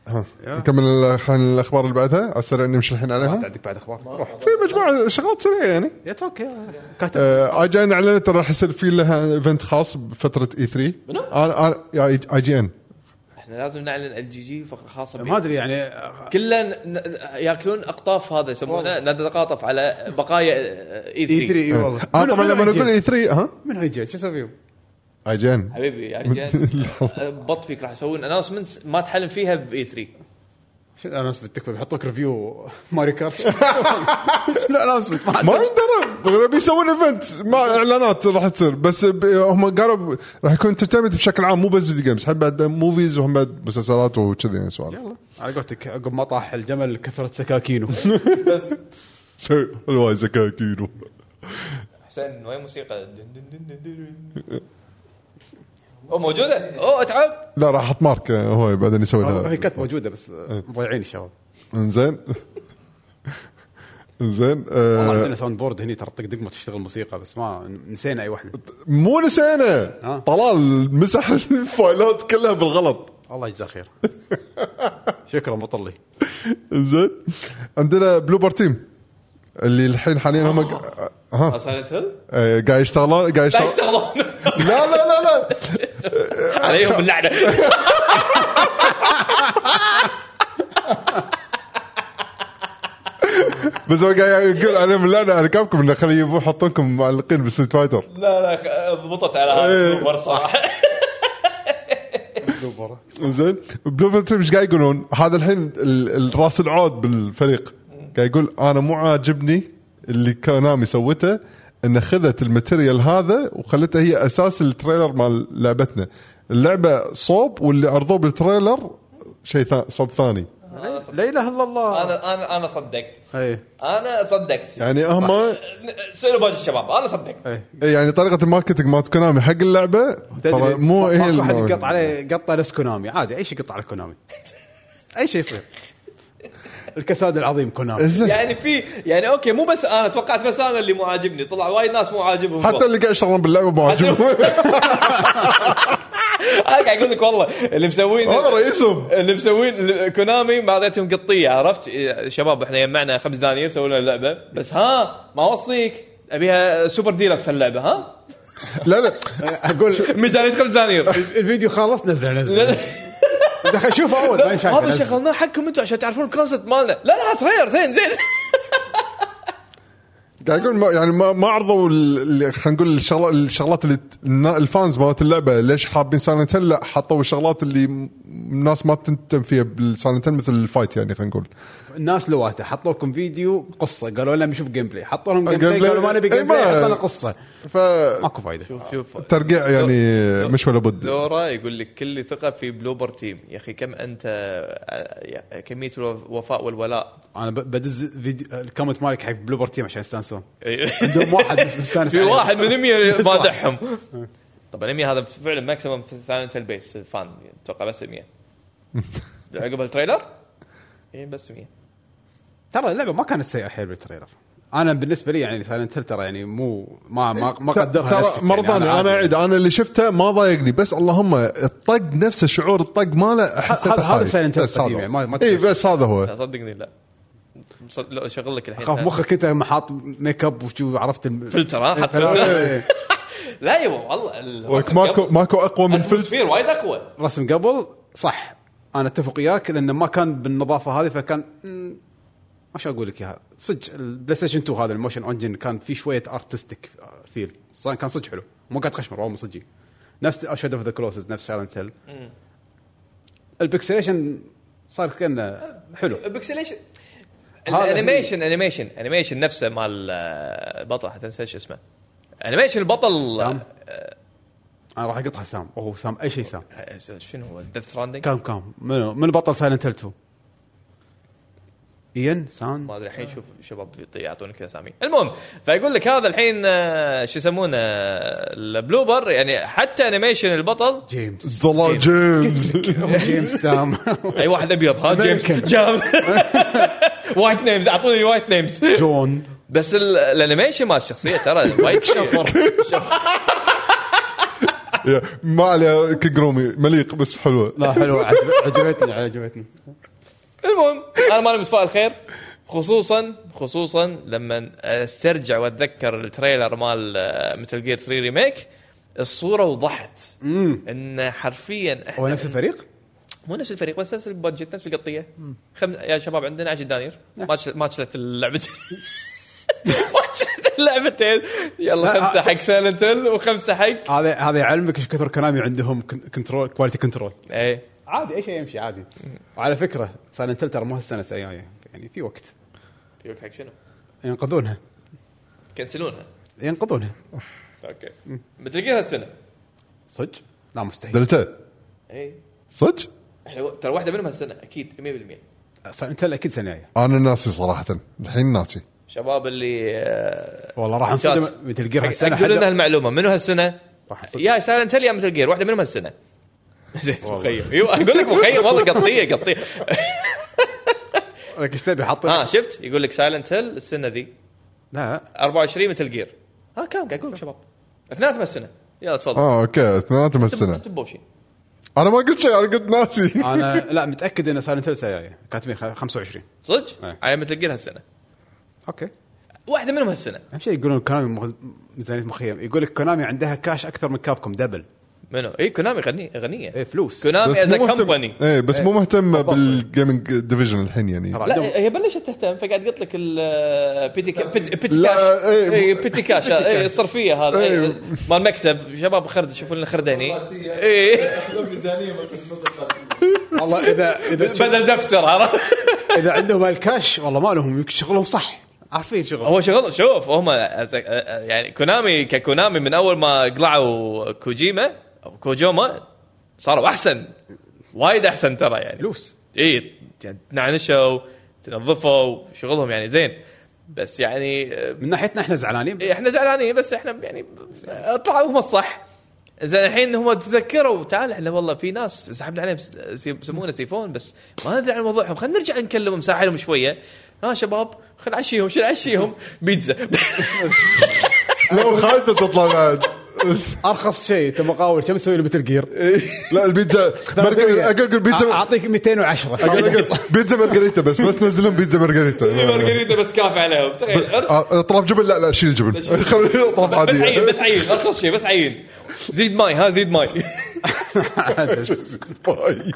Speaker 2: ها. نكمل الأخ- الاخبار اللي بعدها على السريع نمشي الحين عليهم
Speaker 1: عندك بعد اخبار روح
Speaker 2: في مجموعه شغلات سريعه يعني آه،
Speaker 1: يا توكي كاتب
Speaker 2: اي جي ان اعلنت راح يصير في لها ايفنت خاص E بفتره اي 3
Speaker 4: منو؟
Speaker 2: انا اي جي ان
Speaker 4: احنا لازم نعلن الجي جي فقره خاصه
Speaker 1: ما
Speaker 4: بيه.
Speaker 1: ادري يعني آه،
Speaker 4: كله ن- ن- ياكلون اقطاف هذا يسمونه نتقاطف على بقايا اي 3
Speaker 1: اي 3 اي E إيه، والله
Speaker 2: اه
Speaker 1: منو-
Speaker 2: طبعا
Speaker 1: منو
Speaker 2: لما
Speaker 1: IGN؟
Speaker 2: نقول اي 3 ها
Speaker 1: من هيجي شو اسوي فيهم؟
Speaker 2: اي جي ان
Speaker 4: حبيبي يعني جاي- بط فيك راح يسوون اناونسمنت ما تحلم فيها باي 3
Speaker 1: شو الانونسمنت تكفى بيحطوك ريفيو ماري
Speaker 2: (laughs)
Speaker 1: كارت شو الانونسمنت
Speaker 2: ما يندرى بيسوون ايفنت ما اعلانات راح تصير بس ب- هم قالوا ب- راح يكون انترتينمنت بشكل عام مو بس فيديو جيمز هم بعد موفيز وهم بعد مسلسلات وكذي يعني سوالف
Speaker 1: يلا على قولتك عقب ما طاح الجمل كثرت
Speaker 2: (laughs)
Speaker 1: سكاكينه
Speaker 2: الواي سكاكينو
Speaker 4: حسين وين موسيقى دن دن دن دن دن. اوه موجوده اوه اتعب
Speaker 2: لا راح احط مارك هو بعدين يسوي
Speaker 1: هي
Speaker 2: لها
Speaker 1: كانت موجوده بس
Speaker 2: آه.
Speaker 1: مضيعين الشباب
Speaker 2: (laughs) انزين انزين
Speaker 1: والله
Speaker 2: آه
Speaker 1: عندنا ساوند بورد هني ترى طق دقمه تشتغل موسيقى بس ما نسينا اي واحده
Speaker 2: مو نسينا
Speaker 1: ها؟
Speaker 2: طلال مسح (laughs) الفايلات كلها بالغلط
Speaker 1: الله يجزاه
Speaker 2: (laughs)
Speaker 1: خير شكرا مطلي
Speaker 2: انزين عندنا بلوبر تيم اللي الحين حاليا هم ها
Speaker 4: سايلنت هيل
Speaker 2: آه، قاعد يشتغلون قاعد
Speaker 4: لا
Speaker 2: يشتغلون
Speaker 4: يشتغلون
Speaker 2: لا لا لا لا
Speaker 4: عليهم اللعنه
Speaker 2: بس هو قاعد يقول عليهم اللعنه على كابكم انه خليه يبون يحطونكم معلقين بالستريت فايتر
Speaker 4: لا لا خ- ضبطت على هذا
Speaker 2: إيه.
Speaker 4: الدوبر صراحه
Speaker 2: زين بلوفر تيم ايش قاعد يقولون؟ هذا الحين ال- ال- راس العود بالفريق قاعد يقول انا مو عاجبني اللي كونامي سوته انه خذت الماتيريال هذا وخلته هي اساس التريلر مال لعبتنا اللعبه صوب واللي عرضوه بالتريلر شيء ثا- صوب ثاني
Speaker 4: أنا صدقت.
Speaker 1: لا اله الا الله إيه،
Speaker 4: انا انا انا صدقت
Speaker 1: اي
Speaker 4: انا صدقت
Speaker 2: يعني هم
Speaker 4: سألوا باقي الشباب انا صدقت
Speaker 1: اي
Speaker 2: يعني طريقه الماركتنج مالت كونامي حق اللعبه ترى مو هي
Speaker 1: ماكو احد
Speaker 2: الم-
Speaker 1: يقط عليه قطه نفس كونامي عادي اي شيء يقط على كونامي اي شيء يصير الكساد العظيم
Speaker 2: (laughs)
Speaker 1: كونامي
Speaker 2: إيه، زين.
Speaker 4: يعني في يعني اوكي مو بس انا توقعت بس انا اللي مو عاجبني طلع وايد ناس مو عاجبهم
Speaker 2: حتى اللي قاعد يشتغلون باللعبه ما عاجبهم
Speaker 4: انا آه، قاعد اقول لك والله اللي مسوين
Speaker 2: هذا رئيسهم
Speaker 4: اللي مسوين اللي- كونامي ما اعطيتهم قطيه عرفت إيه، شباب احنا يجمعنا خمس دنانير سووا لنا لعبه بس ها ما اوصيك ابيها سوبر ديلكس هاللعبه ها
Speaker 2: (laughs) لا لا
Speaker 1: اقول
Speaker 4: ميزانيه خمس
Speaker 2: (laughs)
Speaker 4: دنانير
Speaker 1: الفيديو خلص نزله نزله دخل شوف اول ما نشاف
Speaker 4: هذا شغلناه حقكم انتم عشان تعرفون الكونسبت مالنا لا لا صغير زين زين
Speaker 2: قاعد اقول ما يعني ما ما عرضوا ال- ال- خلينا نقول الشغلا- الشغلات اللي ت- النا- الفانز مالت اللعبه ليش حابين سايلنت هيل لا حطوا الشغلات اللي م- الناس ما تنتم فيها بالسايلنت هيل مثل الفايت يعني خلينا نقول
Speaker 1: الناس لواته حطوا لكم فيديو قصه قالوا لنا بنشوف جيم بلاي حطوا لهم جيم
Speaker 2: الجيم
Speaker 1: بلاي
Speaker 2: بلاي-
Speaker 1: قالوا ما نبي
Speaker 2: إيه،
Speaker 1: جيم بلاي
Speaker 2: ما-
Speaker 1: حطوا لنا قصه
Speaker 2: فالترقيع
Speaker 1: ماكو فايده
Speaker 4: شوف
Speaker 2: يعني مش ولا بد
Speaker 4: زورا يقول لك كل ثقه في بلوبر تيم يا اخي كم انت آه، يا- كميه الوفاء والولاء
Speaker 1: انا ب- بدز فيديو الكومنت مالك حق بلوبر تيم عشان يستانسون
Speaker 4: إيه.
Speaker 1: عندهم واحد بس مستانس
Speaker 4: في
Speaker 1: عليه.
Speaker 4: واحد
Speaker 1: (laughs)
Speaker 4: من 100 مادحهم طبعا 100 هذا فعلا ماكسيمم في ثالث البيس فان اتوقع
Speaker 1: (laughs)
Speaker 4: بس 100 عقب التريلر اي بس 100
Speaker 1: ترى اللعبه ما كانت سيئه حيل بالتريلر انا بالنسبه لي يعني سايلنت هيل ترى يعني مو ما ما, ما قدرها
Speaker 2: ترى
Speaker 1: نفسك
Speaker 2: مرة
Speaker 1: يعني
Speaker 2: ثانية
Speaker 1: عادي.
Speaker 2: انا اعيد انا اللي شفته ما ضايقني بس اللهم الطق نفس الشعور الطق ماله حسيته
Speaker 1: هذا- هذا Silent
Speaker 2: خايف.
Speaker 1: Hill
Speaker 2: بس هذا
Speaker 1: القديم يعني ما- ما
Speaker 2: اي بس هذا هو
Speaker 4: (laughs) لا صدقني لا صد- لا شغل لك الحين
Speaker 1: خاف مخك انت محاط ميك اب وشو عرفت الم...
Speaker 4: فلتر، ها؟ حط فلتر.
Speaker 1: إيه،
Speaker 4: لا يبا والله ال-
Speaker 2: وك- ماكو ماكو اقوى من فلتر
Speaker 4: الفلتر وايد اقوى
Speaker 1: رسم قبل صح انا اتفق وياك لانه ما كان بالنظافه هذه فكان مم، ما شو اقول لك اياها صدق البلاي ستيشن 2 هذا الموشن اونجن كان في شويه ارتستيك فيل صار كان صدق حلو مو قاعد قشمر والله صدق نفس شاد اوف ذا كلوسز نفس شالنت هيل البكسليشن صار كانه حلو
Speaker 4: بيكسليشن
Speaker 1: هذا
Speaker 4: الانيميشن انيميشن انيميشن نفسه مال آه، البطل حتى انسى شو اسمه انيميشن البطل
Speaker 1: سام انا راح اقطع سام وهو سام اي شيء سام
Speaker 4: آه، شنو هو ديث ستراندنج
Speaker 1: كام كام منو من بطل سايلنت هيل 2 ايان سام
Speaker 4: ما ادري الحين شوف شباب بيط- يعطونك اسامي المهم فيقول لك هذا الحين آه، شو يسمونه آه، البلوبر يعني حتى انيميشن
Speaker 1: (laughs)
Speaker 4: البطل
Speaker 1: جيمس
Speaker 2: ظلال جيمس
Speaker 1: هو جيمس سام
Speaker 4: اي واحد ابيض ها جيمس
Speaker 1: American.
Speaker 4: (laughs) جام وايت نيمز اعطوني وايت نيمز
Speaker 1: جون
Speaker 4: بس ال- الانيميشن مال الشخصيه ترى وايد شفر
Speaker 2: يا، ما عليه كجرومي مليق بس حلوه
Speaker 1: لا حلوه (laughs) عجب- عجبتني عجبتني
Speaker 4: المهم انا ماني متفائل خير خصوصا خصوصا لما استرجع واتذكر التريلر مال آه، مثل جير 3 ريميك الصوره وضحت انه حرفيا
Speaker 1: هو
Speaker 4: احنا
Speaker 1: نفس الفريق؟
Speaker 4: مو نفس الفريق بس نفس البادجت نفس القطيه خم... يا شباب عندنا 10 دنانير
Speaker 1: نعم.
Speaker 4: ما تش- ما شلت اللعبتين (laughs) ما شلت اللعبتين يلا
Speaker 1: لا،
Speaker 4: خمسه
Speaker 1: آه.
Speaker 4: حق سالنتل وخمسه حق
Speaker 1: هذا هذا يعلمك ايش كثر كلامي عندهم كنترول كواليتي كنترول
Speaker 4: ايه
Speaker 1: عادي اي شيء يمشي عادي وعلى فكره سايلنت ترى مو هالسنه السنه الجايه يعني في وقت
Speaker 4: في وقت حق شنو؟
Speaker 1: ينقذونها
Speaker 4: كنسلونها
Speaker 1: ينقذونها
Speaker 4: اوكي متل جير هالسنه
Speaker 1: صدق؟ لا مستحيل
Speaker 2: دلتا
Speaker 4: اي
Speaker 2: صدق
Speaker 4: احنا إيه. ترى واحده منهم هالسنه اكيد 100%
Speaker 1: سايلنت اكيد السنه الجايه
Speaker 2: انا ناسي صراحه الحين ناسي
Speaker 4: شباب اللي آه،
Speaker 1: والله راح
Speaker 4: ممتاز.
Speaker 1: انصدم مثل جير هالسنه
Speaker 4: اكدوا لنا
Speaker 1: حد-
Speaker 4: هالمعلومه منو هالسنه؟
Speaker 1: راح أصدق.
Speaker 4: يا سايلنت هيل يا مثل جير واحده منهم (laughs) هالسنه زين مخيم يو اقول لك مخيم والله قطيه
Speaker 1: (laughs)
Speaker 4: قطيه
Speaker 1: لك ايش تبي حاطين
Speaker 4: ها شفت يقول لك سايلنت هيل السنه ذي
Speaker 1: لا لا.
Speaker 4: 24 مثل جير ها كم قاعد اقول لك شباب اثنيناتهم هالسنه يلا تفضل
Speaker 2: اه اوكي اثنيناتهم
Speaker 4: تب-
Speaker 2: السنه
Speaker 4: تبوا شيء
Speaker 2: انا ما قلت شيء انا قلت ناسي
Speaker 1: انا لا متاكد ان سايلنت هيل السنه الجايه كاتبين خ- 25
Speaker 4: صدق
Speaker 1: إيه.
Speaker 4: على مثل جير هالسنه
Speaker 1: اوكي
Speaker 4: واحده منهم هالسنه
Speaker 1: اهم شيء يقولون كونامي مخ- ميزانيه مخيم يقول لك كونامي عندها كاش اكثر من كابكم دبل
Speaker 4: منو؟ اي كونامي غني غنيه
Speaker 1: ايه فلوس
Speaker 4: كونامي از
Speaker 2: إيه، مو مهتم
Speaker 4: كمباني
Speaker 2: ايه بس مو مهتم بالجيمنج ديفيجن الحين يعني
Speaker 1: ترى عندهم-
Speaker 4: لا هي بلشت تهتم فقاعد قلت لك ال- بيتي كا- بيت- بيتي
Speaker 2: لا،
Speaker 4: كاش
Speaker 2: إيه، مو-
Speaker 4: اي بيتي كاش اي الصرفيه هذا إيه،
Speaker 2: إيه.
Speaker 4: مال مكسب شباب خرد شوفوا لنا إيه، خرداني
Speaker 3: راسية.
Speaker 4: اي
Speaker 1: والله اذا اذا شوف-
Speaker 4: بدل دفتر عرفت؟
Speaker 1: اذا عندهم الكاش والله ما لهم يمكن شغلهم صح عارفين شغل
Speaker 4: هو شغل شوف هم يعني كونامي ككونامي من اول ما قلعوا كوجيما او كوجوما صاروا احسن وايد احسن ترى يعني
Speaker 1: فلوس
Speaker 4: اي تنعنشوا تنظفوا شغلهم يعني زين بس يعني آه،
Speaker 1: من ناحيتنا احنا زعلانين
Speaker 4: إيه، احنا زعلانين بس احنا يعني طلعوا هم الصح زين الحين هم تذكروا تعال احنا والله في ناس سحبنا عليهم س- سي- يسمونه سيفون بس ما ندري عن وضعهم خلينا نرجع نكلمهم نساعدهم شويه ها شباب خلينا نعشيهم شو نعشيهم بيتزا (laughs)
Speaker 2: لو خايسه تطلع بعد
Speaker 1: ارخص شيء تمقاول كم تسوي له مثل (laughs) جير؟
Speaker 2: لا البيتزا برجر- اقول
Speaker 1: أع-
Speaker 2: بيتزا
Speaker 1: اعطيك 210
Speaker 2: أقول- أقول بيتزا مارغريتا بس بس نزلهم بيتزا مارغريتا
Speaker 4: مارغريتا بس كافي عليهم تخيل أرس-
Speaker 2: آه، اطراف جبل لا لا شيل الجبل خلي اطراف
Speaker 4: بس عين بس
Speaker 2: عاديه
Speaker 4: عين ارخص شيء بس عين زيد ماي ها زيد ماي
Speaker 1: (laughs)
Speaker 2: باي.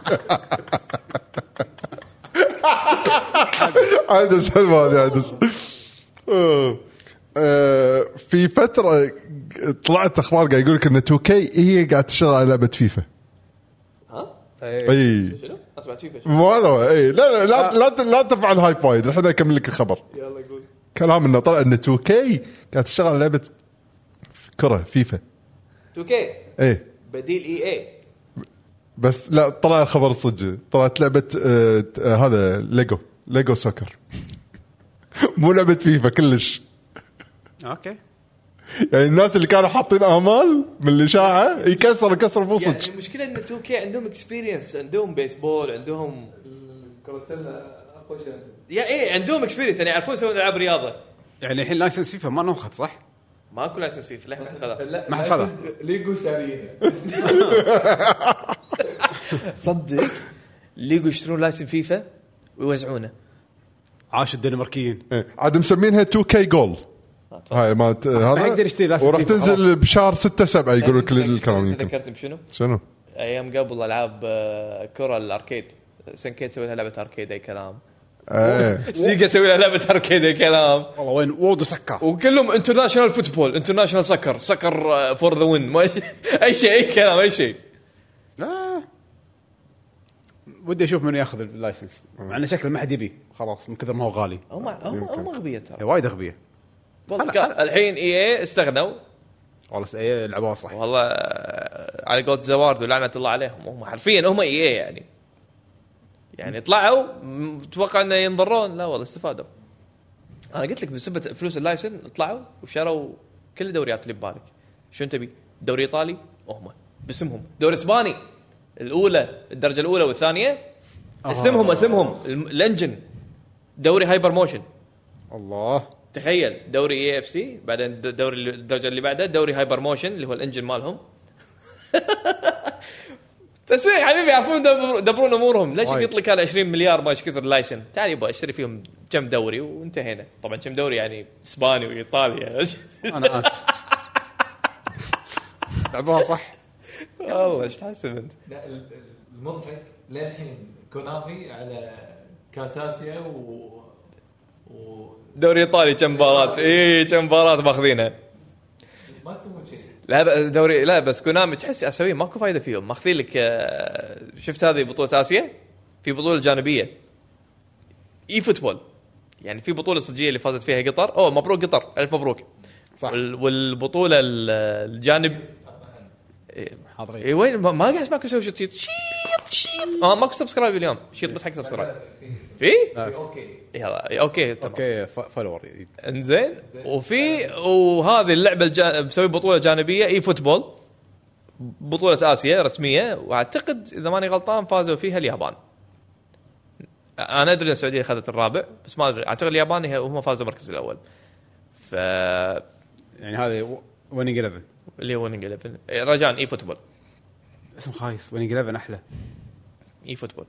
Speaker 2: عدس حلوه هذه عدس آه، في فتره طلعت اخبار قاعد يقول لك ان 2 كي هي قاعد تشتغل على لعبه فيفا
Speaker 4: (laughs) ها
Speaker 2: اي
Speaker 4: شنو؟ اسمع شيء
Speaker 2: مو هذا هو اي لا لا لا لا, لا ترفع الهايب وايد الحين اكمل لك الخبر
Speaker 4: يلا قول
Speaker 2: كلام انه طلع ان 2 كي قاعد تشتغل على لعبه كره فيفا
Speaker 4: 2 كي
Speaker 2: ايه
Speaker 4: بديل E اي اي
Speaker 2: بس لا طلع خبر صدق طلعت لعبه آه آه هذا ليجو ليجو سوكر (laughs) مو لعبه فيفا كلش
Speaker 1: اوكي
Speaker 2: يعني الناس اللي كانوا حاطين امال من الاشاعه يكسر يكسر مو
Speaker 1: يعني-
Speaker 2: صدق
Speaker 4: المشكله ان 2 كي عندهم اكسبيرينس عندهم بيسبول عندهم
Speaker 3: كرة سلة اقوى شيء
Speaker 4: يا ايه عندهم اكسبيرينس يعني يعرفون يسوون العاب رياضه
Speaker 1: يعني الحين لايسنس فيفا ما ناخذ صح؟
Speaker 4: ماكو لايسنس فيفا للحين ما حد (laughs) خذها
Speaker 3: لا
Speaker 1: ما حد خذها.
Speaker 3: ليجو شاريها
Speaker 4: تصدق ليجو يشترون لايسن فيفا ويوزعونه
Speaker 1: عاش الدنماركيين
Speaker 2: إيه، عاد مسمينها 2 كي جول هاي مالت آه، هذا
Speaker 1: ما يقدر يشتري لاعب
Speaker 2: وراح
Speaker 1: فيفا، إيه،
Speaker 2: تنزل بشهر 6 7 يقول لك الكلام يمكن
Speaker 4: ذكرت بشنو؟
Speaker 2: شنو؟
Speaker 4: ايام قبل العاب آه، كره الاركيد سنكيت سوي لها لعبه اركيد اي كلام
Speaker 2: ايه
Speaker 4: سيجا سوي لها لعبه اركيد اي كلام
Speaker 1: والله وين وورد وسكر
Speaker 4: وكلهم انترناشونال فوتبول انترناشونال سكر سكر فور ذا (laughs) وين اي شيء اي كلام اي شيء
Speaker 1: آه. ودي اشوف من ياخذ اللايسنس مع انه شكله ما حد يبيه خلاص من كثر ما هو غالي
Speaker 4: هم هم هم اغبياء ترى
Speaker 1: هي وايد اغبيه
Speaker 4: والله كان- الحين اي اي استغنوا
Speaker 1: والله س- إيه، لعبوها صح
Speaker 4: والله آه، على قولة زوارد ولعنة الله عليهم هم حرفيا هم اي اي يعني يعني طلعوا م- متوقع انه ينضرون لا والله استفادوا انا قلت لك بسبة فلوس اللايسن طلعوا وشروا كل الدوريات اللي ببالك شو انت تبي؟ دوري ايطالي هم باسمهم دوري اسباني الاولى الدرجه الاولى والثانيه اسمهم اسمهم الم- الانجن دوري هايبر موشن
Speaker 1: الله
Speaker 4: تخيل دوري اي اف سي بعدين د- دوري الدرجه اللي بعده دوري هايبر موشن اللي هو الانجن مالهم (laughs) تسويق حبيبي يعرفون دبر- يدبرون امورهم ليش
Speaker 1: وايد.
Speaker 4: يقط لك هذا 20 مليار ما ايش كثر لايسن تعال يبا اشتري فيهم كم دوري وانتهينا طبعا كم دوري يعني اسباني وايطاليا
Speaker 1: انا (laughs) اسف لعبوها صح
Speaker 4: (laughs) والله ايش تحسب انت
Speaker 3: لا ال- ال- المضحك للحين كونامي على كاساسيا و و
Speaker 4: دوري ايطالي كم مباراه اي كم مباراه إيه، ماخذينها
Speaker 3: ما تسوون شيء
Speaker 4: لا ب- دوري لا بس كونامي تحس اسيويين ماكو فايده فيهم ماخذين لك آه، شفت هذه بطوله اسيا في بطوله جانبيه اي فوتبول يعني في بطوله صجيه اللي فازت فيها قطر اوه مبروك قطر الف مبروك
Speaker 1: صح.
Speaker 4: وال- والبطوله ال- الجانب
Speaker 1: حاضرين
Speaker 4: اي وين ما ما قاعد اسمعك تسوي شيت شيت شيت شيت آه ماكو سبسكرايب اليوم شيت بس حق سبسكرايب في؟
Speaker 1: آه.
Speaker 4: يلا اوكي تمام
Speaker 1: اوكي ف- فولور
Speaker 4: انزين وفي وهذه اللعبه الجا... مسوي بطوله جانبيه اي فوتبول بطوله اسيا رسميه واعتقد اذا ماني غلطان فازوا فيها اليابان انا ادري ان السعوديه اخذت الرابع بس ما ادري اعتقد اليابان هي هم فازوا المركز الاول ف
Speaker 1: يعني هذا ويننج 11
Speaker 4: اللي هو ويننج 11 إيه، رجاء اي فوتبول
Speaker 1: اسم خايس ويننج 11 احلى
Speaker 4: اي فوتبول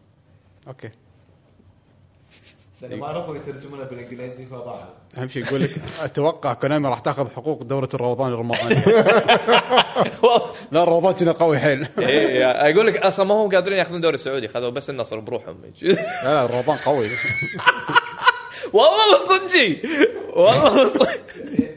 Speaker 4: (laughs)
Speaker 1: اوكي
Speaker 3: ما عرفوا يترجمونها بالانجليزي فضاعوا
Speaker 1: اهم شيء يقول لك اتوقع كونامي راح تاخذ حقوق دوره الروضان (laughs) الرمضانيه
Speaker 4: والله
Speaker 1: لا الروضان كنا قوي (laughs) حيل
Speaker 4: إيه، اقول لك اصلا ما هم قادرين ياخذون دوري السعودي خذوا بس النصر بروحهم
Speaker 1: لا لا الروضان قوي
Speaker 4: والله صدقي والله صدقي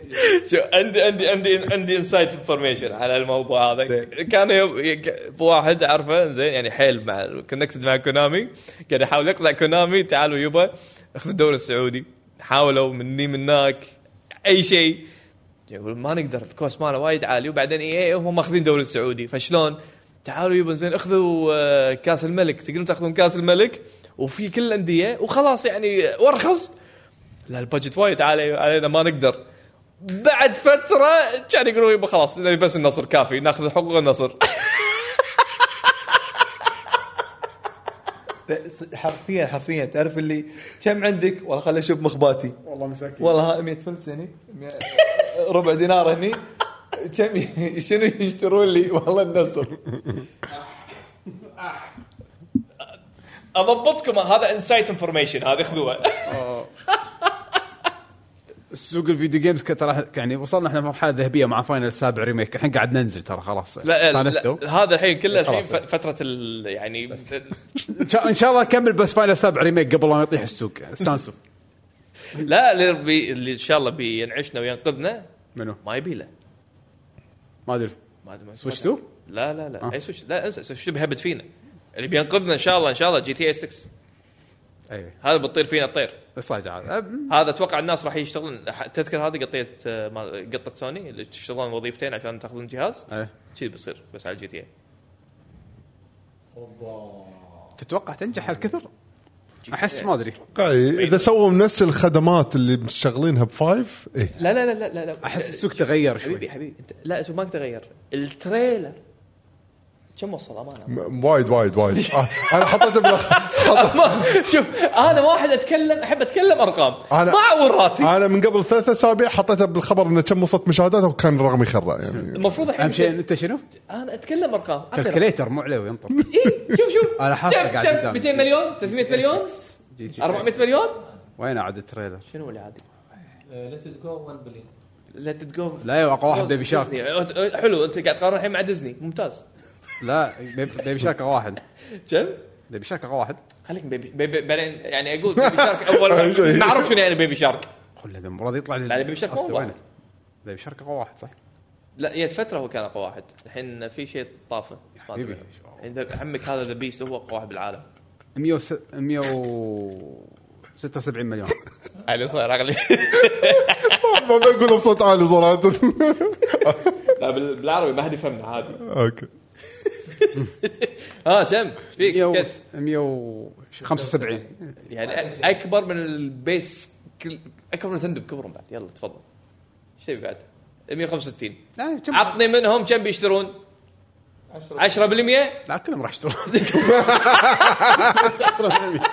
Speaker 4: شو عندي عندي عندي عندي انسايت انفورميشن على الموضوع هذا كان يوم يك- واحد اعرفه زين يعني حيل مع كونكتد مع كونامي كان يحاول يقنع كونامي تعالوا يبا اخذ الدوري السعودي حاولوا مني منك اي شيء يقول ما نقدر الكوست ماله وايد عالي وبعدين اي اي هم ماخذين دوري السعودي فشلون؟ تعالوا يبا زين اخذوا آه، كاس الملك تقدرون تاخذون كاس الملك وفي كل الانديه وخلاص يعني وارخص لا البادجت وايد عالي علينا ما نقدر بعد فتره كان يقولون يبا خلاص نبي بس النصر كافي ناخذ حقوق النصر
Speaker 3: حرفيا حرفيا تعرف اللي كم عندك والله خليني اشوف مخباتي
Speaker 1: والله مساكين
Speaker 3: والله ها 100 فلس هني 100 ربع دينار هني كم ي- (laughs) شنو يشترون لي والله النصر
Speaker 4: اضبطكم هذا انسايت انفورميشن هذا خذوه
Speaker 1: سوق الفيديو جيمز كان ترى يعني وصلنا احنا مرحله ذهبيه مع فاينل سابع ريميك الحين قاعد ننزل ترى خلاص
Speaker 4: لا, لا,
Speaker 1: استانستوا.
Speaker 4: لا هذا الحين كله الحين
Speaker 1: خلاص.
Speaker 4: ف- فتره ال
Speaker 1: (laughs)
Speaker 4: يعني
Speaker 1: إن شاء- ان شاء الله اكمل بس فاينل سابع ريميك قبل لا يطيح السوق استانسوا
Speaker 4: لا اللي بي- اللي ان شاء الله بينعشنا وينقذنا
Speaker 1: منو؟
Speaker 4: ما يبي له
Speaker 1: ما ادري
Speaker 4: ما ادري ما-
Speaker 1: سويتش 2
Speaker 4: لا لا لا
Speaker 1: آه.
Speaker 4: اي سويتش لا انسى سويتش بيهبد فينا اللي بينقذنا ان شاء الله ان شاء الله جي تي اي 6
Speaker 1: اي
Speaker 4: هذا بتطير فينا الطير
Speaker 1: صحيح عاد.
Speaker 4: هذا اتوقع الناس راح يشتغلون ح- تذكر هذه قطيه آه، ما- قطه سوني اللي تشتغلون وظيفتين عشان تاخذون جهاز
Speaker 1: أه.
Speaker 4: شي بيصير بس على الجي تي اي
Speaker 1: تتوقع تنجح هالكثر؟ احس ما ادري
Speaker 2: قاعد- اذا إيه، سووا نفس الخدمات اللي مشغلينها بفايف ايه
Speaker 4: لا لا لا لا لا
Speaker 1: احس السوق تغير
Speaker 4: حبيبي
Speaker 1: شوي
Speaker 4: حبيبي انت لا اسمه ما تغير التريلر كم وصل امانه
Speaker 2: م- وايد وايد وايد آه، انا حطيته
Speaker 1: (laughs)
Speaker 2: بالأخ... حط-
Speaker 4: ما شوف انا واحد اتكلم احب اتكلم ارقام
Speaker 2: أنا-
Speaker 4: ما اعور راسي
Speaker 2: انا من قبل ثلاث اسابيع حطيته بالخبر انه كم وصلت مشاهداته وكان الرقم يخرع يعني
Speaker 4: المفروض الحين
Speaker 1: اهم شيء إن انت شنو؟
Speaker 4: انا اتكلم ارقام اي
Speaker 1: كالكليتر مو عليه
Speaker 4: (laughs)
Speaker 1: ينطر
Speaker 4: شوف شوف
Speaker 1: أنا حاطه
Speaker 4: كم-
Speaker 1: قاعد
Speaker 4: كم؟
Speaker 1: قدامي.
Speaker 4: 200 مليون 300 مليون 400 مليون
Speaker 1: وين عاد التريلر؟
Speaker 4: شنو اللي عادي
Speaker 3: ليت جو 1 بليون
Speaker 4: لا تتجو
Speaker 1: لا يا اقوى واحد بيبي شارك
Speaker 4: ديزني. حلو انت قاعد تقارن الحين مع ديزني ممتاز
Speaker 1: لا بيبي بيبي شارك أقوى واحد
Speaker 4: كم؟
Speaker 1: بيبي شارك أقوى واحد
Speaker 4: خليك بيبي بيبي بعدين يعني اقول (laughs) بيبي شارك اول ما اعرف شنو يعني بيبي شارك
Speaker 1: خله ذا المراد يطلع لي
Speaker 4: لا، بيبي شارك
Speaker 1: أصلي
Speaker 4: هو
Speaker 1: وينه؟
Speaker 4: واحد.
Speaker 1: بيبي شارك أقوى واحد صح؟
Speaker 4: لا هي فتره هو كان اقوى واحد الحين في شيء طافه
Speaker 1: حبيبي.
Speaker 4: الحين ذا- عمك هذا ذا بيست هو اقوى واحد بالعالم
Speaker 1: 176
Speaker 4: (laughs)
Speaker 1: مليون
Speaker 4: علي صاير (laughs) اغلي
Speaker 2: (laughs) ما بقوله بصوت عالي (laughs) صراحه
Speaker 4: لا بال- بالعربي ما حد يفهمنا عادي
Speaker 2: اوكي
Speaker 4: ها كم إيش آه، فيك
Speaker 1: (laughs) 100
Speaker 4: كت.
Speaker 1: 175
Speaker 4: يعني أ- اكبر من البيس كل اكبر من سندب كبرهم بعد يلا تفضل ايش تبي بعد 165
Speaker 1: آه، كم-
Speaker 4: عطني منهم كم بيشترون 10%
Speaker 1: لا كلهم راح
Speaker 4: (laughs)
Speaker 1: يشترون (laughs)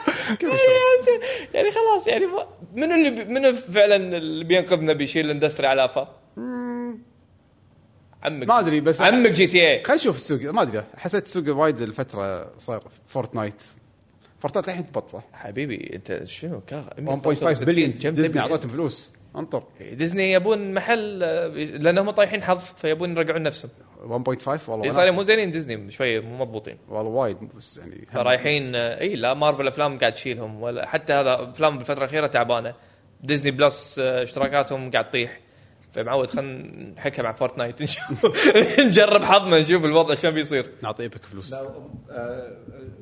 Speaker 4: (laughs) يعني خلاص يعني ما- من اللي بي من فعلا اللي بينقذنا بيشيل الاندستري على افه؟ عمك
Speaker 1: ما أدري، بس-
Speaker 4: عمك جي تي إيه. اي
Speaker 1: خلينا نشوف السوق ما ادري حسيت السوق وايد الفتره صار فورتنايت فورتنايت الحين تبط صح؟
Speaker 4: حبيبي انت شنو كا
Speaker 1: 1.5 بليون
Speaker 4: كم
Speaker 1: ديزني
Speaker 4: تبي؟
Speaker 1: اعطتهم فلوس انطر
Speaker 4: ديزني يبون محل آه، لان هم طايحين حظ فيبون يرجعون نفسهم
Speaker 1: 1.5 والله
Speaker 4: اي
Speaker 1: وناسة.
Speaker 4: صار مو زينين ديزني شويه مو مضبوطين
Speaker 1: والله وايد بس يعني
Speaker 4: فرايحين آه، اي لا مارفل افلام قاعد تشيلهم ولا حتى هذا افلام بالفتره الاخيره تعبانه ديزني بلس آه، اشتراكاتهم قاعد تطيح فمعود خلينا نحكها مع فورتنايت (laughs) نشوف نجرب حظنا نشوف الوضع شلون بيصير
Speaker 1: نعطي ايبك فلوس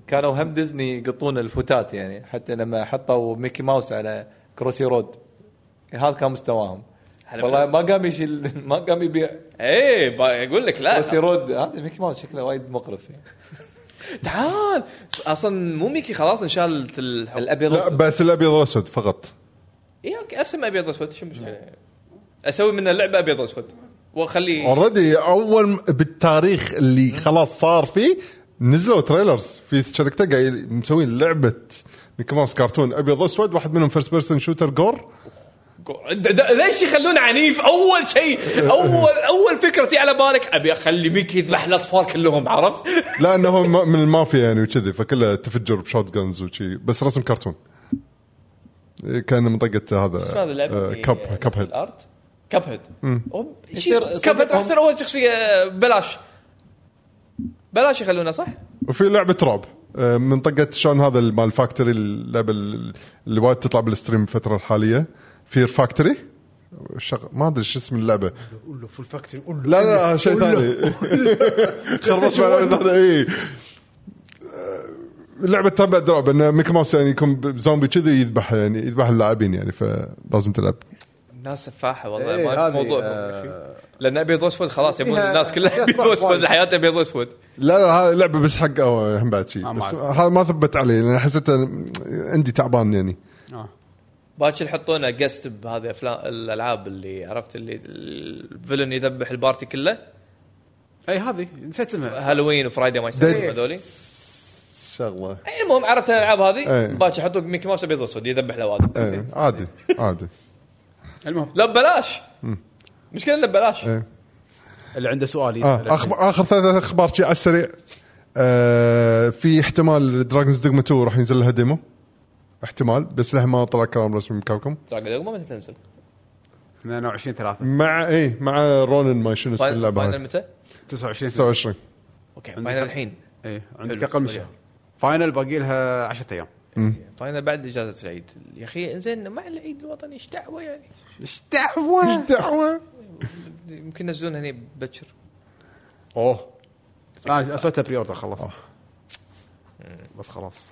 Speaker 3: كانوا هم ديزني يقطون الفتات يعني حتى لما حطوا ميكي ماوس على كروسي رود هذا كان مستواهم
Speaker 4: هلا
Speaker 3: والله
Speaker 4: بلا-
Speaker 3: ما قام يشيل ما قام يبيع
Speaker 4: ايه با- اقول لك لا
Speaker 3: كروسي رود هذا ميكي ماوس شكله وايد مقرف يعني.
Speaker 4: تعال اصلا مو ميكي خلاص انشالت الحب
Speaker 2: لا
Speaker 4: الابيض
Speaker 2: بس الابيض والاسود فقط
Speaker 4: اي اوكي ارسم ابيض اسود شو المشكله اسوي منه لعبه ابيض اسود واخليه
Speaker 2: اوريدي اول م- بالتاريخ اللي خلاص صار فيه نزلوا تريلرز في شركته قايل مسوين لعبه ميكي ماوس كرتون ابيض اسود واحد منهم فيرست بيرسون شوتر جور
Speaker 4: د- د- ليش يخلونه عنيف اول شيء اول اول فكرتي على بالك ابي اخلي ميكي يذبح الاطفال كلهم (laughs) عرفت
Speaker 2: لانه هو م- من المافيا يعني وكذي فكله تفجر بشوت جنز وشي بس رسم كرتون إيه، كان منطقه هذا آه، كب كب هيد
Speaker 4: الارت كب هيد
Speaker 3: يصير-
Speaker 4: كب هيد
Speaker 3: صدقهم-
Speaker 4: احسن اول شخصيه بلاش بلاش يخلونه صح؟
Speaker 2: وفي لعبه تراب آه، منطقه شلون هذا مال الفاكتوري اللعبه ال- اللي وايد تطلع بالستريم الفتره الحاليه فير فاكتوري شغ... ما ادري شو اسم اللعبه
Speaker 1: قول له فول فاكتوري قول له
Speaker 2: لا لا لا، (laughs) شيء ثاني (laughs) خربت معلومات اي إيه. آه، لعبة تربع دراب ان ميكي ماوس يعني يكون بزومبي كذي يذبح يعني يذبح اللاعبين يعني فلازم تلعب
Speaker 4: الناس سفاحه والله
Speaker 1: إيه،
Speaker 4: ما
Speaker 1: هذه،
Speaker 4: في موضوع
Speaker 1: آه.
Speaker 4: لان ابيض واسود خلاص يبون
Speaker 1: فيها-
Speaker 4: الناس كلها
Speaker 1: فيها
Speaker 4: ابيض
Speaker 1: فرق
Speaker 4: واسود
Speaker 1: وايد.
Speaker 4: حياتها ابيض واسود
Speaker 2: لا لا هذه لعبة بس حق أو- هم بعد شيء
Speaker 1: آه، ما
Speaker 2: بس
Speaker 1: أعرف.
Speaker 2: هذا ما ثبت علي لان حسيته عندي تعبان يعني
Speaker 1: آه.
Speaker 4: باكر يحطونه جست بهذه افلام الالعاب اللي عرفت اللي الفيلن يذبح البارتي كله
Speaker 1: اي هذه نسيت اسمها
Speaker 4: هالوين وفرايدي ما يسمونهم
Speaker 1: إيه.
Speaker 2: ديد.
Speaker 4: هذولي
Speaker 2: شغلة
Speaker 4: أي المهم عرفت الالعاب هذه
Speaker 2: إيه.
Speaker 4: باكر يحطوك ميكي ماوس ابيض واسود يذبح لوادم
Speaker 2: ايه عادي عادي
Speaker 1: المهم
Speaker 4: لا ببلاش مشكلة انه ببلاش
Speaker 2: ايه
Speaker 1: اللي عنده سؤال يسأل.
Speaker 2: آه اخبار اخر ثلاث اخبار شيء على السريع آه في احتمال دراجونز دوغما 2 راح ينزل لها ديمو احتمال بس لها ما طلع كلام رسمي من كابكم
Speaker 4: دراجون دوغما متى تنزل؟
Speaker 1: 22 3
Speaker 2: مع ايه مع رونن ما شنو
Speaker 3: طيب،
Speaker 2: اسم
Speaker 4: فاينل
Speaker 2: اللعبه
Speaker 4: فاينل
Speaker 2: هاي
Speaker 4: متى؟
Speaker 1: 29 3
Speaker 2: 29
Speaker 4: اوكي
Speaker 1: عندك
Speaker 4: فاينل الحين
Speaker 1: اي
Speaker 4: حلو. طيب.
Speaker 1: عندك اقل من شهر فاينل باقي لها 10 ايام
Speaker 4: فاينل بعد اجازة العيد يا اخي انزين مع العيد الوطني ايش دعوة يعني
Speaker 1: ايش دعوه؟ ايش دعوه؟
Speaker 4: يمكن ينزلون هني بكر
Speaker 1: اوه انا آه، سويتها بري اوردر خلصت بس خلاص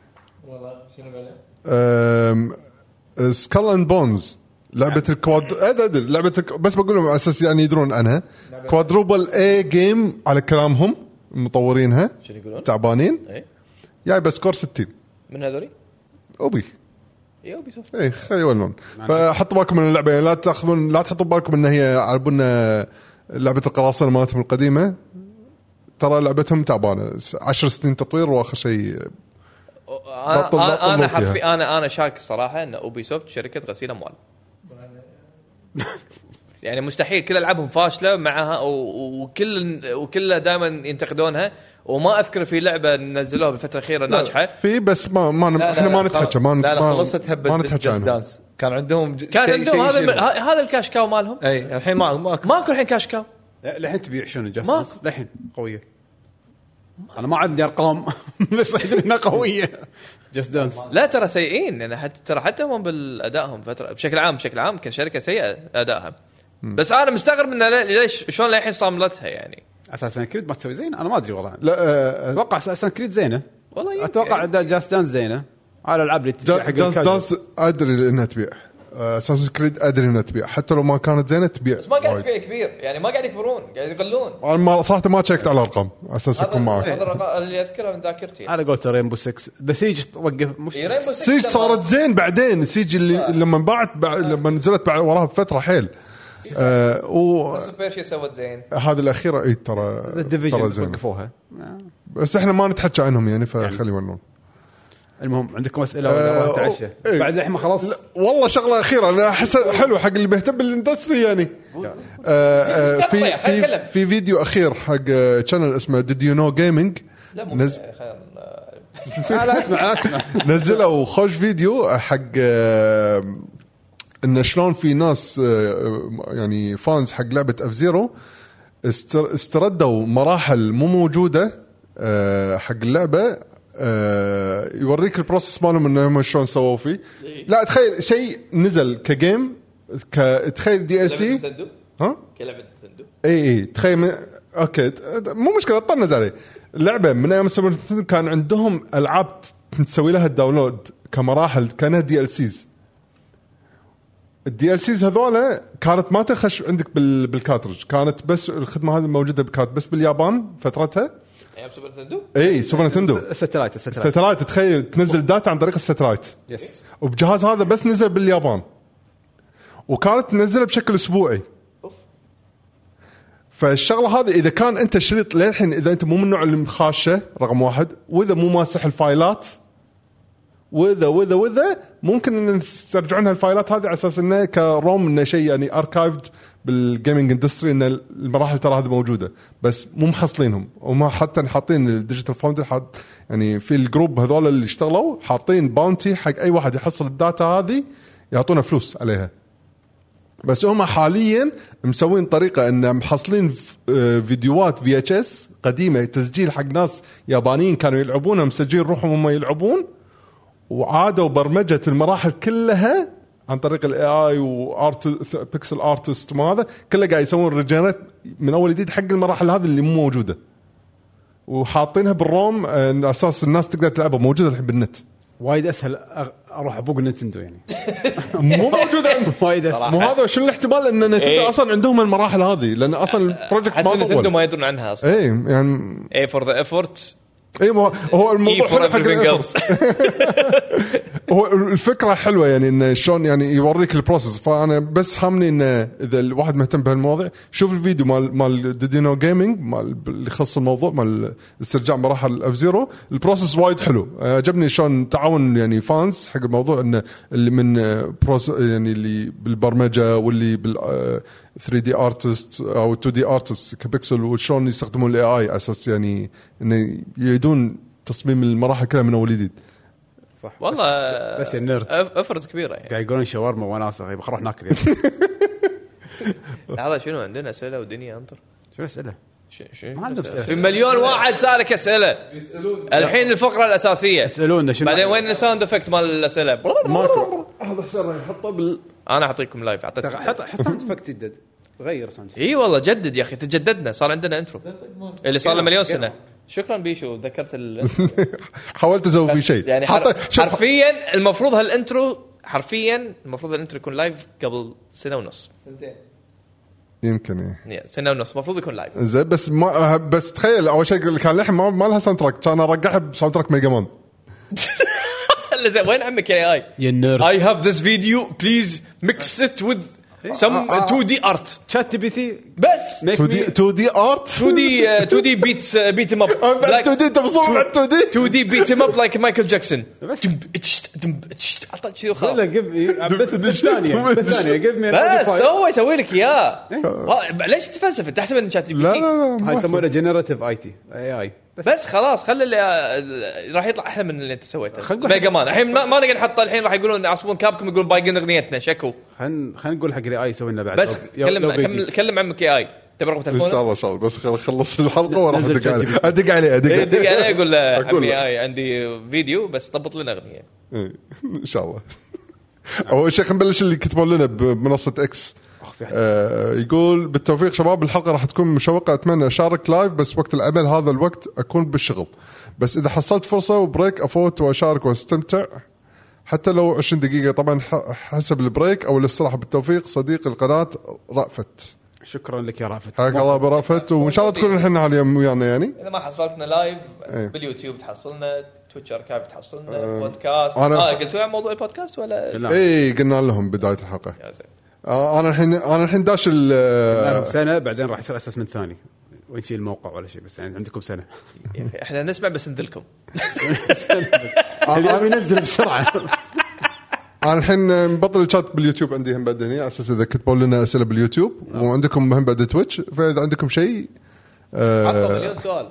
Speaker 2: سكال اند بونز لعبة الكواد ادري ادري لعبة الك... بس بقول لهم على اساس يعني يدرون عنها كوادروبل اي جيم على كلامهم مطورينها
Speaker 4: شنو يقولون؟
Speaker 2: تعبانين
Speaker 4: اي
Speaker 2: جاي بسكور 60
Speaker 4: من هذولي؟
Speaker 2: اوبي
Speaker 4: يا اوبي سوفت
Speaker 2: ايه خلي يولون فحطوا بالكم من اللعبه يعني لا تاخذون لا تحطوا بالكم ان هي على بنا لعبه القراصنه مالتهم القديمه ترى لعبتهم تعبانه 10 سنين تطوير واخر شيء
Speaker 4: انا
Speaker 2: بطل- بطل
Speaker 4: انا
Speaker 2: مو
Speaker 4: انا
Speaker 2: فيها.
Speaker 4: حرفي انا انا شاك الصراحه ان اوبي سوفت شركه غسيل اموال يعني مستحيل كل العابهم فاشله معها و- وكل وكل دائما ينتقدونها وما اذكر في لعبه نزلوها بالفتره الاخيره ناجحه
Speaker 2: في بس ما ما احنا ما نتحكى ما
Speaker 3: لا لا
Speaker 2: ما-
Speaker 3: خلصت هبه
Speaker 2: ما نتحكى عنها
Speaker 3: دانس كان عندهم ج-
Speaker 4: كان
Speaker 3: شيء-
Speaker 4: عندهم
Speaker 3: شيء
Speaker 4: هذا
Speaker 3: يشيلهم.
Speaker 4: الم- ه- هذا الكاش كاو مالهم
Speaker 3: اي الحين ما ماكو
Speaker 4: ماكو الحين كاش كاو
Speaker 1: للحين تبيع شنو
Speaker 4: ماكو.
Speaker 1: جاستس للحين قويه انا ما عندي ارقام (laughs) بس أدري انها قويه جاست دانس
Speaker 4: لا ترى سيئين يعني حتى ترى حتى هم بالادائهم فتره بشكل عام بشكل عام كشركه سيئه ادائها بس انا مستغرب انه لي- ليش شلون للحين صاملتها يعني
Speaker 1: اساسا كريد ما تسوي زين انا ما ادري والله
Speaker 2: لا آه،
Speaker 1: اتوقع اساسا كريد زينه
Speaker 4: والله يمكن.
Speaker 1: اتوقع جاست دانس زينه على الالعاب اللي تبيع
Speaker 2: جا-
Speaker 1: حق
Speaker 2: جاز
Speaker 1: الكاجوال.
Speaker 2: دانس ادري انها تبيع آه، اساس كريد ادري انها تبيع حتى لو ما كانت زينه تبيع
Speaker 4: بس ما قاعد
Speaker 2: وايد.
Speaker 4: تبيع كبير يعني ما قاعد يكبرون قاعد يقلون
Speaker 2: انا ما- صراحه ما شيكت على الارقام اساس
Speaker 4: هذا
Speaker 2: اكون معك
Speaker 3: إيه.
Speaker 4: هذا الرقم اللي اذكره من ذاكرتي
Speaker 5: آه.
Speaker 1: على قولته رينبو 6 ذا سيج توقف مش
Speaker 4: إي، إيه، Rainbow Six
Speaker 2: سيج
Speaker 4: لما-
Speaker 2: صارت زين بعدين سيج
Speaker 4: آه.
Speaker 2: اللي لما انباعت بع- لما نزلت بعد وراها بفتره حيل آه وهذه
Speaker 4: سوبر شي سوت زين
Speaker 2: الاخيره اي ترى
Speaker 1: ذا
Speaker 2: ترى
Speaker 1: ديفيجن
Speaker 2: زين
Speaker 1: وقفوها
Speaker 2: بس احنا ما نتحكى عنهم يعني فخلي يولون
Speaker 1: المهم عندكم اسئله ولا
Speaker 2: آه،
Speaker 1: راح نتعشى
Speaker 2: أو- إيه.
Speaker 1: بعد الحين ما خلاص
Speaker 2: لا، والله شغله اخيره انا احس حلو حق اللي بيهتم بالاندستري يعني آه، آه، في في في فيديو اخير حق شانل اسمه ديد يو نو جيمنج
Speaker 4: لا مو
Speaker 2: نز-
Speaker 4: خير
Speaker 1: لا لا اسمع لا اسمع
Speaker 2: نزلوا خوش فيديو حق آه، انه شلون في ناس آه، يعني فانز حق لعبه اف زيرو استردوا مراحل مو موجوده آه، حق اللعبه آه، يوريك البروسس مالهم انهم شلون سووا فيه لا تخيل شيء نزل كجيم ك- تخيل دي ال سي
Speaker 4: نتندو
Speaker 2: ها؟
Speaker 4: كلعبه نتندو
Speaker 2: اي اي تخيل من... اوكي ت- مو مشكله طنز علي اللعبه من ايام السوبر نتندو كان عندهم العاب ت- تسوي لها الداونلود كمراحل كانها دي ال سيز الدي ال سيز هذولا كانت ما تخش عندك بال... بالكاترج كانت بس الخدمه هذه موجوده بكات بس باليابان فترتها
Speaker 4: ايام سوبر نتندو
Speaker 2: اي سوبر
Speaker 1: (laughs)
Speaker 2: نتندو
Speaker 1: الستلايت الستلايت
Speaker 2: ستلايت تخيل تنزل داتا عن طريق الستلايت
Speaker 1: يس
Speaker 4: إيه.
Speaker 2: وبجهاز هذا بس نزل باليابان وكانت تنزله بشكل اسبوعي
Speaker 4: أوف.
Speaker 2: فالشغله هذه اذا كان انت شريط للحين اذا انت مو من النوع اللي مخاشه رقم واحد واذا مو ماسح الفايلات واذا واذا واذا ممكن ان تسترجعون هالفايلات هذه على اساس انه كروم انه شيء يعني اركايفد بالجيمنج اندستري ان المراحل ترى هذه موجوده بس مو محصلينهم وما حتى حاطين الديجيتال فاوندر حاط يعني في الجروب هذول اللي اشتغلوا حاطين باونتي حق اي واحد يحصل الداتا هذه يعطونا فلوس عليها بس هم حاليا مسوين طريقه ان محصلين ف- آه، فيديوهات في اتش اس قديمه تسجيل حق ناس يابانيين كانوا يلعبونها مسجلين روحهم هم يلعبون وعادوا برمجه المراحل كلها عن طريق الاي اي وارت بيكسل ارتست وما هذا كله قاعد يسوون ريجنريت من اول جديد حق المراحل هذه اللي مو موجوده وحاطينها بالروم آه، على اساس الناس تقدر تلعبها موجوده الحين بالنت
Speaker 1: وايد اسهل أغ- اروح ابوق نتندو
Speaker 4: (laughs)
Speaker 1: يعني
Speaker 2: مو موجوده
Speaker 1: وايد اسهل
Speaker 2: مو هذا شو الاحتمال ان نتندو
Speaker 4: إيه. آه،
Speaker 2: إيه؟ اصلا عندهم المراحل هذه لان اصلا البروجكت
Speaker 4: حتى
Speaker 2: ما
Speaker 4: نتندو
Speaker 2: طول
Speaker 4: ما يدرون عنها اصلا
Speaker 2: اي يعني
Speaker 4: اي فور ذا افورت
Speaker 2: اي مو هو
Speaker 4: اي
Speaker 2: الموضوع
Speaker 4: فور
Speaker 2: حلو حق
Speaker 4: E everything
Speaker 2: الإيفورت.
Speaker 4: ايلس
Speaker 2: هو الفكره حلوه يعني انه شلون يعني يوريك البروسس فانا بس حامني انه اذا الواحد مهتم بهالمواضيع شوف الفيديو مال مال ديدينو جيمنج مال اللي يخص الموضوع مال استرجاع مراحل اف زيرو البروسس وايد حلو عجبني شلون تعاون يعني فانز حق الموضوع انه اللي من بروس يعني اللي بالبرمجه واللي بال آه، 3 دي ارتست او 2 دي ارتست كبكسل وشلون يستخدمون الاي اي على اساس يعني انه يعيدون تصميم المراحل كلها من اول جديد
Speaker 1: صح
Speaker 4: (laughs) والله
Speaker 1: بس يا نيرد.
Speaker 4: أف- افرز كبيره (laughs) يعني
Speaker 1: قاعد يقولون شاورما وناسه يبغى نروح ناكل يعني.
Speaker 4: لحظه شنو عندنا اسئله ودنيا انطر
Speaker 1: شو الاسئله؟
Speaker 4: شو- شو-
Speaker 1: ما عندهم
Speaker 4: في
Speaker 1: اسئله
Speaker 4: مليون واحد سالك اسئله الحين الفقره الاساسيه
Speaker 1: يسالونا شنو
Speaker 4: بعدين وين الساوند افكت مال الاسئله
Speaker 2: ماكو هذا حسين راح يحطه بال
Speaker 4: انا اعطيكم لايف اعطيتكم
Speaker 1: حط حط ساوند افكت جدد غير ساوند
Speaker 4: اي والله جدد يا اخي تجددنا صار عندنا انترو اللي صار له مليون سنه شكرا بيشو ذكرت (laughs) ال...
Speaker 2: (laughs) حاولت اسوي فيه شيء
Speaker 4: يعني
Speaker 2: حط-
Speaker 4: حر...
Speaker 2: شوف
Speaker 4: حرفيا المفروض هالانترو حرفيا المفروض الانترو يكون لايف قبل سنه ونص
Speaker 2: يمكن إيه.
Speaker 4: يعني سنه ونص المفروض يكون (laughs) لايف
Speaker 2: زين بس ما آه، بس تخيل اول شيء اللي كان لحم ما, ما لها ساوند تراك كان ارقعها بساوند تراك ميجا مان
Speaker 4: هلا زين وين عمك يا اي
Speaker 1: يا النيرد
Speaker 4: اي هاف ذس فيديو بليز ميكس ات وذ سم 2 دي ارت
Speaker 1: شات جي بي تي
Speaker 4: بس uh,
Speaker 2: 2 دي 2 دي ارت (laughs)
Speaker 4: 2 دي 2 دي بيت بيت (laughs) ام اب
Speaker 2: 2 دي انت مصور على 2 دي
Speaker 4: 2 دي بيت ام اب لايك مايكل جاكسون
Speaker 1: بس.
Speaker 4: دمب اتشت، دمب اتشت. عطى كذي وخلاص
Speaker 1: لا جيف مي (laughs) بس ثانيه بس ثانيه جيف مي
Speaker 4: بس هو يسوي لك اياه آه، ليش تتفلسف انت احسب ان شات جي بي
Speaker 2: إيه؟ لا
Speaker 4: تي
Speaker 2: لا
Speaker 1: هاي
Speaker 2: لا ما-
Speaker 1: يسمونه جنراتيف اي تي اي اي بس
Speaker 4: بس خلاص خلي اللي آه، راح يطلع احلى من اللي انت سويته
Speaker 1: خلنا نقول-
Speaker 4: ميجا مان الحين ما, ما نقدر نحط الحين راح يقولون يعصبون كابكم يقولون بايقين اغنيتنا شكو
Speaker 1: خلينا خلينا نقول حق الاي اي يسوي لنا بعد
Speaker 4: بس
Speaker 1: لو- لو-
Speaker 4: كلم
Speaker 1: لو بيجي.
Speaker 4: كمل- كلم عمك يا اي تبي رقم
Speaker 2: ان شاء
Speaker 4: تليفونه؟
Speaker 2: الله ان شاء الله بس خل- خلص الحلقه وراح
Speaker 1: نزل
Speaker 2: ادق
Speaker 1: شات جي بي
Speaker 2: عليه
Speaker 1: تي.
Speaker 2: ادق عليه ادق
Speaker 4: إيه، دق عليه يقول له
Speaker 2: (laughs) أقول
Speaker 4: عمي
Speaker 2: له.
Speaker 4: يا اي عندي فيديو بس ضبط لنا اغنيه
Speaker 2: إيه، ان شاء الله اول شيء خلينا نبلش اللي كتبوا لنا بمنصه اكس
Speaker 1: أخ، في حد-
Speaker 2: آه، يقول بالتوفيق شباب الحلقه راح تكون مشوقه اتمنى اشارك لايف بس وقت العمل هذا الوقت اكون بالشغل بس اذا حصلت فرصه وبريك افوت واشارك واستمتع حتى لو 20 دقيقه طبعا ح- حسب البريك او الاستراحه بالتوفيق صديق القناه رأفت
Speaker 1: شكرا لك يا رافت
Speaker 2: حياك الله أبو رأفت وان شاء الله تكون الحين على يم- ويانا يعني
Speaker 4: اذا ما حصلتنا لايف
Speaker 2: إيه. آه.
Speaker 4: باليوتيوب تحصلنا تويتش اركايف تحصلنا بودكاست
Speaker 2: أنا-
Speaker 4: اه قلتوا عن موضوع البودكاست ولا
Speaker 1: لا.
Speaker 2: اي إيه، قلنا لهم بدايه الحلقه
Speaker 4: يا زين.
Speaker 2: آه، انا الحين انا الحين داش ال
Speaker 1: عندكم سنه نعم، بعدين راح يصير اساس من ثاني ونشيل الموقع ولا شيء بس يعني عندكم (laughs) سنه
Speaker 4: يا أخي، احنا إيه، نسمع بس نذلكم
Speaker 1: اليوم ينزل بسرعه
Speaker 2: انا الحين مبطل الشات باليوتيوب عندي هم بعد هنا على اساس اذا كتبوا لنا اسئله باليوتيوب
Speaker 4: نعم.
Speaker 2: وعندكم هم بعد تويتش فاذا عندكم شيء
Speaker 4: عطوا
Speaker 2: آه
Speaker 4: مليون سؤال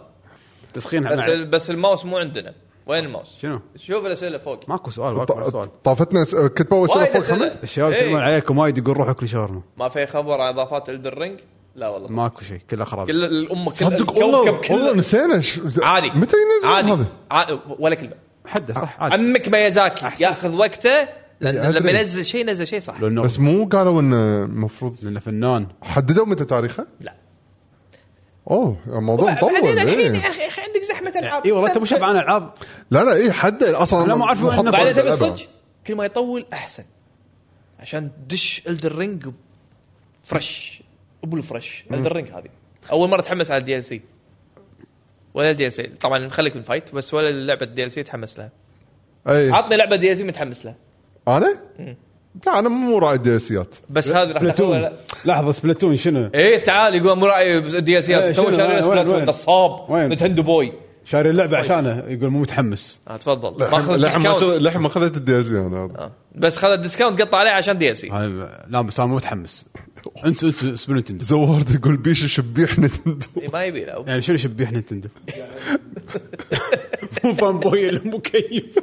Speaker 1: تسخين
Speaker 4: بس
Speaker 1: مع-
Speaker 4: بس الماوس مو عندنا وين الماوس؟
Speaker 1: شنو؟
Speaker 4: شوف الاسئله فوق
Speaker 1: ماكو سؤال ماكو سؤال
Speaker 2: طافتنا أس- كتبوا اسئله
Speaker 4: وايد
Speaker 2: فوق
Speaker 4: أسئلة.
Speaker 2: حمد
Speaker 1: الشباب
Speaker 4: إيه.
Speaker 1: يسلمون عليكم وايد يقول روحوا كل شاورما
Speaker 4: ما في خبر عن اضافات الدرينج لا والله
Speaker 1: ماكو شيء كله خراب
Speaker 4: كل الامه كل
Speaker 2: صدق والله
Speaker 4: الكوكب
Speaker 2: والله
Speaker 4: كله
Speaker 2: نسينا ش-
Speaker 4: عادي
Speaker 2: متى ينزل
Speaker 4: عادي
Speaker 2: هذا؟
Speaker 4: عادي ولا كلمه
Speaker 1: حده صح عادي
Speaker 2: إيه،
Speaker 4: عمك ميازاكي ياخذ وقته لان
Speaker 2: أدري.
Speaker 4: لما ينزل شيء نزل شيء صح
Speaker 1: لانه
Speaker 2: بس مو قالوا انه المفروض
Speaker 1: لانه فنان
Speaker 4: أه،
Speaker 2: حددوا متى تاريخه؟
Speaker 4: لا.
Speaker 2: اوه الموضوع مطول
Speaker 4: بعدين الحين
Speaker 2: إيه.
Speaker 4: يا اخي أخي عندك زحمه العاب
Speaker 1: اي إيه والله انت مو شبعان العاب
Speaker 2: لا إيه، لا اي حده اصلا
Speaker 1: لا، ما أعرف وين
Speaker 2: محط
Speaker 1: نفس-
Speaker 4: بعدين
Speaker 2: صدق
Speaker 4: تبي
Speaker 2: أبعد.
Speaker 4: صدق كل ما يطول احسن عشان تدش الدر رينج فريش ابو الفريش الدر رينج هذه اول مره اتحمس على الدي ال سي ولا الدي ال سي طبعا خليك من فايت بس ولا لعبه الدي ال سي اتحمس لها
Speaker 1: إيه.
Speaker 2: اي
Speaker 4: عطني لعبه دي ال سي متحمس لها
Speaker 2: انا؟ لا انا مو راعي الدياسيات
Speaker 4: بس
Speaker 1: إيه.
Speaker 4: هذه راح
Speaker 1: سبلاتون
Speaker 4: تحولها
Speaker 1: لحظه سبلاتون شنو؟
Speaker 4: ايه تعال يقول مو راعي دي ال
Speaker 1: إيه،
Speaker 4: سيات
Speaker 1: شنو؟
Speaker 4: تو شاري
Speaker 1: وين-
Speaker 4: سبلاتون
Speaker 1: وين؟
Speaker 4: نصاب
Speaker 1: وين؟
Speaker 4: نتندو بوي
Speaker 1: شاري
Speaker 4: طيب.
Speaker 1: اللعبه عشانه يقول مو متحمس
Speaker 4: آه تفضل ماخذ
Speaker 2: لحم ما
Speaker 4: ديسكاونت
Speaker 2: شغ- لحم ما اخذت الدياسي انا
Speaker 4: آه. بس خذ الديسكاونت قطع عليه عشان دي ال
Speaker 1: آه.
Speaker 4: سي
Speaker 1: هاي- لا بس انا مو متحمس انسوا انسوا اسمه نينتندو
Speaker 2: زورت يقول بيش شبيح (laughs) نتندو
Speaker 4: إيه، ما يبي له
Speaker 1: (laughs) يعني شنو شبيح نينتندو؟ مو فان بوي اللي مكيف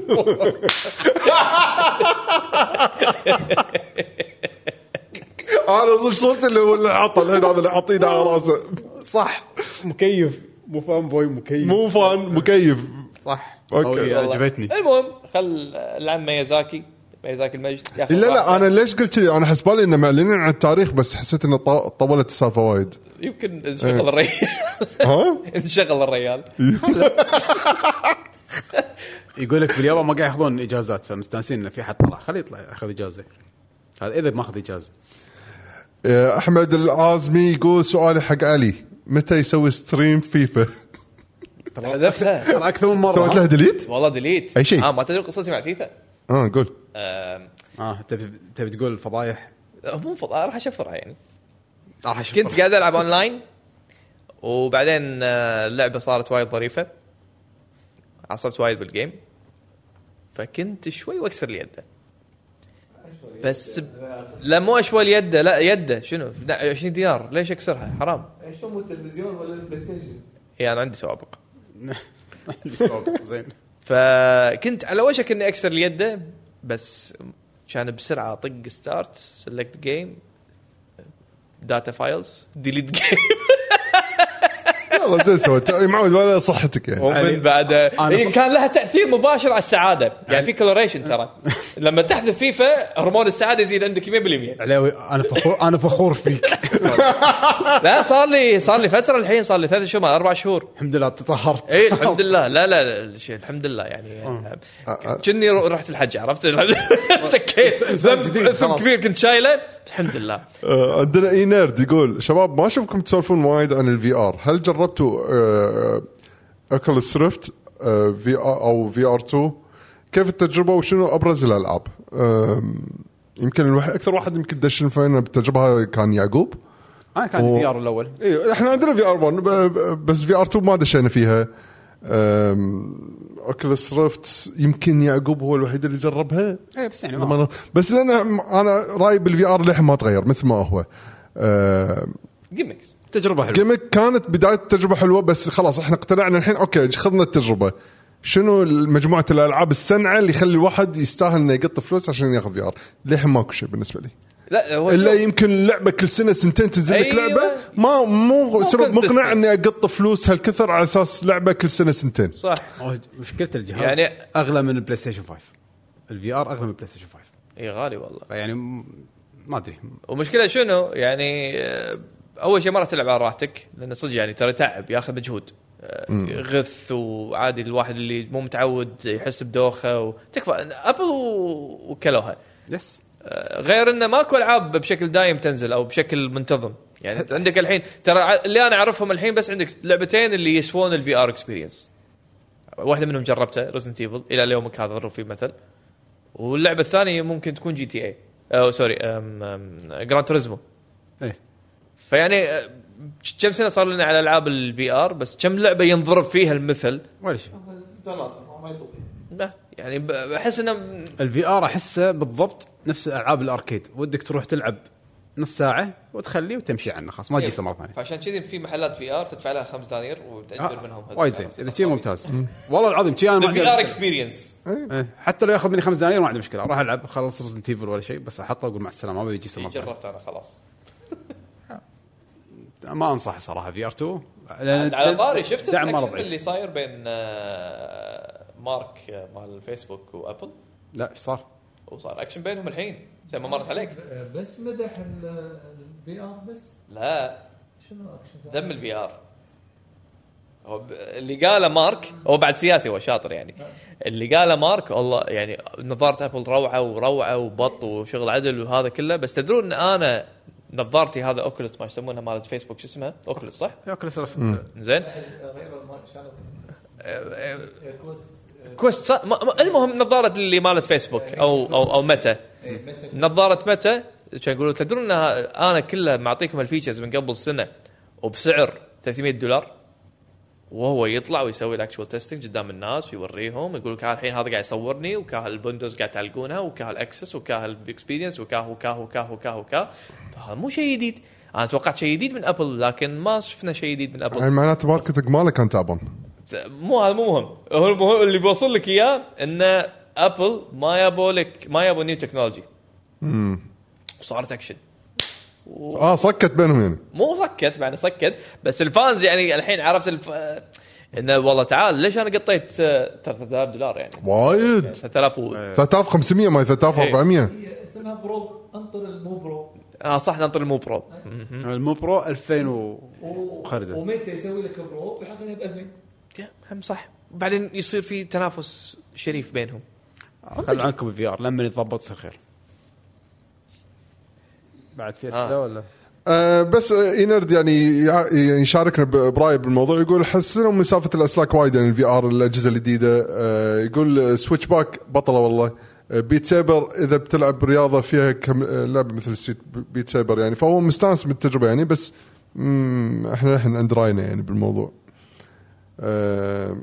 Speaker 2: انا صرت صورتي اللي هو اللي عطى الحين هذا اللي عطيه على راسه
Speaker 1: صح مكيف (laughs) مو فان بوي مكيف
Speaker 2: مو فان مكيف
Speaker 1: صح
Speaker 2: اوكي
Speaker 1: أوكي.
Speaker 4: والله.
Speaker 1: عجبتني.
Speaker 4: المهم خل العم ميازاكي ميازاكي المجد ياخذ
Speaker 2: لا آه. لا
Speaker 4: راحته.
Speaker 2: انا ليش قلت كذي انا حسبالي انه معلنين عن التاريخ بس حسيت انه طا- طولت السالفه وايد
Speaker 4: يمكن انشغل الريال
Speaker 2: (laughs) ها
Speaker 4: انشغل الريال
Speaker 1: يقول لك باليابان ما قاعد ياخذون اجازات فمستانسين انه في حد طلع خليه يطلع ياخذ اجازه هذا اذا ما اخذ اجازه
Speaker 2: يا احمد إيه، العازمي يقول سؤالي حق علي متى يسوي ستريم فيفا؟
Speaker 4: حذفتها
Speaker 1: ترى اكثر من مره
Speaker 2: سويت له
Speaker 1: ها؟
Speaker 2: ديليت؟
Speaker 4: والله ديليت
Speaker 2: أي شيء.
Speaker 4: اه ما تدري قصتي مع فيفا
Speaker 2: اه قول
Speaker 4: آم،
Speaker 1: اه تبي تبي تقول فضايح
Speaker 4: مو فض- راح اشفرها يعني
Speaker 1: راح اشوف
Speaker 4: كنت قاعد العب اونلاين وبعدين آه، اللعبه صارت وايد ظريفه عصبت وايد بالجيم فكنت شوي واكسر لي يده بس ب- لا مو اشوال يده لا يده شنو 20 دينار ليش اكسرها حرام
Speaker 3: شو مو التلفزيون ولا البلاي ستيشن؟
Speaker 4: اي انا إيه، عندي سوابق
Speaker 1: (laughs) قاعد زين
Speaker 4: فكنت على وشك اني اكسر اليده بس كان بسرعه اطق ستارت سلكت جيم داتا فايلز ديليت جيم
Speaker 2: (laughs) يلا زين سويت أي معود ولا صحتك يعني
Speaker 1: علي.
Speaker 4: (laughs) ومن بعد إيه،
Speaker 1: أنا-
Speaker 4: كان لها تاثير مباشر على السعاده يعني في كلوريشن ترى لما تحذف فيفا هرمون السعاده يزيد عندك (laughs) 100%
Speaker 1: علاوي انا فخور انا فخور فيك
Speaker 4: لا صار لي صار لي فتره الحين صار لي ثلاث شهور اربع شهور
Speaker 1: الحمد لله تطهرت (laughs)
Speaker 4: اي إيه، الحمد لله لا لا, لا شيء الحمد لله يعني
Speaker 1: آه.
Speaker 4: كني رحت الحج عرفت (laughs) شكيت
Speaker 1: إنسان جديد،
Speaker 4: ذنب
Speaker 1: خلاص.
Speaker 4: كبير كنت شايله الحمد لله
Speaker 2: آه، عندنا اي نيرد يقول شباب ما اشوفكم تسولفون وايد عن الفي ار هل جربتوا آه، اكل سريفت في او في ار 2 كيف التجربه وشنو ابرز الالعاب؟ آم، يمكن الوح- اكثر واحد يمكن دشن فينا بالتجربه كان يعقوب
Speaker 1: انا كان
Speaker 2: و-
Speaker 1: في ار الاول
Speaker 2: اي احنا إيه، عندنا في ار 1 ب- ب- بس في ار 2 ما دشينا فيها اوكلس ريفت يمكن يعقوب هو الوحيد اللي جربها
Speaker 1: اي بس يعني
Speaker 2: لما
Speaker 1: ما-
Speaker 2: أنا- بس لان انا رايي بالفي ار للحين ما تغير مثل ما هو أم،
Speaker 4: جيمكس
Speaker 1: تجربه حلوه
Speaker 2: جيمك كانت بدايه التجربه حلوه بس خلاص احنا اقتنعنا الحين اوكي خذنا التجربه شنو مجموعه الالعاب السنعه اللي يخلي الواحد يستاهل انه يقط فلوس عشان ياخذ في ار للحين ماكو شيء بالنسبه لي
Speaker 4: لا هو
Speaker 2: الا يمكن لعبه كل سنه سنتين تنزل لك
Speaker 4: أيوة.
Speaker 2: لعبه ما مو سبب
Speaker 4: consistent.
Speaker 2: مقنع اني اقط فلوس هالكثر على اساس لعبه كل سنه سنتين
Speaker 4: صح
Speaker 1: أوه، مشكله الجهاز يعني
Speaker 4: يعني-
Speaker 1: اغلى من البلاي ستيشن 5 الفي ار اغلى من البلاي ستيشن 5
Speaker 4: اي إيه، غالي والله
Speaker 1: فيعني م- ما ادري
Speaker 4: ومشكله شنو يعني آه، اول شيء ما راح تلعب على راحتك لان صدق يعني ترى تعب ياخذ مجهود آه، غث وعادي الواحد اللي مو متعود يحس بدوخه وتكفى ابل و- وكلوها
Speaker 1: يس
Speaker 4: آه، غير انه ماكو العاب بشكل دايم تنزل او بشكل منتظم يعني أنت عندك الحين ترى ع- اللي انا اعرفهم الحين بس عندك لعبتين اللي يسوون الفي ار اكسبيرينس واحده منهم جربتها ريزنت ايفل الى يومك هذا اضرب فيه مثل واللعبه الثانيه ممكن تكون جي تي اي او سوري جراند توريزمو
Speaker 1: ايه
Speaker 4: فيعني آه، كم سنه صار لنا على العاب الفي ار بس كم لعبه ينضرب فيها المثل
Speaker 1: ولا شيء
Speaker 4: لا، يعني ب- بحس انه
Speaker 1: الفي ار احسه بالضبط نفس العاب الاركيد ودك تروح تلعب نص ساعه وتخليه وتمشي عنه خلاص ما تجلسه مره ثانيه
Speaker 4: فعشان كذي في محلات في ار تدفع لها 5 دنانير وتاجر منهم
Speaker 1: آه، وايد زين اذا شيء ممتاز والله العظيم شيء انا ما عندي
Speaker 4: الفي ار
Speaker 1: مشكلة.
Speaker 4: اكسبيرينس
Speaker 1: إيه، حتى لو ياخذ مني خمس دنانير ما عندي مشكله راح العب خلص رزنت ايفل ولا شيء بس احطه واقول مع السلامه ما بيجي مره ثانية.
Speaker 4: إيه، جربت انا خلاص
Speaker 1: ما انصح صراحه في ار 2
Speaker 4: عاد على طاري شفت
Speaker 1: آه، دعم مره
Speaker 4: الكونكشن
Speaker 1: ضعيف
Speaker 4: اللي صاير بين آه، مارك آه، مال الفيسبوك وابل
Speaker 1: لا ايش صار؟
Speaker 4: وصار اكشن بينهم الحين زي ما مرت عليك
Speaker 5: آه، بس مدح البي ار بس
Speaker 4: لا
Speaker 5: شنو اكشن
Speaker 4: ذم الفي ار هو ب- اللي قاله مارك هو بعد سياسي هو شاطر يعني اللي قاله مارك والله يعني نظاره ابل روعه وروعه وبط وشغل عدل وهذا كله بس تدرون ان انا نظارتي هذا اوكلت ما يسمونها مالت فيسبوك شو اسمها اوكلت صح؟
Speaker 1: اوكلس رف-
Speaker 4: زين
Speaker 5: غير المال شالوا كوست
Speaker 4: كويست صح ما- ما- المهم نظاره اللي مالت فيسبوك او او او متى نظاره متى كانوا يقولون تدرون انها انا كلها معطيكم الفيتشرز من قبل سنه وبسعر 300 دولار وهو يطلع ويسوي الاكشوال تيستنج قدام الناس ويوريهم يقول لك "ها الحين هذا قاعد يصورني وكاه البندوز قاعد تعلقونها وكاه الاكسس وكاه الاكسبيرينس وكاه وكاه وكاه وكاه وكاه فهذا مو شيء جديد انا توقعت شيء جديد من ابل لكن ما شفنا شيء جديد من ابل
Speaker 2: يعني معناته ماركتنج ماله كان تعبان
Speaker 4: مو هذا مو مهم هو المهم اللي بوصل لك اياه ان ابل ما يابوا لك ما يابوا نيو تكنولوجي وصارت اكشن
Speaker 2: اه صكت بينهم يعني
Speaker 4: مو سكت معنى سكت بس الفانز يعني الحين عرفت الف... انه والله تعال ليش انا قطيت آه، 3000 دولار يعني
Speaker 2: وايد
Speaker 4: 3000 و...
Speaker 2: 3500 ما 3400
Speaker 5: هي اسمها برو انطر المو برو
Speaker 4: اه صح ننطر المو برو
Speaker 1: المو برو 2000 و
Speaker 5: و-
Speaker 1: خرده.
Speaker 5: ومتى يسوي لك برو ويحط لها ب 2000
Speaker 4: هم صح وبعدين يصير في تنافس شريف بينهم
Speaker 1: خلوا عنكم الفي ار لما يتضبط يصير خير بعد في اسئله
Speaker 4: آه.
Speaker 1: ولا؟
Speaker 2: آه بس آه، اينرد يعني يع- يعني يشاركنا ب- برايه بالموضوع يقول حسنوا مسافه الاسلاك وايد يعني الفي ار الاجهزه الجديده آه يقول آه، سويتش باك بطله والله آه، بيت سيبر اذا بتلعب رياضه فيها كم آه، لعبه مثل ستيت بيت سيبر يعني فهو مستانس بالتجربه يعني بس مم، احنا نحن عند راينا يعني بالموضوع آه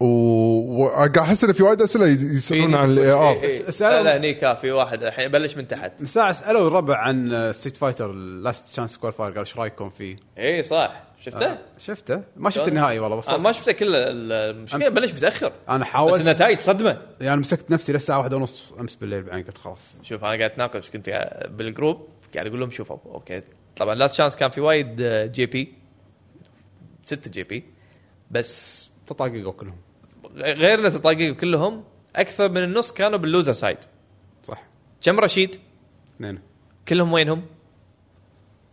Speaker 2: و- وقاعد احس ان في وايد اسئله ي- يسالون عن الاي ار (laughs)
Speaker 4: إيه، إيه.
Speaker 1: اسألهم.
Speaker 4: لا لا هني كافي واحد الحين بلش من تحت
Speaker 1: من ساعه سالوا الربع عن ستريت فايتر لاست شانس كوالفاير قال ايش رايكم فيه؟
Speaker 4: اي إيه، صح شفته؟
Speaker 1: آه، شفته ما شفت النهائي والله
Speaker 4: انا
Speaker 1: وصلت
Speaker 4: ما شفته كله ال- المشكله
Speaker 1: أمس.
Speaker 4: بلش متاخر
Speaker 1: انا
Speaker 4: بس
Speaker 1: حاولت
Speaker 4: النتائج صدمه
Speaker 1: يعني مسكت نفسي للساعه واحدة ونص امس بالليل بعدين قلت خلاص
Speaker 4: شوف انا قاعد اتناقش كنت قاعد- بالجروب قاعد اقول لهم شوفوا اوكي طبعا لاست شانس كان في وايد آه، جي بي ستة جي بي بس
Speaker 1: تطاققوا كلهم
Speaker 4: غير التطاقيق كلهم اكثر من النص كانوا باللوزر سايد
Speaker 1: صح
Speaker 4: كم رشيد
Speaker 1: اثنين
Speaker 4: كلهم وينهم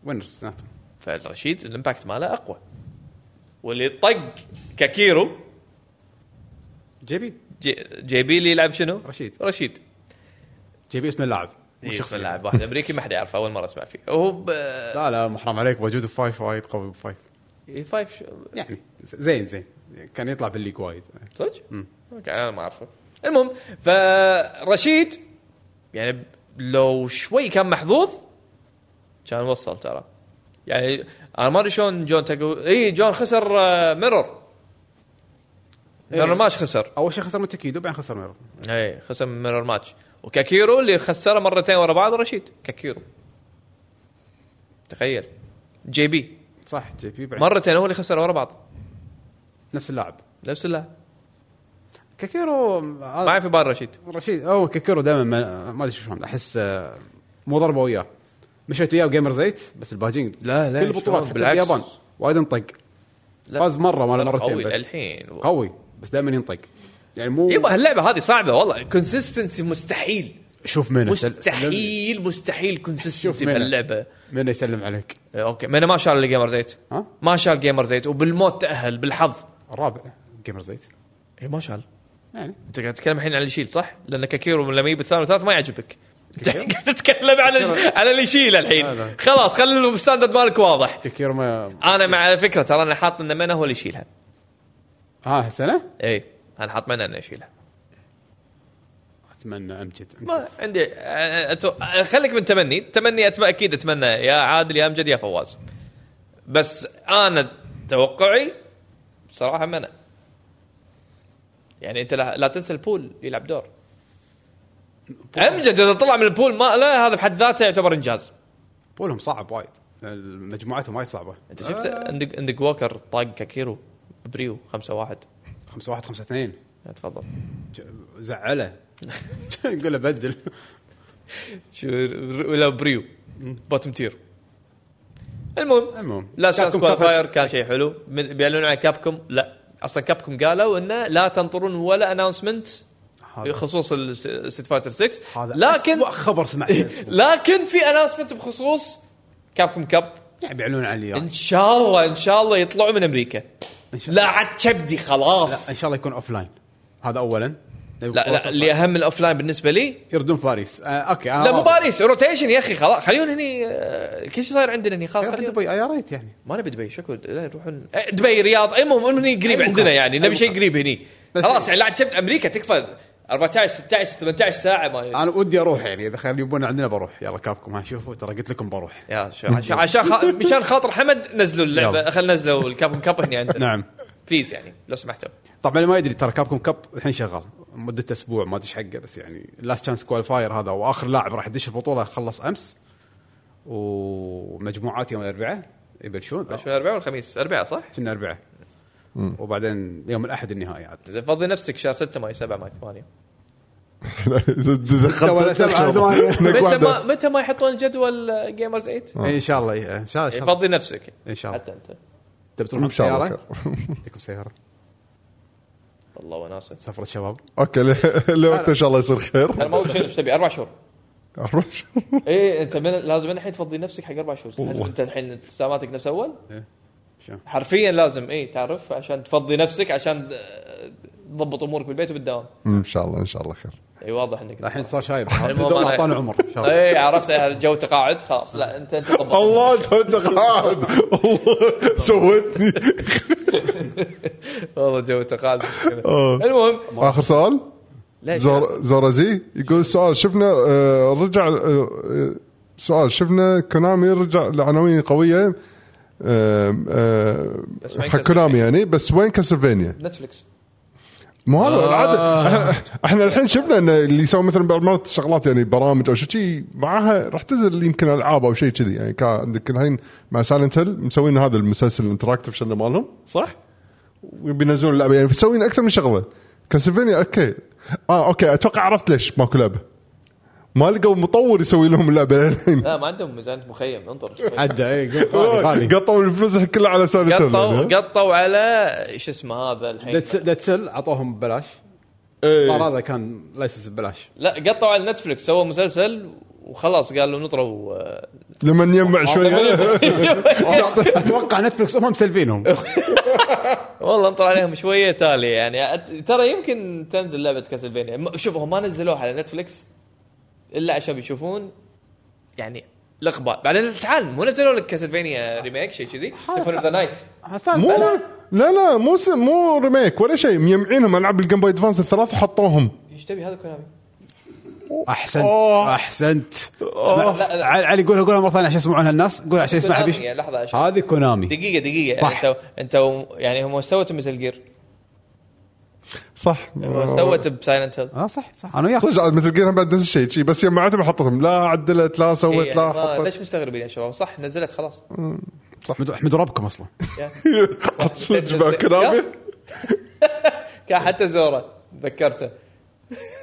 Speaker 1: وينرز اثنيناتهم
Speaker 4: فالرشيد الامباكت ماله اقوى واللي طق كاكيرو
Speaker 1: جي بي
Speaker 4: جي, جي بي اللي يلعب شنو؟
Speaker 1: رشيد.
Speaker 4: رشيد
Speaker 1: جي بي اسم اللاعب مو
Speaker 4: إيه،
Speaker 1: شخص
Speaker 4: اسم اللاعب واحد امريكي ما حد يعرفه اول مره اسمع فيه هو ب...
Speaker 1: لا لا مو حرام عليك وجوده فايف وايد قوي بفايف
Speaker 4: إيه، فايف شو...
Speaker 1: يعني زين زين كان يطلع بالليج وايد
Speaker 4: صدق؟ اوكي انا ما اعرفه المهم فرشيد يعني ب- لو شوي كان محظوظ كان وصل ترى يعني انا ما ادري شلون جون تاكو اي جون خسر آه، ميرور ميرور
Speaker 1: إيه.
Speaker 4: ماتش خسر
Speaker 1: اول شيء خسر من تكيدو بعدين خسر ميرو
Speaker 4: اي خسر من ميرور ماتش وكاكيرو اللي خسره مرتين ورا بعض رشيد كاكيرو تخيل جي بي
Speaker 1: صح جي بي بعد
Speaker 4: مرتين هو اللي خسر ورا بعض
Speaker 1: نفس اللاعب
Speaker 4: نفس الله
Speaker 1: كاكيرو آه،
Speaker 4: ما في بال رشيد
Speaker 1: رشيد هو كاكيرو دائما ما, ما ادري شلون احس آه، مو ضربه وياه مشيت وياه بجيمر زيت بس الباجين
Speaker 4: لا، لا،
Speaker 1: كل البطولات
Speaker 4: شلون؟
Speaker 1: حتى
Speaker 4: بالعكس.
Speaker 1: باليابان وايد انطق
Speaker 4: لا.
Speaker 1: فاز مره ولا مرتين
Speaker 4: قوي
Speaker 1: بس
Speaker 4: للحين
Speaker 1: قوي بس دائما ينطق يعني مو
Speaker 4: يبا هاللعبه هذه صعبه والله كونسستنسي مستحيل
Speaker 1: شوف مين
Speaker 4: مستحيل مستحيل كونسستنسي
Speaker 1: مينا.
Speaker 4: بهاللعبه
Speaker 1: مين يسلم عليك
Speaker 4: إيه، اوكي ما انا ما شال الجيمر زيت
Speaker 1: ها
Speaker 4: ما شال جيمر زيت وبالموت تاهل بالحظ
Speaker 1: الرابع جيمر زيت
Speaker 4: اي إيه، ما شال
Speaker 1: يعني
Speaker 4: انت قاعد تتكلم الحين عن اللي يشيل صح؟ لان كاكيرو لما يجيب الثاني والثالث ما (laughs) يعجبك
Speaker 1: كاكيرو؟
Speaker 4: قاعد تتكلم عن على اللي يشيل
Speaker 1: لا،
Speaker 4: الحين
Speaker 1: لا.
Speaker 4: خلاص خلي الستاندرد مالك واضح
Speaker 1: كاكيرو ما
Speaker 4: انا مع الفكره ترى انا حاط ان منا هو اللي يشيلها
Speaker 1: ها هالسنه
Speaker 4: اي انا حاط منا انه يشيلها
Speaker 1: اتمنى امجد
Speaker 4: ما عندي أ- أ- أتو- خليك من تمني تمني أتم... اكيد اتمنى يا عادل يا امجد يا فواز بس انا توقعي صراحه منى يعني انت لا, لا تنسى البول يلعب دور امجد اذا طلع من البول ما لا هذا بحد ذاته يعتبر انجاز
Speaker 1: بولهم صعب وايد مجموعتهم وايد آه، صعبه
Speaker 4: انت شفت عندك عندك ووكر طاق كاكيرو بريو 5 1
Speaker 1: 5 1 5 2
Speaker 4: تفضل (laughs)
Speaker 1: زعله نقول له بدل
Speaker 4: شو ولا بريو بوتم تير المهم
Speaker 1: المهم
Speaker 4: لا شانس
Speaker 1: كابكوم
Speaker 4: كوالفاير كان شيء حلو من- بيعلنون عن كابكم لا اصلا كابكم قالوا انه لا تنطرون ولا اناونسمنت
Speaker 1: هذا.
Speaker 4: بخصوص ستيت فايتر 6
Speaker 1: هذا
Speaker 4: لكن
Speaker 1: أسوأ خبر سمعته
Speaker 4: (laughs) لكن في اناونسمنت بخصوص كابكم كاب
Speaker 1: يعني بيعلنون عن اليابان
Speaker 4: ان شاء الله ان شاء الله يطلعوا من امريكا
Speaker 1: إن شاء-
Speaker 4: لا عاد كبدي خلاص
Speaker 1: لا ان شاء الله يكون اوف لاين هذا اولا
Speaker 4: لا لا اللي اهم الاوف لاين بالنسبه لي
Speaker 1: يردون باريس آه اوكي أنا
Speaker 4: لا مو
Speaker 1: راضي.
Speaker 4: باريس روتيشن يا اخي خلاص خليون هني آه، كل شيء صاير عندنا هني خلاص
Speaker 1: يا أخي
Speaker 4: خليون-
Speaker 1: دبي آه، يا ريت يعني
Speaker 4: ما نبي دبي شكو لا يروحون آه، دبي رياض المهم إنه هني قريب
Speaker 1: مكان.
Speaker 4: عندنا يعني
Speaker 1: أي
Speaker 4: نبي شيء
Speaker 1: مكان.
Speaker 4: قريب هني
Speaker 1: بس
Speaker 4: خلاص
Speaker 1: إيه.
Speaker 4: يعني لا عاد كبد امريكا تكفى 14 16 18 ساعه ما
Speaker 1: انا ودي اروح يعني اذا خلي يبون عندنا بروح يلا كابكم ها شوفوا ترى قلت لكم
Speaker 4: (laughs)
Speaker 1: بروح
Speaker 4: يا شو- عشان عشان خا-
Speaker 1: (laughs)
Speaker 4: مشان خاطر حمد نزلوا اللعبه
Speaker 1: يلا.
Speaker 4: خل نزلوا الكاب كاب هني عندنا
Speaker 1: (laughs) نعم
Speaker 4: بليز يعني لو سمحتوا
Speaker 1: طبعا اللي ما يدري ترى كابكم كاب الحين شغال مدة اسبوع ما ادري إيش حقه بس يعني لاست تشانس كوالفاير هذا واخر لاعب راح يدش البطوله خلص امس ومجموعات يوم الاربعاء يبلشون
Speaker 4: شو الاربعاء والخميس اربعاء صح؟
Speaker 1: كنا اربعاء وبعدين يوم الاحد النهائي عاد
Speaker 4: زين فضي نفسك شهر 6 ماي 7 ماي
Speaker 1: (laughs)
Speaker 4: 8
Speaker 2: دخلت
Speaker 1: ولا سبعة، ثمانية.
Speaker 2: هناك
Speaker 4: متى ما
Speaker 2: واحدة.
Speaker 4: متى ما يحطون جدول جيمرز 8
Speaker 1: إيه، ان شاء الله إيه، ان شاء الله إن شاء الله.
Speaker 4: فضي نفسك
Speaker 1: ان شاء الله
Speaker 4: حتى انت
Speaker 1: تبي تروحون
Speaker 2: ان شاء الله
Speaker 1: بسياره؟
Speaker 2: خير
Speaker 1: تكم سياره
Speaker 4: والله وناسه
Speaker 1: سفرة شباب
Speaker 2: اوكي ل- (laughs) لوقت ان شاء الله يصير خير
Speaker 4: انا ما أدري شنو ايش تبي اربع شهور
Speaker 2: أروح.
Speaker 4: اي انت إيه، من لازم الحين تفضي نفسك حق اربع شهور لازم
Speaker 2: والله.
Speaker 4: انت الحين التزاماتك نفس اول
Speaker 1: إيه. شو؟
Speaker 4: حرفيا لازم اي تعرف عشان تفضي نفسك عشان آه، تضبط امورك بالبيت وبالدوام
Speaker 2: ان شاء الله ان شاء الله خير
Speaker 4: اي واضح انك
Speaker 1: الحين صار (laughs) شايب
Speaker 4: المهم أنا-
Speaker 1: اعطانا عمر (laughs) ان شاء الله
Speaker 4: اي عرفت إيه، هذا الجو تقاعد خلاص لا انت انت ضبط
Speaker 2: الله انت قاعد الله (laughs) سويتني
Speaker 4: والله جو تقاعد
Speaker 2: آه.
Speaker 4: المهم
Speaker 2: اخر سؤال
Speaker 4: ليش؟
Speaker 2: زور زورازي يقول سؤال شفنا آه، رجع آه، آه، سؤال شفنا كونامي رجع لعناوين قويه آم، آه،
Speaker 4: بس وين
Speaker 2: حق كونامي يعني بس وين كاسلفينيا؟
Speaker 4: نتفلكس
Speaker 2: مو هذا العاده إحنا- (laughs) احنا الحين شفنا ان اللي يسوي مثلا بعض مرات شغلات يعني برامج او شيء معاها راح تنزل يمكن العاب او شيء كذي يعني كان عندك الحين مع سايلنت هيل مسوين هذا المسلسل الانتراكتيف شنو مالهم صح؟ وبينزلون اللعبه يعني مسوين اكثر من شغله كاسلفينيا اوكي اه اوكي اتوقع عرفت ليش ماكو لعبه ما لقوا مطور يسوي لهم اللعبه (laughs) الحين
Speaker 4: لا ما عندهم ميزانيه مخيم انطر
Speaker 1: عدى (laughs) اي غالي غالي
Speaker 2: قطوا الفلوس كلها على سايلنت هيل يعني.
Speaker 4: قطوا قطوا على ايش اسمه هذا الحين
Speaker 1: ديد سيل اعطوهم ببلاش
Speaker 2: إيه.
Speaker 1: صار هذا كان لايسنس ببلاش
Speaker 4: لا قطوا على نتفلكس سووا مسلسل وخلاص قالوا نطروا آه،
Speaker 2: لما نجمع شوي
Speaker 4: (laughs)
Speaker 1: اتوقع نتفلكس هم مسلفينهم
Speaker 4: والله انطر عليهم شويه تالي يعني أت- ترى يمكن تنزل لعبه كاسلفينيا م- شوف هم ما نزلوها على نتفلكس الا عشان بيشوفون يعني الاقبال بعدين تعال مو نزلوا لك كاسلفينيا ريميك شيء كذي تلفون ذا نايت
Speaker 2: مو لا لا مو س- مو ريميك ولا شيء مجمعينهم العاب الجيم بوي ادفانس الثلاث حطوهم
Speaker 4: ايش تبي هذا كونامي؟
Speaker 1: احسنت
Speaker 2: أوه.
Speaker 1: احسنت
Speaker 4: لا، لا، لا.
Speaker 1: علي علي قولها قولها مره ثانيه عشان يسمعونها الناس قول عشان يسمعها
Speaker 4: كونامي،
Speaker 1: بيش
Speaker 4: يعني لحظه عشان
Speaker 1: هذه كونامي
Speaker 4: دقيقه دقيقه
Speaker 1: صح.
Speaker 4: انت انت و- يعني هم سوت مثل جير
Speaker 2: صح
Speaker 4: سوت بسايلنت هيل
Speaker 1: اه صح صح انا وياك
Speaker 2: صدق عاد مثل جير بعد نفس الشيء شي بس جمعتهم حطتهم لا عدلت لا
Speaker 4: إيه،
Speaker 2: سويت
Speaker 4: يعني
Speaker 2: لا
Speaker 4: ما-
Speaker 2: حطت
Speaker 4: ليش مستغربين يا شباب صح نزلت خلاص
Speaker 1: احمد احمد ربكم اصلا
Speaker 4: يا.
Speaker 2: (laughs) صدق مع كلامي
Speaker 4: كان حتى زوره ذكرته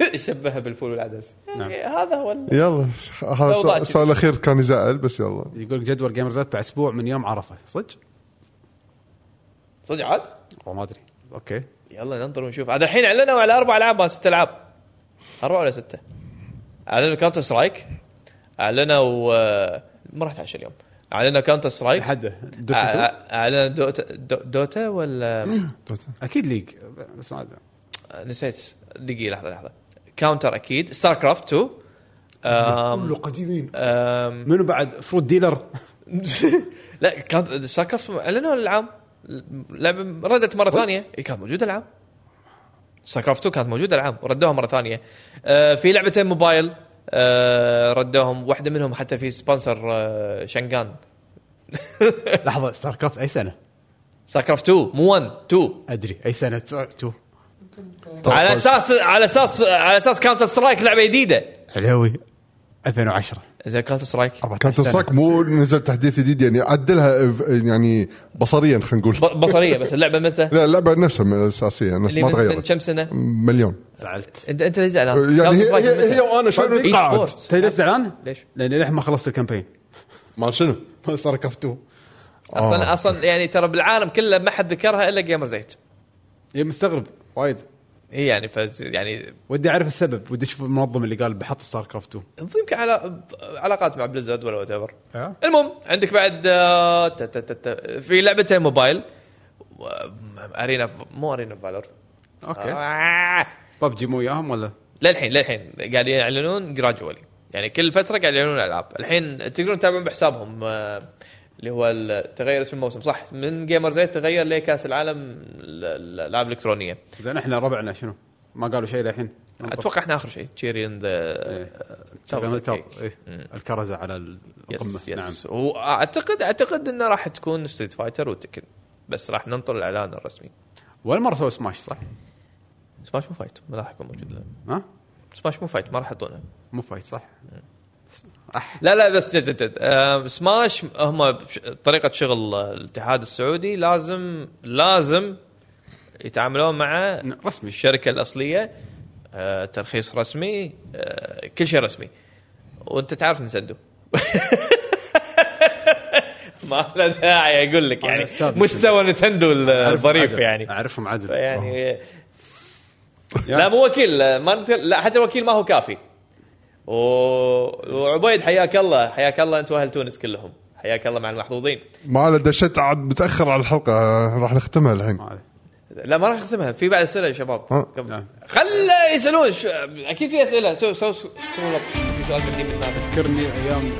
Speaker 4: (laughs) شبهها بالفول والعدس يعني هذا هو ال-
Speaker 2: يلا هذا
Speaker 4: لو ضاع
Speaker 2: السؤال- السؤال الاخير كان يزعل بس يلا
Speaker 1: يقول لك جدول جيمرز بعد اسبوع من يوم عرفه صدق؟
Speaker 4: صدق عاد
Speaker 1: والله ما ادري اوكي
Speaker 4: يلا ننطر ونشوف عاد الحين اعلنوا على اربع العاب ما ست العاب اربع ولا سته اعلنوا كاونتر سترايك اعلنوا آه، ما رحت عشاء اليوم اعلنوا كاونتر سترايك
Speaker 1: لحد
Speaker 4: أع-
Speaker 1: دوتا
Speaker 4: أع- آه، اعلنوا دوتا دو- دوتا ولا
Speaker 1: اكيد ليج بس ما ادري
Speaker 4: نسيت دقيقه لحظه لحظه كاونتر اكيد ستار كرافت 2 كله قديمين
Speaker 1: منو بعد فروت ديلر
Speaker 4: لا كانت ستار كرافت اعلنوا العام لعبه ردت مره ثانيه اي كانت موجوده العام ستار كرافت 2 كانت موجوده العام وردوها مره ثانيه آه في لعبتين موبايل آه ردوهم واحده منهم حتى في سبونسر آه شنغان
Speaker 1: لحظه ستار كرافت اي سنه؟
Speaker 4: ستار كرافت 2 مو 1 2
Speaker 1: ادري اي سنه تو- تو
Speaker 4: على اساس على اساس على اساس كاونتر سترايك لعبه جديده
Speaker 1: حلوي 2010
Speaker 4: زين كاونتر سترايك
Speaker 1: 14
Speaker 2: كانت
Speaker 1: سنة.
Speaker 2: الصك مو نزل تحديث جديد يعني عدلها إف- يعني بصريا خلينا
Speaker 4: ب-
Speaker 2: نقول
Speaker 4: بصريه بس اللعبه متى؟
Speaker 2: لا اللعبه نفسها الاساسيه نفس
Speaker 4: اللي
Speaker 2: ما
Speaker 4: من- من
Speaker 2: تغيرت
Speaker 4: كم سنه؟
Speaker 2: مليون
Speaker 1: زعلت
Speaker 4: انت انت ليش زعلان؟
Speaker 2: يعني هي
Speaker 4: Counter Strike من
Speaker 2: هي,
Speaker 4: متى؟
Speaker 2: هي وانا شلون
Speaker 4: إي
Speaker 2: انقعد
Speaker 4: سبورت.
Speaker 1: طيب، تدري ليش زعلان؟
Speaker 4: ليش؟
Speaker 1: لان للحين ما خلصت الكامبين
Speaker 2: مال شنو؟
Speaker 1: ما صار كفتو
Speaker 4: اصلا اصلا يعني ترى بالعالم كله ما حد ذكرها الا جيمر زيت
Speaker 1: اي مستغرب وايد
Speaker 4: اي يعني فز يعني
Speaker 1: ودي اعرف السبب ودي اشوف المنظم اللي قال بحط ستار كرافت 2
Speaker 4: يمكن على علاقات مع بليزرد ولا وات ايفر
Speaker 1: أه؟
Speaker 4: المهم عندك بعد آه، تا- تا- تا- تا- في لعبتين موبايل و- ارينا مو ارينا فالور
Speaker 1: اوكي
Speaker 4: آه.
Speaker 1: ببجي مو وياهم ولا
Speaker 4: للحين للحين قاعد يعلنون جراجولي يعني كل فتره قاعد يعلنون العاب الحين تقدرون تتابعون بحسابهم آه، اللي هو ال- تغير اسم الموسم صح من جيمر زيت تغير لكاس العالم ال- ال- الالعاب الالكترونيه
Speaker 1: زين احنا ربعنا شنو؟ ما قالوا شيء للحين
Speaker 4: اتوقع احنا اخر شيء تشيري ان
Speaker 1: إيه.
Speaker 4: آه، ذا
Speaker 1: التاب إيه. الكرزه على القمه
Speaker 4: يس
Speaker 1: نعم
Speaker 4: يس واعتقد اعتقد انه راح تكون ستريت فايتر وتكن بس راح ننطر الاعلان الرسمي
Speaker 1: ولا مره سووا سماش صح؟
Speaker 4: سماش مو فايت ما راح يكون موجود لها.
Speaker 1: ها؟
Speaker 4: سماش مو فايت ما راح يحطونها
Speaker 1: مو فايت صح؟
Speaker 4: لا لا بس جد جد آه، سماش هم بش- طريقه شغل آه، الاتحاد السعودي لازم لازم يتعاملون مع
Speaker 1: ن- رسمي
Speaker 4: الشركه الاصليه آه، ترخيص رسمي آه، كل شيء رسمي وانت تعرف نسدو (laughs) ما له داعي اقول لك يعني
Speaker 1: أنا أستاذ
Speaker 4: مستوى نتندو ال-
Speaker 1: أعرفهم
Speaker 4: الظريف
Speaker 1: عدل.
Speaker 4: يعني
Speaker 1: اعرفهم عدل أوه.
Speaker 4: يعني
Speaker 1: يا-
Speaker 4: (laughs) لا مو وكيل آه، ما نتكلم- لا حتى الوكيل ما هو كافي و... وعبيد حياك الله حياك الله انت واهل تونس كلهم حياك الله مع المحظوظين
Speaker 2: ما على دشيت عاد متاخر على الحلقه آه، راح نختمها الحين
Speaker 1: ما عليه.
Speaker 4: لا ما راح اختمها في بعد اسئله يا شباب
Speaker 2: ها؟
Speaker 4: قبل-
Speaker 1: نعم.
Speaker 4: خل يسالون ش... اكيد في اسئله سو سو سو سكرول اب. في سؤال قديم بالنهاية.
Speaker 1: ذكرني ايام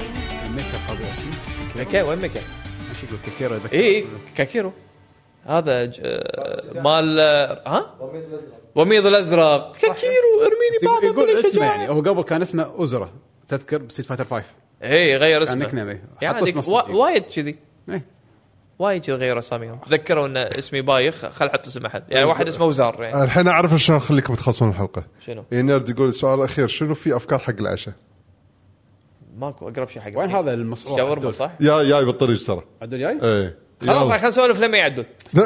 Speaker 1: الميك اب ابو ياسين
Speaker 4: مكا وين مكا؟
Speaker 1: ايش يقول كثير اذكر
Speaker 4: اي إيه، كاكيرو هذا ج... آه، مال آه، ها
Speaker 5: الرميد الازرق
Speaker 4: وميض الازرق كاكيرو ارميني
Speaker 1: بس
Speaker 4: بعض
Speaker 1: يقول
Speaker 4: من
Speaker 1: اسمه
Speaker 4: الشجاعه
Speaker 1: يعني هو قبل كان اسمه اوزرا تذكر بسيت فايتر 5
Speaker 4: اي غير
Speaker 1: كان
Speaker 4: اسمه
Speaker 1: نيك نيم إيه.
Speaker 4: يعني
Speaker 1: حط اسمه
Speaker 4: وا-
Speaker 1: الصجي.
Speaker 4: وايد كذي
Speaker 1: إيه.
Speaker 4: وايد كذي غيروا اساميهم تذكروا ان اسمي بايخ خل احط اسم احد يعني واحد اسمه وزار يعني
Speaker 1: آه.
Speaker 2: الحين اعرف شلون اخليكم تخلصون الحلقه
Speaker 4: شنو؟
Speaker 2: يعني نرد يقول السؤال الاخير شنو في افكار حق العشاء؟
Speaker 4: ماكو اقرب شيء حق
Speaker 1: وين هذا المصقوع
Speaker 4: شاورما
Speaker 1: عدول؟
Speaker 4: صح؟
Speaker 2: يا جاي بالطريق ترى
Speaker 1: عدول جاي؟
Speaker 2: ايه
Speaker 4: خلاص خلينا نسولف لما يعدون
Speaker 2: (laughs)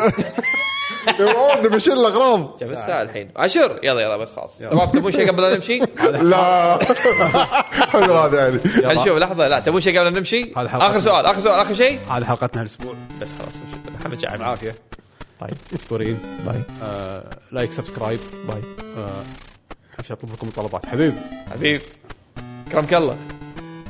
Speaker 2: إيه، نبي نشيل الاغراض
Speaker 4: كم الساعه الحين؟ عشر يلا يلا بس خلاص شباب تبون شيء قبل لا نمشي؟
Speaker 2: لا (laughs) حلو هذا يعني
Speaker 4: خلينا نشوف لحظه لا تبون شيء قبل لا نمشي؟
Speaker 1: هذا حلقة.
Speaker 4: اخر سؤال اخر سؤال اخر شيء
Speaker 1: هذه حلقتنا هالاسبوع
Speaker 4: بس خلاص محمد شعب
Speaker 1: بالعافيه
Speaker 4: باي
Speaker 1: مشكورين
Speaker 4: باي
Speaker 1: آه، لايك سبسكرايب
Speaker 4: باي
Speaker 1: آه، عشان اطلب لكم طلبات حبيب
Speaker 4: حبيب كرمك الله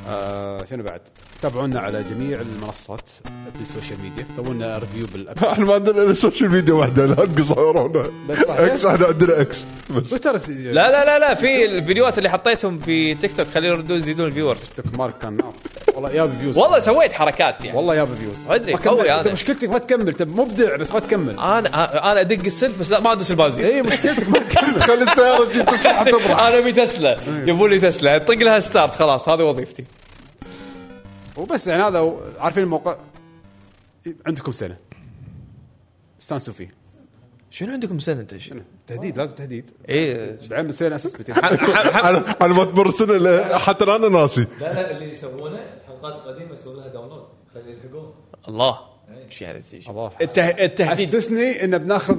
Speaker 1: آه، شنو بعد؟ تابعونا على جميع المنصات بالسوشيال ميديا سووا لنا ريفيو
Speaker 4: (laughs)
Speaker 1: بالاب
Speaker 2: احنا ما عندنا الا سوشيال ميديا واحده لا تقصرونا
Speaker 1: بس
Speaker 2: اكس احنا عندنا اكس بس
Speaker 1: تويتر
Speaker 4: لا لا لا لا في الفيديوهات اللي حطيتهم في تيك توك خليهم يردون يزيدون الفيورز
Speaker 1: تيك مارك كان نار والله ياب فيوز
Speaker 4: والله سويت حركات يعني
Speaker 1: والله ياب فيوز
Speaker 4: ما أدري،
Speaker 1: ما كمل.
Speaker 4: قوي
Speaker 1: أنت
Speaker 4: هذا.
Speaker 1: مشكلتك ما تكمل تب مبدع بس ما تكمل
Speaker 4: انا انا ادق السلف بس لا ما ادوس البازي
Speaker 1: اي مشكلتك ما تكمل
Speaker 2: خلي السياره (laughs) تجي تسرح تبرح
Speaker 4: (laughs) انا ابي تسلا يبون لي تسلا اطق لها ستارت خلاص هذه وظيفتي
Speaker 1: (laughs) وبس يعني هذا هو- عارفين الموقع عندكم سنه استانسوا فيه
Speaker 4: شنو عندكم سنه انت شنو؟
Speaker 1: تهديد لازم تهديد
Speaker 4: ايه
Speaker 1: بعين سنه اساس بتهديد. (laughs)
Speaker 2: انا انا ما تمر السنه إلا- حتى انا ناسي
Speaker 5: لا لا اللي يسوونه الحلقات القديمه يسوون لها داونلود خلي (laughs) يلحقون
Speaker 4: (laughs) الله ايش يعني شيء؟
Speaker 1: الله
Speaker 4: الته- التهديد
Speaker 1: حسسني ان بناخذ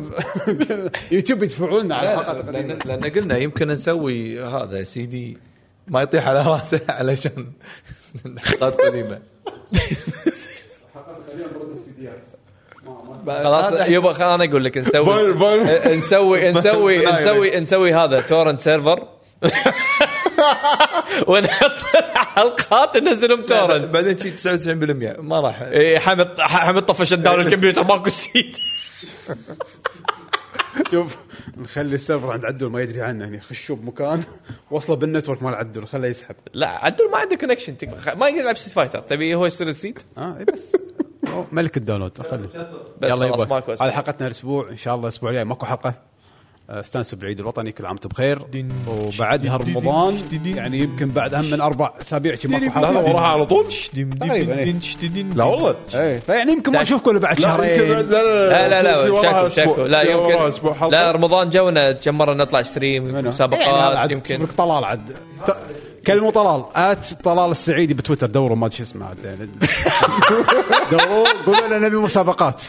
Speaker 1: (laughs) يوتيوب يدفعون لنا على الحلقات
Speaker 3: لان
Speaker 1: القديمه
Speaker 3: لان قلنا يمكن نسوي هذا سي دي ما يطيح على
Speaker 4: (laughs)
Speaker 3: راسه علشان حلقات قديمه
Speaker 1: الحلقات القديمه برضه بسيديات
Speaker 4: خلاص يبا خل انا اقول لك نسوي
Speaker 2: باي- باي.
Speaker 4: نسوي نسوي
Speaker 3: يعني.
Speaker 4: نسوي نسوي هذا
Speaker 3: (laughs)
Speaker 4: تورنت سيرفر ونحط الحلقات ننزلهم تورنت
Speaker 3: بعدين شي 99% ما راح
Speaker 4: إيه، حمد حمد طفش داون الكمبيوتر ماكو سيت
Speaker 1: شوف نخلي السيرفر عند عدول ما يدري عنه يعني هنا خشوا بمكان وصله بالنتورك مال عدول خله يسحب
Speaker 4: لا عدل ما عنده كونكشن ما يقدر يلعب سيت فايتر تبي هو يصير السيت
Speaker 1: اه إي (laughs) بس أو ملك الداونلود خله
Speaker 4: بس
Speaker 1: يلا
Speaker 4: خلاص
Speaker 1: يبا
Speaker 4: ماكو
Speaker 1: هذه حلقتنا الاسبوع ان شاء الله الاسبوع الجاي ماكو حلقه آه، استانسوا بالعيد الوطني كل عام وانتم بخير وبعدها رمضان يعني يمكن بعد اهم من اربع اسابيع شي ماكو حلقه
Speaker 2: وراها على طول
Speaker 1: تقريبا إيه.
Speaker 2: لا والله
Speaker 1: ايه فيعني يمكن ما اشوفكم الا بعد
Speaker 2: لا
Speaker 1: شهرين
Speaker 2: يمكن-
Speaker 4: لا لا
Speaker 2: في- في وراها
Speaker 4: لا شكو
Speaker 2: أسبوع.
Speaker 4: شكو لا
Speaker 2: في وراها
Speaker 4: يمكن
Speaker 2: أسبوع حلقة.
Speaker 4: لا رمضان جونا كم مره نطلع ستريم
Speaker 1: إيه، يعني نعم،
Speaker 4: مسابقات يمكن
Speaker 1: لك طلال عد ت- كلموا طلال ات طلال السعيدي بتويتر دوروا ما ادري شو اسمه عاد يعني. دوروا قولوا لنا نبي مسابقات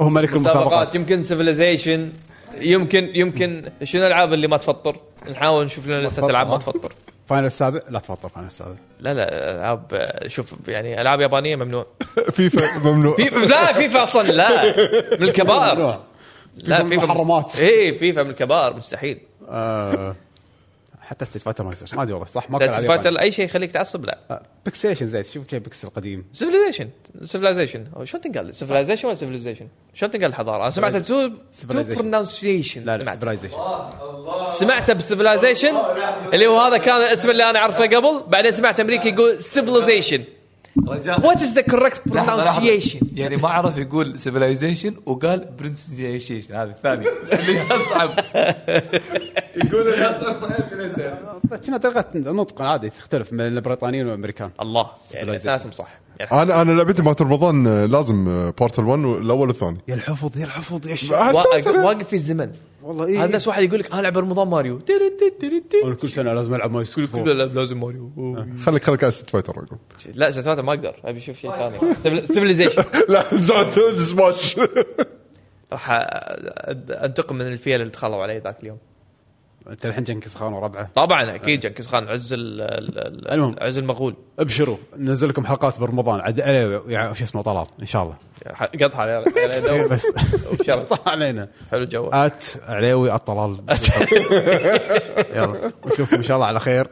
Speaker 1: هو ملك المسابقات
Speaker 4: مسابقات يمكن سيفيلايزيشن يمكن يمكن شنو الالعاب اللي ما تفطر؟ نحاول نشوف لنا لسه
Speaker 1: تفطر،
Speaker 4: العاب ما
Speaker 1: آه.
Speaker 4: تفطر.
Speaker 1: فاينل السابع لا تفضل فاينل السابع
Speaker 4: لا لا العاب شوف يعني العاب يابانيه ممنوع.
Speaker 2: فيفا ممنوع
Speaker 4: فيفا لا فيفا اصلا لا (laughs) من الكبائر لا
Speaker 1: فيفا من المحرمات.
Speaker 4: إيه، اي فيفا من الكبائر مستحيل
Speaker 1: آه، حتى ستيت فايتر ما يصير ما ادري والله صح ما كان عليه
Speaker 4: فايتر
Speaker 1: بان.
Speaker 4: اي شيء يخليك تعصب لا
Speaker 1: آه، بيكسليشن زين شوف كيف بيكسل قديم
Speaker 4: سيفلايزيشن سيفلايزيشن أو Oh, شلون تنقال سيفلايزيشن ولا سيفلايزيشن؟ شلون تنقال الحضاره؟ انا سمعتها تو تو
Speaker 1: Civilization.
Speaker 4: برونسيشن
Speaker 1: لا لا سيفلايزيشن
Speaker 4: سمعته بسيفلايزيشن اللي هو هذا كان الاسم اللي انا اعرفه قبل بعدين سمعت امريكي يقول سيفلايزيشن وات از ذا كوركت برونسيشن
Speaker 3: يعني ما عرف يقول سيفلايزيشن وقال برنسيشن هذا الثاني اللي
Speaker 5: (laughs)
Speaker 3: اصعب يقول الاصعب
Speaker 1: كنا طريقه النطق عادي تختلف من البريطانيين والامريكان
Speaker 4: الله يعني اثنيناتهم صح يعني
Speaker 2: انا انا لعبتي مالت رمضان آه، لازم آه، بورتال 1 الاول والثاني
Speaker 1: يا الحفظ يا الحفظ يا الشيخ.
Speaker 4: واقف واقف في الزمن
Speaker 1: والله إيه.
Speaker 4: هذا نفس واحد يقول لك انا العب
Speaker 1: (laughs)
Speaker 4: رمضان ماريو تيري تيري تيري تيري.
Speaker 1: أنا كل سنه لازم العب ماي سكول
Speaker 4: لا لا، لازم ماريو أوه.
Speaker 1: آه.
Speaker 2: خليك خليك على ست فايتر اقول
Speaker 4: لا سلسلة ما اقدر ابي اشوف شيء
Speaker 1: (laughs)
Speaker 4: ثاني سيفلايزيشن
Speaker 2: لا زاد سماش
Speaker 4: راح أ- انتقم من الفيل اللي دخلوا علي ذاك اليوم
Speaker 1: انت الحين جنكيز خان وربعه
Speaker 4: طبعا اكيد جنكيز خان عز ال- ال-
Speaker 1: المهم.
Speaker 4: ال- عز المغول
Speaker 1: ابشروا ننزل لكم حلقات برمضان عد عليه يع- شو اسمه طلال ان شاء الله إيه،
Speaker 4: قطع عليه عليه دوم.
Speaker 1: (laughs)
Speaker 4: (laughs)
Speaker 1: بس آه.
Speaker 4: وبشرط.
Speaker 1: طلع علينا
Speaker 4: حلو جو
Speaker 1: ات عليوي الطلال يلا نشوفكم ان شاء الله على خير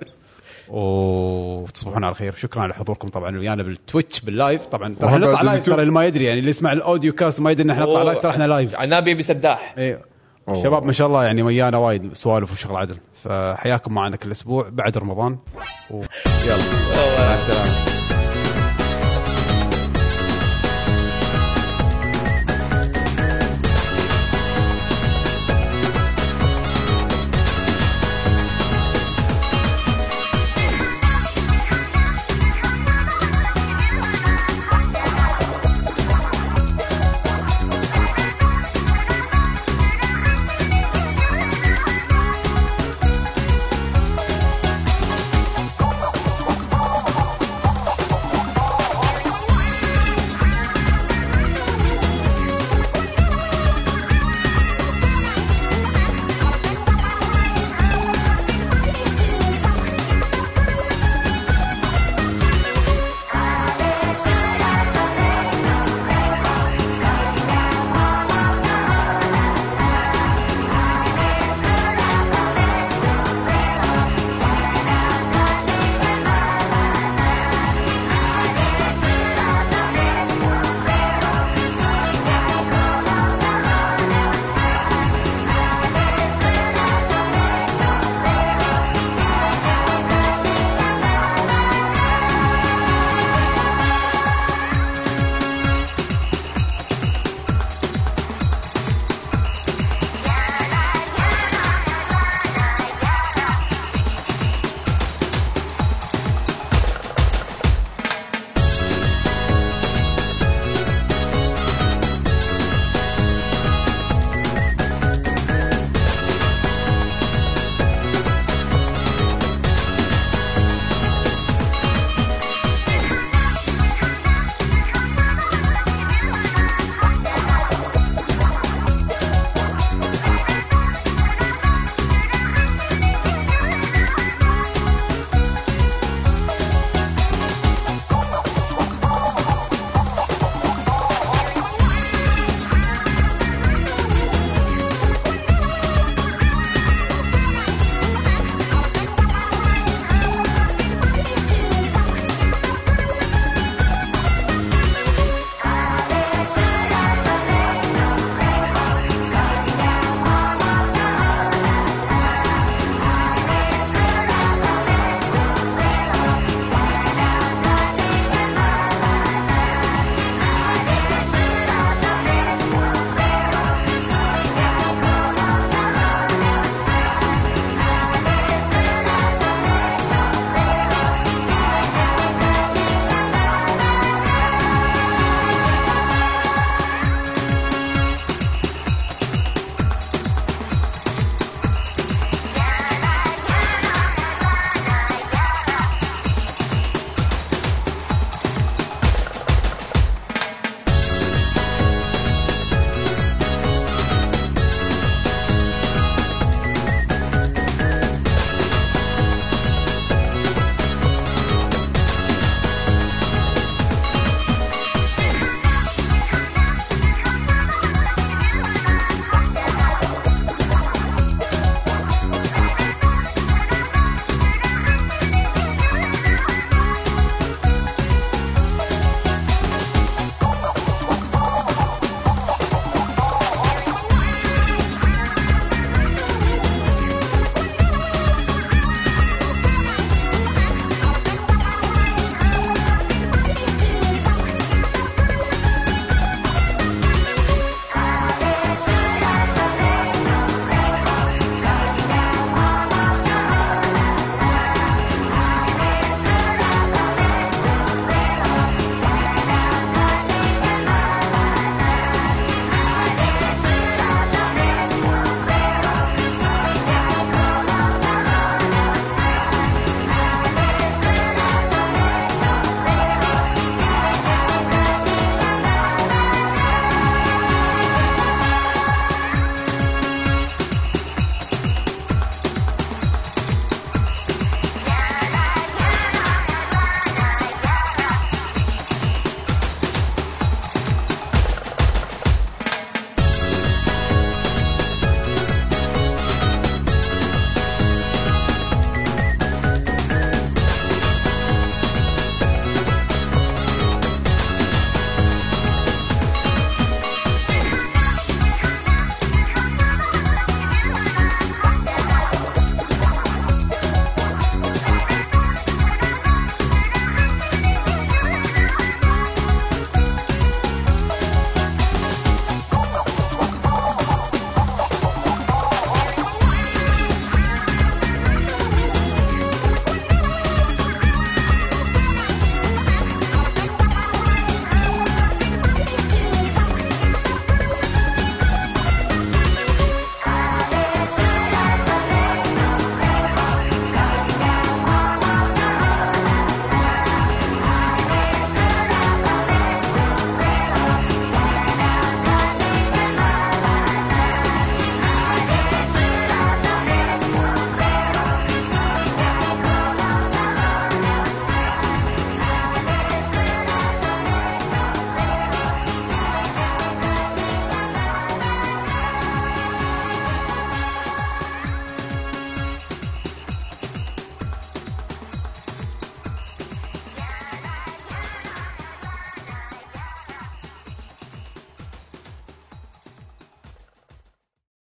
Speaker 1: وتصبحون على خير شكرا على حضوركم طبعا ويانا بالتويتش باللايف طبعا ترى
Speaker 2: وهم
Speaker 1: إحنا نطلع
Speaker 2: بعد
Speaker 1: لايف
Speaker 2: اليوتيوب.
Speaker 1: ترى اللي ما يدري يعني اللي يسمع الاوديو كاست ما يدري ان احنا نطلع لايف ترى احنا لايف
Speaker 4: عنابي ابي سداح
Speaker 1: ايه
Speaker 2: أوه.
Speaker 1: شباب ما شاء الله يعني ويانا وايد سوالف وشغل عدل فحياكم معنا كل اسبوع بعد رمضان و... يلا مع السلامه